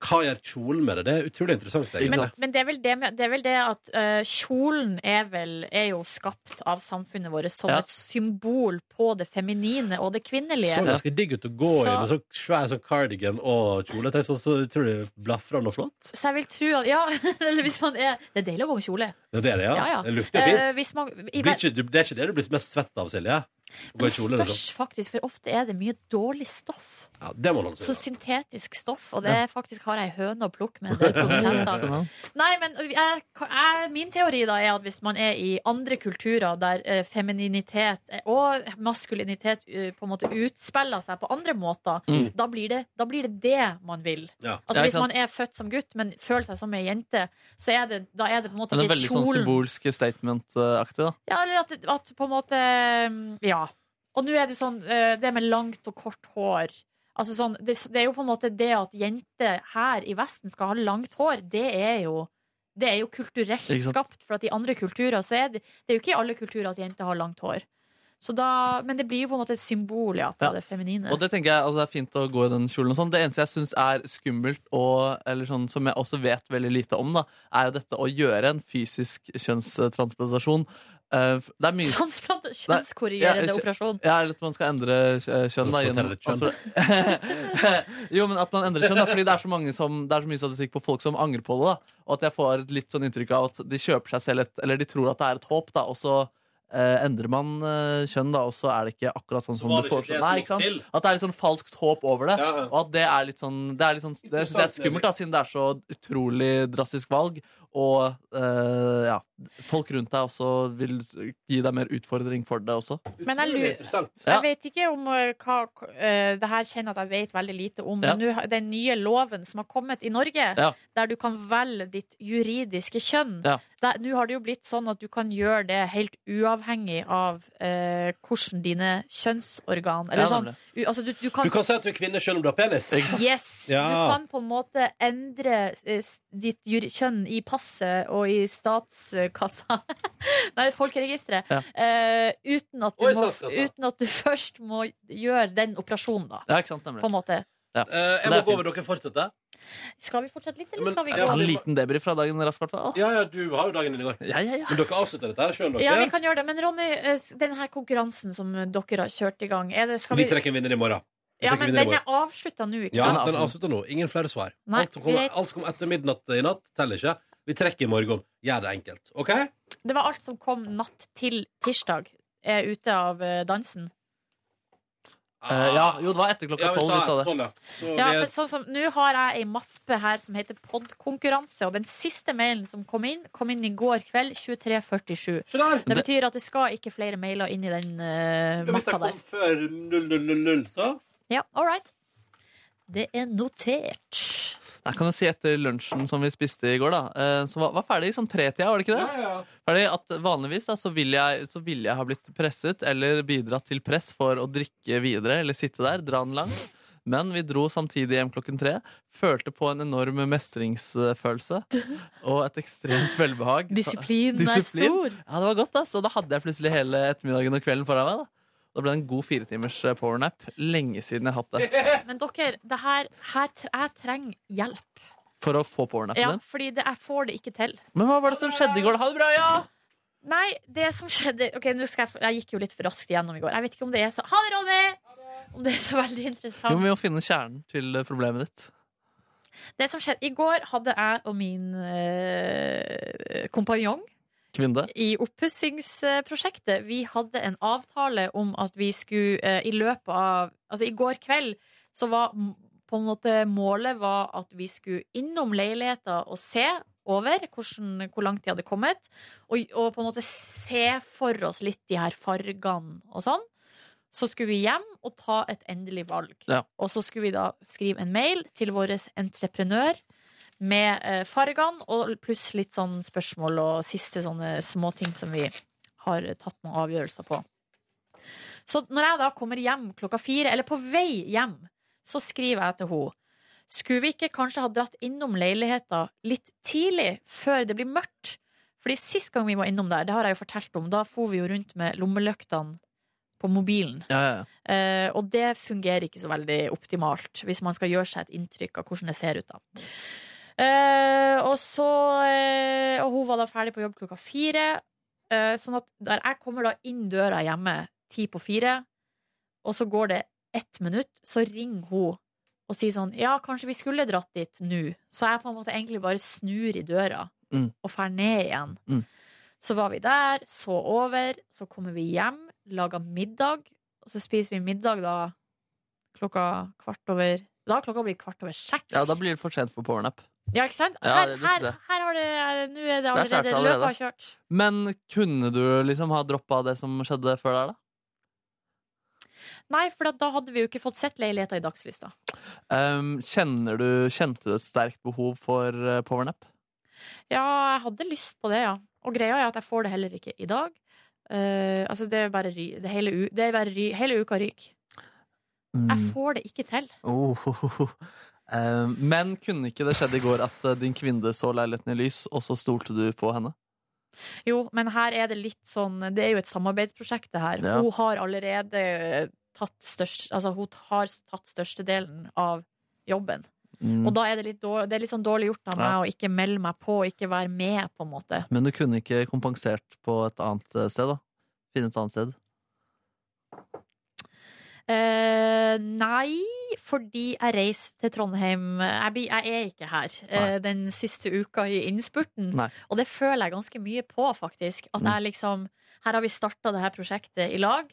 B: hva gjør kjolen med det? Det er utrolig interessant.
C: Men,
B: egentlig.
C: men det, er vel det, med, det er vel det at eh, kjolen er, vel, er jo skapt av samfunnet vårt som
D: Ja.
C: et symbol på det feminine og det kvinnelige.
B: så ganske digg ut å gå i
C: Så-
B: med sånn svær sånn cardigan og kjole. Jeg tenkte, så utrolig blafrende og flott.
C: Så jeg vil tro at Ja, eller hvis man er Det er deilig å gå med kjole.
B: Det er det, ja.
C: Ja, ja.
B: Det lukter
C: Eh,
B: fint.
C: hvis man, i,
B: Blir ikke, du, det er ikke det du blir mest svett av, Silje? Å gå
C: men
B: i kjole,
C: spørs
B: liksom.
C: faktisk, for ofte er det mye dårlig stoff.
B: Ja, det må man holde
C: Så
B: seg unna.
C: syntetisk stoff, og det er faktisk har jeg høne å plukke med en del produsenter.
D: Sånn,
C: Nei, men jeg, jeg, min teori da er at hvis man er i andre kulturer der eh, femininitet eh, og maskulinitet eh, på en måte utspiller seg på andre måter,
D: Mm.
C: da, blir det, da blir det det man vil.
B: Ja.
C: Altså
D: Ja,
C: Hvis
D: ikke sant.
C: man er født som gutt, men føler seg som ei jente, så er det, da er det på en måte
D: Men det er
C: ikke
D: veldig sånn
C: kjolen.
D: symbolsk statement-aktig, da.
C: Ja, eller at, at på en måte mm, Ja. Og nå er det sånn eh, det med langt og kort hår. Altså sånn, det, det er jo på en måte det at jenter her i Vesten skal ha langt hår, det er jo det er jo kulturelt
D: Ikke sant?
C: skapt, for at i andre kulturer så er det, det er jo ikke i alle kulturer at jenter har langt hår. Så da, men det blir jo på en måte et symbol ja, på
D: Ja.
C: det feminine.
D: Og det tenker jeg altså, det er fint å gå i den kjolen og sånn. Det eneste jeg syns er skummelt, og, eller sånn, som jeg også vet veldig lite om, da, er jo dette å gjøre en fysisk kjønnstransplantasjon. Eh, f- Det er mye
C: Transplantasjon!
D: Nei,
C: Kjønnskorrigerende
D: jeg-
C: operasjon.
D: Ja, eller at man skal endre eh, kjønn. Da, gjennom,
B: Transportere kjønn.
D: Altså, jo, men at man endrer kjønn, da, fordi det er, så mange som, det er så mye statistikk på folk som angrer på det. Da, og at jeg får et litt sånn inntrykk av at de kjøper seg selv et Eller de tror at det er et håp, da, og så eh, endrer man eh, kjønn, da, og så er det ikke akkurat sånn
B: Så
D: som du
B: var det ikke det
D: foreslår.
B: som
D: Nei,
B: gikk
D: ikke
B: til.
D: sant? At det er litt sånn falskt håp over det.
B: Ja, ja.
D: Og at det er litt sånn Det, er litt sånn, det synes jeg er skummelt, da, siden det er så utrolig drastisk valg. Og eh, ja, folk rundt deg også vil gi deg mer utfordring for det også.
C: Men jeg
B: Utrolig
C: lurer-
B: interessant.
D: Ja.
C: Jeg vet ikke om eh, hva eh, Det her kjenner jeg at jeg vet veldig lite om, men nå har- den nye loven som har kommet i Norge,
D: Ja.
C: der du kan velge ditt juridiske kjønn
D: Ja.
C: der- Nå har det jo blitt sånn at du kan gjøre det helt uavhengig av eh, hvordan dine kjønnsorgan Eller
D: Ja,
C: sånn.
D: nemlig.
C: U, altså, du, du kan
B: Du kan si at du er kvinne selv om du har penis.
C: Yes!
B: Ja.
C: Du kan på en måte endre eh, s- ditt jur- kjønn i passet og i statskassa Nei, folkeregisteret.
D: Ja.
C: Eh, uten, at du
B: Og i
C: må,
B: statskassa.
C: uten at du først må gjøre den operasjonen, da.
D: Ja, ikke sant,
C: På
D: nemlig.
C: en måte.
B: Eh, jeg
D: Det
B: må
D: er
B: gå over
D: fint.
B: dere fortsette.
C: Skal vi fortsette litt, eller
B: Men-
C: skal vi
B: Ja,
C: gå
D: En
C: over?
D: liten debrief fra dagen raskt, i hvert fall.
B: Ja, ja, du har jo dagen din i går.
D: Ja, ja, ja.
B: Men dere avslutter dette her sjøl, dere.
C: Ja, vi kan gjøre det. Men Ronny, eh, s- den her konkurransen som eh, dere har kjørt i gang, er det skal
B: vi
C: vi...
B: trekker en vinner i morgen. Vi
C: Ja,
B: trekker
C: men
B: vinner i
C: den
B: morgen.
C: er avslutta nå, ikke
B: Ja,
C: sant?
D: sant?
B: den avslutter nå. Ingen flere svar.
C: Nei,
B: alt, som kommer,
C: greit.
B: alt som kom etter midnatt i natt, teller ikke. Vi trekker i morgen. Gjør det enkelt. OK?
D: Eh,
C: Det var alt som kom natt til tirsdag, er ute av eh, dansen.
D: Eh, ja, jo, det var etter klokka
B: Ja, vi
D: tolv vi sa
B: sa
D: det.
B: tolv, ja. Så
C: Ja,
B: vi
C: for
B: er
C: sånn som, Nå har jeg ei mappe her som heter podkonkurranse, og den siste mailen som kom inn, kom inn i går kveld 23.47.
B: Se der!
C: Det betyr at det skal ikke flere mailer inn i den eh,
B: Hvis jeg
C: mappa
B: kom
C: der.
B: før 0000, så
C: Ja, all right. Det er notert.
D: Jeg kan jo si etter lunsjen som vi spiste i går, da. eh, Som var, var ferdig sånn tretida, var det ikke det? Fordi at vanligvis da, så vil jeg, så vil jeg ha blitt presset eller bidratt til press for å drikke videre eller sitte der, dra den langt. Men vi dro samtidig hjem klokken tre. Følte på en enorm mestringsfølelse og et ekstremt velbehag.
C: Disiplinen
D: Disiplin.
C: er stor.
D: Ja, det var godt, ass. Og da hadde jeg plutselig hele ettermiddagen og kvelden foran meg. Da Da ble det en god firetimers eh, powernap. Lenge siden jeg har hatt det.
C: Men dere, det her, her tre, jeg trenger hjelp.
D: For å få powernapen
C: Ja,
D: din.
C: fordi det, jeg får det ikke til.
D: Men hva var det som skjedde i går? Ha det bra, ja!
C: Nei, det som skjedde Ok, nå skal jeg, jeg gikk jo litt for raskt gjennom i går. Jeg vet ikke om det er så Ha det, Ronny! Om det er så veldig interessant.
D: Jo, vi må finne kjernen til eh, problemet ditt.
C: Det som skjedde I går hadde jeg og min eh, kompanjong
D: Kvinne.
C: i oppussingsprosjektet Vi hadde en avtale om at vi skulle eh, i løpet av Altså, i går kveld så var m- på en måte målet var at vi skulle innom leiligheter og se over hvordan, hvor langt de hadde kommet, og, og på en måte se for oss litt de her fargene og sånn. Så skulle vi hjem og ta et endelig valg.
D: Ja.
C: Og så skulle vi da skrive en mail til vår entreprenør med eh, fargene, og pluss litt sånn spørsmål og siste sånne småting som vi har tatt noen avgjørelser på. Så når jeg da kommer hjem klokka fire, eller på vei hjem, så skriver jeg til henne Skulle vi ikke kanskje ha dratt innom leiligheta litt tidlig, før det blir mørkt? Fordi sist gang vi var innom der, det har jeg jo fortalt om, da for vi jo rundt med lommelyktene på mobilen.
D: Ja, ja, ja.
C: Eh, og det fungerer ikke så veldig optimalt, hvis man skal gjøre seg et inntrykk av hvordan det ser ut. da Eh, og, så, eh, og hun var da ferdig på jobb klokka fire. eh, sånn at der jeg kommer da inn døra hjemme ti på fire, og så går det ett minutt, så ringer hun og sier sånn Ja, kanskje vi skulle dratt dit nå. Så jeg på en måte egentlig bare snur i døra
D: Mm.
C: og drar ned igjen.
D: Mm.
C: Så var vi der, så over, så kommer vi hjem, lager middag, og så spiser vi middag da klokka kvart over Da har klokka blitt kvart over seks.
D: Ja, da blir det for sent for powernap.
C: Ja, ikke sant?
D: Ja,
C: Her,
D: det er
C: her,
D: det.
C: her har det eh, Nå
D: Det er
C: er det allerede
D: kjæreste allerede.
C: løpet har kjørt.
D: Men kunne du liksom ha droppa det som skjedde før der, da?
C: Nei, for da hadde vi jo ikke fått sett leiligheter i dagslys, da.
D: Ehm, kjenner du, kjente du et sterkt behov for eh, powernap?
C: Ja, jeg hadde lyst på det, ja. Og greia er at jeg får det heller ikke i dag. Eh, altså, det er bare ry... Det er hele, u det er bare ry hele uka ryk.
D: Mm.
C: Jeg får det ikke til.
D: Oh, ho, ho, ho. Ehm, men kunne ikke det skjedd i går at eh, din kvinne så leiligheten i lys, og så stolte du på henne?
C: Jo, men her er det litt sånn Det er jo et samarbeidsprosjekt, det her.
D: Ja.
C: Hun har allerede tatt størst... Altså, hun har tatt størstedelen av jobben.
D: Mm.
C: Og da er det litt dårlig, det er litt sånn dårlig gjort av meg
D: Ja.
C: å ikke melde meg på, ikke være med, på en måte.
D: Men du kunne ikke kompensert på et annet eh, sted, da? Finne et annet sted.
C: Eh, nei, fordi jeg reiste til Trondheim Jeg, blir- jeg er ikke her eh, den siste uka i innspurten.
D: Nei. Mm.
C: Og det føler jeg ganske mye på, faktisk. At jeg liksom Her har vi starta det her prosjektet i lag,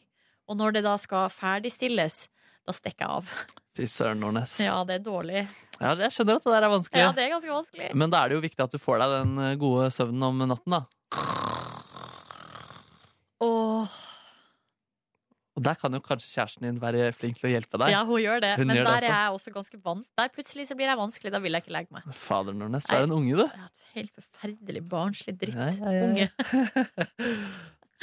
C: og når det da skal ferdigstilles, da stikker jeg av.
D: Fy søren, Nordnes. Ja.
C: Ja, det er dårlig.
D: jeg skjønner at det der er vanskelig.
C: Ja, det er ganske vanskelig.
D: Men da er det jo viktig at du får deg den eh, gode søvnen om natten, da.
C: Åh,
D: Og der kan jo kanskje kjæresten din være flink til å hjelpe deg.
C: ja, hun gjør det.
D: Hun
C: Men
D: gjør det
C: der
D: altså.
C: er jeg også ganske vans Der plutselig så blir jeg vanskelig. Da vil jeg ikke legge meg.
D: Fader, Nordnes, du er en unge, du.
C: Jeg er et helt forferdelig barnslig dritt.
D: Ja, ja, ja, ja.
C: Unge.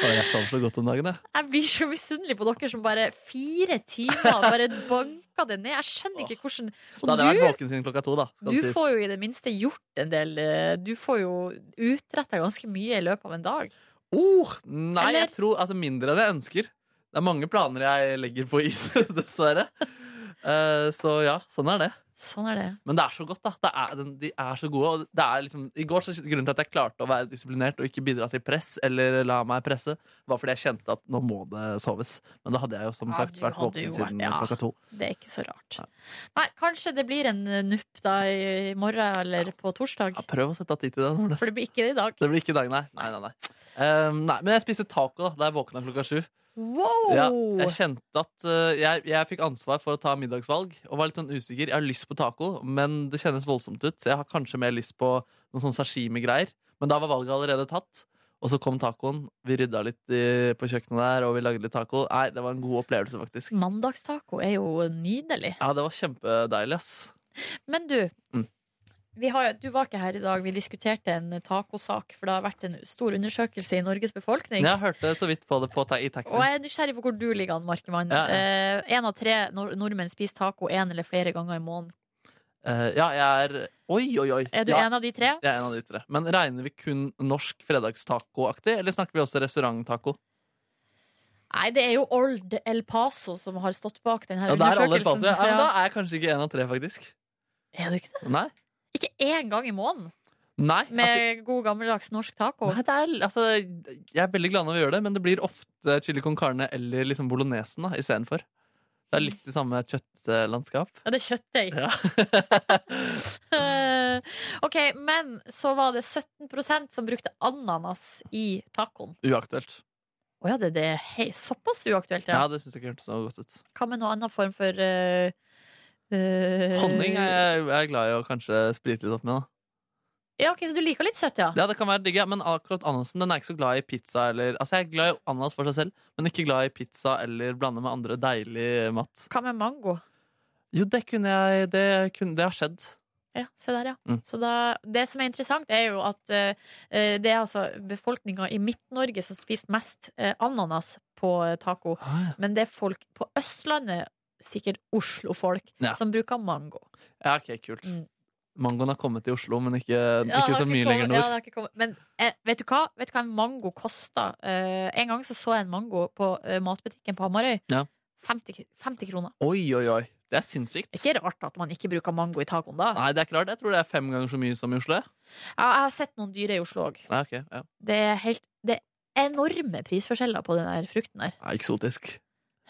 D: Å, jeg sov så godt om dagen, jeg.
C: Jeg blir så misunnelig på dere som bare fire timer bare banka det ned. Jeg skjønner ikke hvordan
D: Da
C: Og
D: hadde jeg vært
C: du,
D: våken siden klokka to, da. skal
C: du
D: det sies.
C: får jo i det minste gjort en del eh, Du får jo utretta ganske mye i løpet av en dag.
D: Oh, nei,
C: Eller-
D: jeg tror altså, mindre enn jeg ønsker. Det er mange planer jeg legger på is, dessverre. Eh, så ja, sånn er det.
C: Sånn er det.
D: Men det er så godt, da. Det er, den, de er så gode. Og det er liksom, I går så Grunnen til at jeg klarte å være disiplinert og ikke bidra til press, eller la meg presse, var fordi jeg kjente at nå må det soves. Men da hadde jeg jo som
C: Ja,
D: sagt
C: du
D: vært
C: hadde
D: våken
C: jo vært-
D: siden
C: ja.
D: klokka to.
C: Det er ikke så rart. Nei, kanskje det blir en eh, nupp da i morgen eller på torsdag.
D: Ja, prøv å sette av tid til det. Nordnes.
C: For det blir ikke det i dag.
D: Det blir ikke i dag, nei. Nei, nei, nei. Ehm, nei. Men jeg spiste taco da da jeg våkna klokka sju.
C: Wow!
D: Ja, jeg kjente at eh, jeg, jeg fikk ansvar for å ta middagsvalg og var litt sånn usikker. Jeg har lyst på taco, men det kjennes voldsomt ut, så jeg har kanskje mer lyst på noen sånn sashimi-greier. Men da var valget allerede tatt. Og så kom tacoen. Vi rydda litt i, på kjøkkenet der, og vi lagde litt taco. Nei, det var en god opplevelse, faktisk.
C: Mandagstaco er jo nydelig.
D: Ja, det var kjempedeilig, ass.
C: Men du,
D: Mm.
C: vi har, jo- du var ikke her i dag. Vi diskuterte en tacosak, for det har vært en stor undersøkelse i Norges befolkning.
D: Jeg hørte så vidt på det på ta i
C: Og
D: taxien.
C: jeg er nysgjerrig på hvor du ligger an, Markemann.
D: Ja, ja.
C: Én av tre nor nordmenn spiser taco én eller flere ganger i måneden.
D: Eh, ja, jeg er Oi, oi, oi.
C: Er du
D: ja.
C: en av de tre?
D: Jeg er en av de tre. Men regner vi kun norsk fredagstaco-aktig, eller snakker vi også restauranttaco?
C: Nei, det er jo Old El Paso som har stått bak denne
D: Ja, der er alle fase.
C: undersøkelsen.
D: Ja, men da
C: Ja.
D: er jeg kanskje ikke en av tre, faktisk.
C: Er du ikke det?
D: Nei.
C: Ikke én gang i måneden
D: Nei, altså,
C: med god gammeldags norsk taco.
D: nei det er, altså, jeg er veldig glad når vi gjør det, men det blir ofte chili con carne eller liksom bolognesen da, istedenfor. Det er litt det samme kjøttlandskap.
C: Ja, det er kjøttdeig.
D: Ja.
C: Eh, OK, men så var det 17 som brukte ananas i tacoen.
D: Uaktuelt.
C: Å ja, det, det er hei, såpass uaktuelt,
D: Ja,
C: ja.
D: det syns jeg ikke hørtes så godt ut.
C: Hva med noen annen form for eh, eh,
D: Honning er jeg, jeg er glad i å kanskje sprite litt opp med. da.
C: Ja, ok, Så du liker litt søtt, ja?
D: Ja, det kan være digg, ja, men akkurat ananasen den er ikke så glad i pizza eller Altså, jeg er glad i ananas for seg selv, men ikke glad i pizza eller blande med andre deilig mat.
C: Hva med mango?
D: Jo, det kunne jeg Det, kunne, det har skjedd.
C: Ja, se der, ja.
D: Mm.
C: Så da, det som er interessant, er jo at eh, eh, det er altså befolkninga i Midt-Norge som spiser mest eh, ananas på eh, taco. Men det er folk på Østlandet, sikkert Oslo-folk,
D: Ja.
C: som bruker mango.
D: Ja, ok, kult.
C: Mm.
D: Mangoen har kommet til Oslo, men ikke,
C: Ja, det
D: ikke
C: har
D: så mye
C: kommet-
D: lenger
C: Ja, det
D: nord.
C: har ikke kommet. Men eh, vet, du hva? vet du hva en mango koster? Eh, en gang så, så jeg en mango på eh, matbutikken på Hamarøy.
D: Ja.
C: 50, kr- 50 kroner.
D: Oi, oi, oi. Det er sinnssykt.
C: Ikke rart at man ikke bruker mango i tacoen da.
D: Nei, det er ikke rart. Jeg tror det er fem ganger så mye som i Oslo. jeg.
C: Ja, jeg har sett noen dyre i Oslo òg.
D: Nei, ok, ja.
C: Det er helt det er enorme prisforskjeller på den der frukten der.
D: Nei, Eksotisk.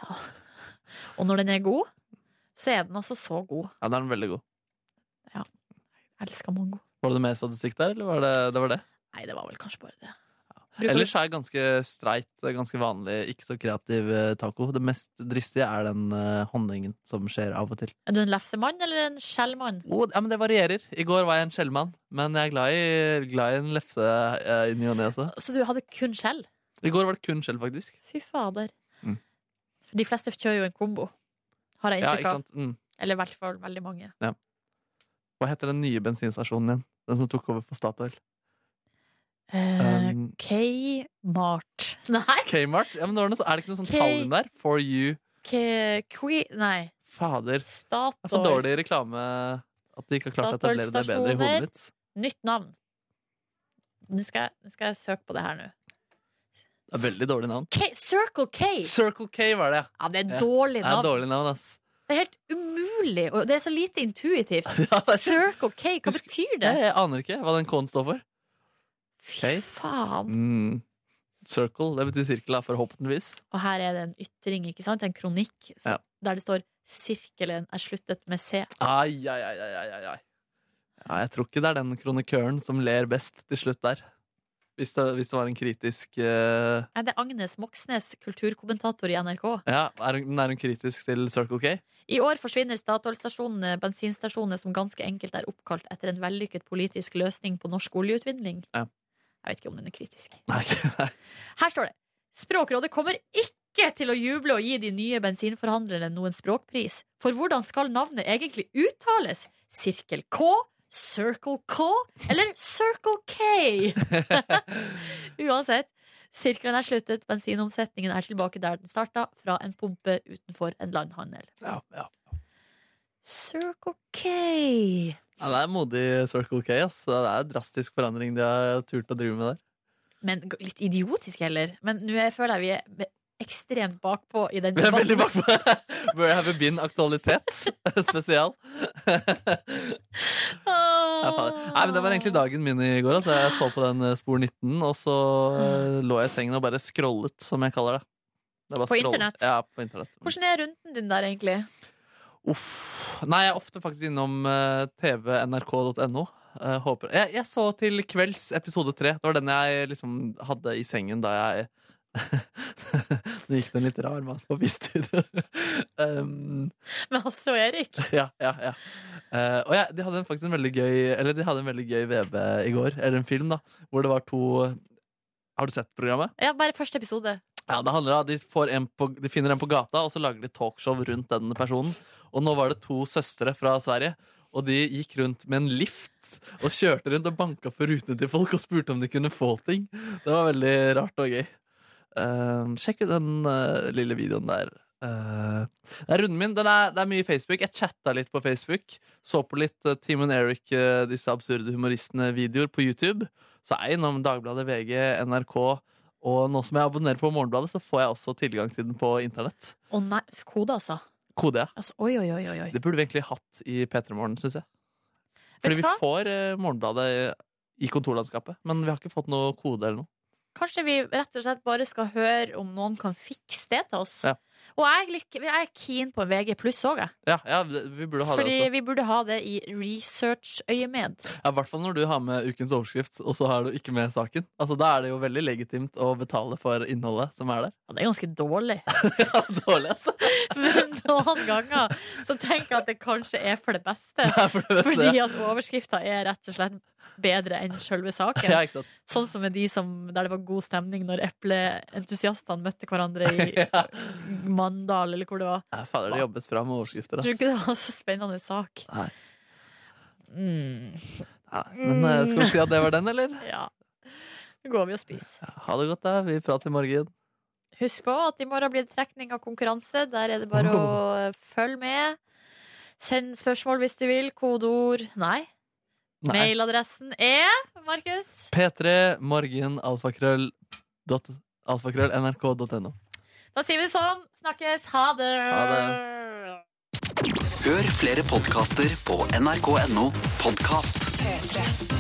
C: Og når den er god, så er den altså så god.
D: Ja, det er den veldig god.
C: Jeg elsker mango.
D: Var det mer statistikk der, eller var det det? Var det?
C: Nei, det var vel kanskje bare det. Bruker
D: Ellers er jeg ganske streit, ganske vanlig, ikke så kreativ eh, taco. Det mest dristige er den eh, honningen som skjer av og til.
C: du, er du en lefsemann eller en skjellmann?
D: Oh, ja, men det varierer. I går var jeg en skjellmann, men jeg er glad i, glad i en lefse eh, i ny og ne også.
C: Så du hadde kun skjell?
D: I går var det kun skjell, faktisk.
C: Fy fader.
D: Mm.
C: For de fleste kjører jo en kombo, har jeg
D: Ja, ikke
C: inntrykk av.
D: sant? Mm.
C: Eller i hvert fall veldig mange.
D: Hva heter den nye bensinstasjonen igjen? Den som tok over for Statoil?
C: Eh,
D: Um,
C: K-mart. Nei,
D: Kmart? Ja, men det var noe, så- er det ikke noe sånn
C: K-
D: tall inn der? For you.
C: K- Qui... Nei,
D: Fader. Det er for
C: Statoil.
D: dårlig reklame at de ikke har klart å etablere det bedre i
C: Statoil-stasjoner.
D: hodet mitt.
C: Nytt navn. Nå skal, jeg, nå skal jeg søke på det her nå.
D: Det er veldig dårlig navn.
C: K Circle K!
D: Circle K var det, ja.
C: Ja, det er
D: Ja,
C: dårlig
D: Det er
C: navn.
D: et dårlig navn, ass.
C: Det er helt umulig, og det er så lite intuitivt.
D: Ja, det er-
C: Circle K, hva
D: Husk-
C: betyr det?
D: Jeg, jeg aner ikke hva den K-en står for.
C: Fy
D: K?
C: faen.
D: Mm. Circle, det betyr sirkel, da, forhåpentligvis.
C: Og her er det en ytring, ikke sant? En kronikk så,
D: Ja.
C: der det står 'sirkelen er sluttet med C'.
D: Ai, ai, ai, ai, ai, ai, ai. Ja, jeg tror ikke det er den kronikøren som ler best til slutt der. Hvis det, hvis det var en kritisk eh,
C: Nei, det er Agnes Moxnes, kulturkommentator i NRK.
D: Ja, er hun, men er hun kritisk til Circle K?
C: I år forsvinner Statoil-stasjonene, bensinstasjonene som ganske enkelt er oppkalt etter en vellykket politisk løsning på norsk oljeutvinning.
D: Ja.
C: Jeg vet ikke om den er kritisk.
D: Nei, nei.
C: Her står det Språkrådet kommer ikke til å juble og gi de nye bensinforhandlerne noen språkpris. For hvordan skal navnet egentlig uttales? Sirkel K? Circle K? Eller Circle K? Uansett. Sirkelen er sluttet, bensinomsetningen er tilbake der den starta, fra en pumpe utenfor en landhandel.
D: Ja, ja.
C: Circle K
D: Ja, det er modig Circle K. Ass. Det er drastisk forandring de har turt å drive med der.
C: Men g- litt idiotisk heller. Men nå er- føler jeg vi er be- ekstremt bakpå i den
D: Vi er veldig
C: debatten.
D: bakpå. Where have you been? Aktualitet spesial. Ja, faen. Nei, men Det var egentlig dagen min i går. Altså. Jeg så på den eh, Spor 19, og så eh, lå jeg i sengen og bare scrollet, som jeg kaller det. det var
C: På internett?
D: Ja, på internett.
C: Hvordan er runden din der, egentlig?
D: Uff. Nei, jeg er ofte faktisk innom eh, tvnrk.no. Eh, håper. Jeg, jeg så til kvelds episode tre. Det var den jeg liksom hadde i sengen da jeg Nå gikk det en litt rar mann forbi studio. um,
C: Men altså, Erik
D: ja, ja, ja. Eh, og ja, de hadde en- faktisk en veldig gøy Eller de hadde en veldig gøy VB i går, eller en film, da, hvor det var to Har du sett programmet?
C: Ja, bare første episode.
D: Ja, det handler om at de, får en på, de finner en på gata, og så lager de talkshow rundt den personen. Og nå var det to søstre fra Sverige, og de gikk rundt med en lift og kjørte rundt og banka på rutene til folk og spurte om de kunne få ting. Det var veldig rart og gøy. Eh, sjekk ut den eh, lille videoen der. Eh, det er runden min. Den er, det er mye Facebook. Jeg chatta litt på Facebook. Så på litt eh, Team and Eric, eh, disse absurde humoristene-videoer på YouTube. Så er jeg innom Dagbladet, VG, NRK. Og nå som jeg abonnerer på Morgenbladet, så får jeg også tilgang til den på internett.
C: Å nei, kode, altså.
D: Kode, ja.
C: altså oi, oi, oi, oi, oi.
D: Det burde vi egentlig hatt i P3 Morgen, syns jeg.
C: Vet
D: Fordi
C: du
D: vi
C: hva?
D: får eh, Morgenbladet i kontorlandskapet, men vi har ikke fått noe kode eller noe.
C: Kanskje vi rett og slett bare skal høre om noen kan fikse det til oss.
D: Ja.
C: Og jeg, lik- jeg er keen på VG pluss òg, jeg.
D: Ja, ja vi burde ha
C: Fordi
D: det også.
C: vi burde ha det i research-øyemed.
D: Ja, I hvert fall når du har med ukens overskrift, og så har du ikke med saken. Altså, Da er det jo veldig legitimt å betale for innholdet som er der.
C: Ja, det er ganske dårlig.
D: Ja, Dårlig, altså.
C: Men noen ganger så tenker jeg at det kanskje er for det beste.
D: Det er for det beste.
C: Fordi at overskrifta er rett og slett bedre enn sjølve saken.
D: Ja, ikke sant?
C: Sånn som med de som, der det var god stemning når epleentusiastene møtte hverandre i
D: Ja.
C: Mandal, eller hvor det var.
D: Ja, Fader, det jobbes bra med overskrifter. Altså.
C: Jeg tror ikke det var så spennende sak.
D: Nei.
C: Mm,
D: Ja, men eh, skal vi si at det var den, eller?
C: ja. Nå går vi og spiser.
D: Ja, Ha det godt, da. Vi prates i morgen.
C: Husk på at i morgen blir det trekning av konkurranse. Der er det bare å følge med. Send spørsmål hvis du vil. Kodeord Nei.
D: Nei.
C: Mailadressen er Markus.
D: P3 morgen alfakrøll dot, alfakrøll nrk.no.
C: Da sier vi det sånn. Snakkes. Ha det.
D: Ha
J: Hør flere podkaster på nrk.no podkast.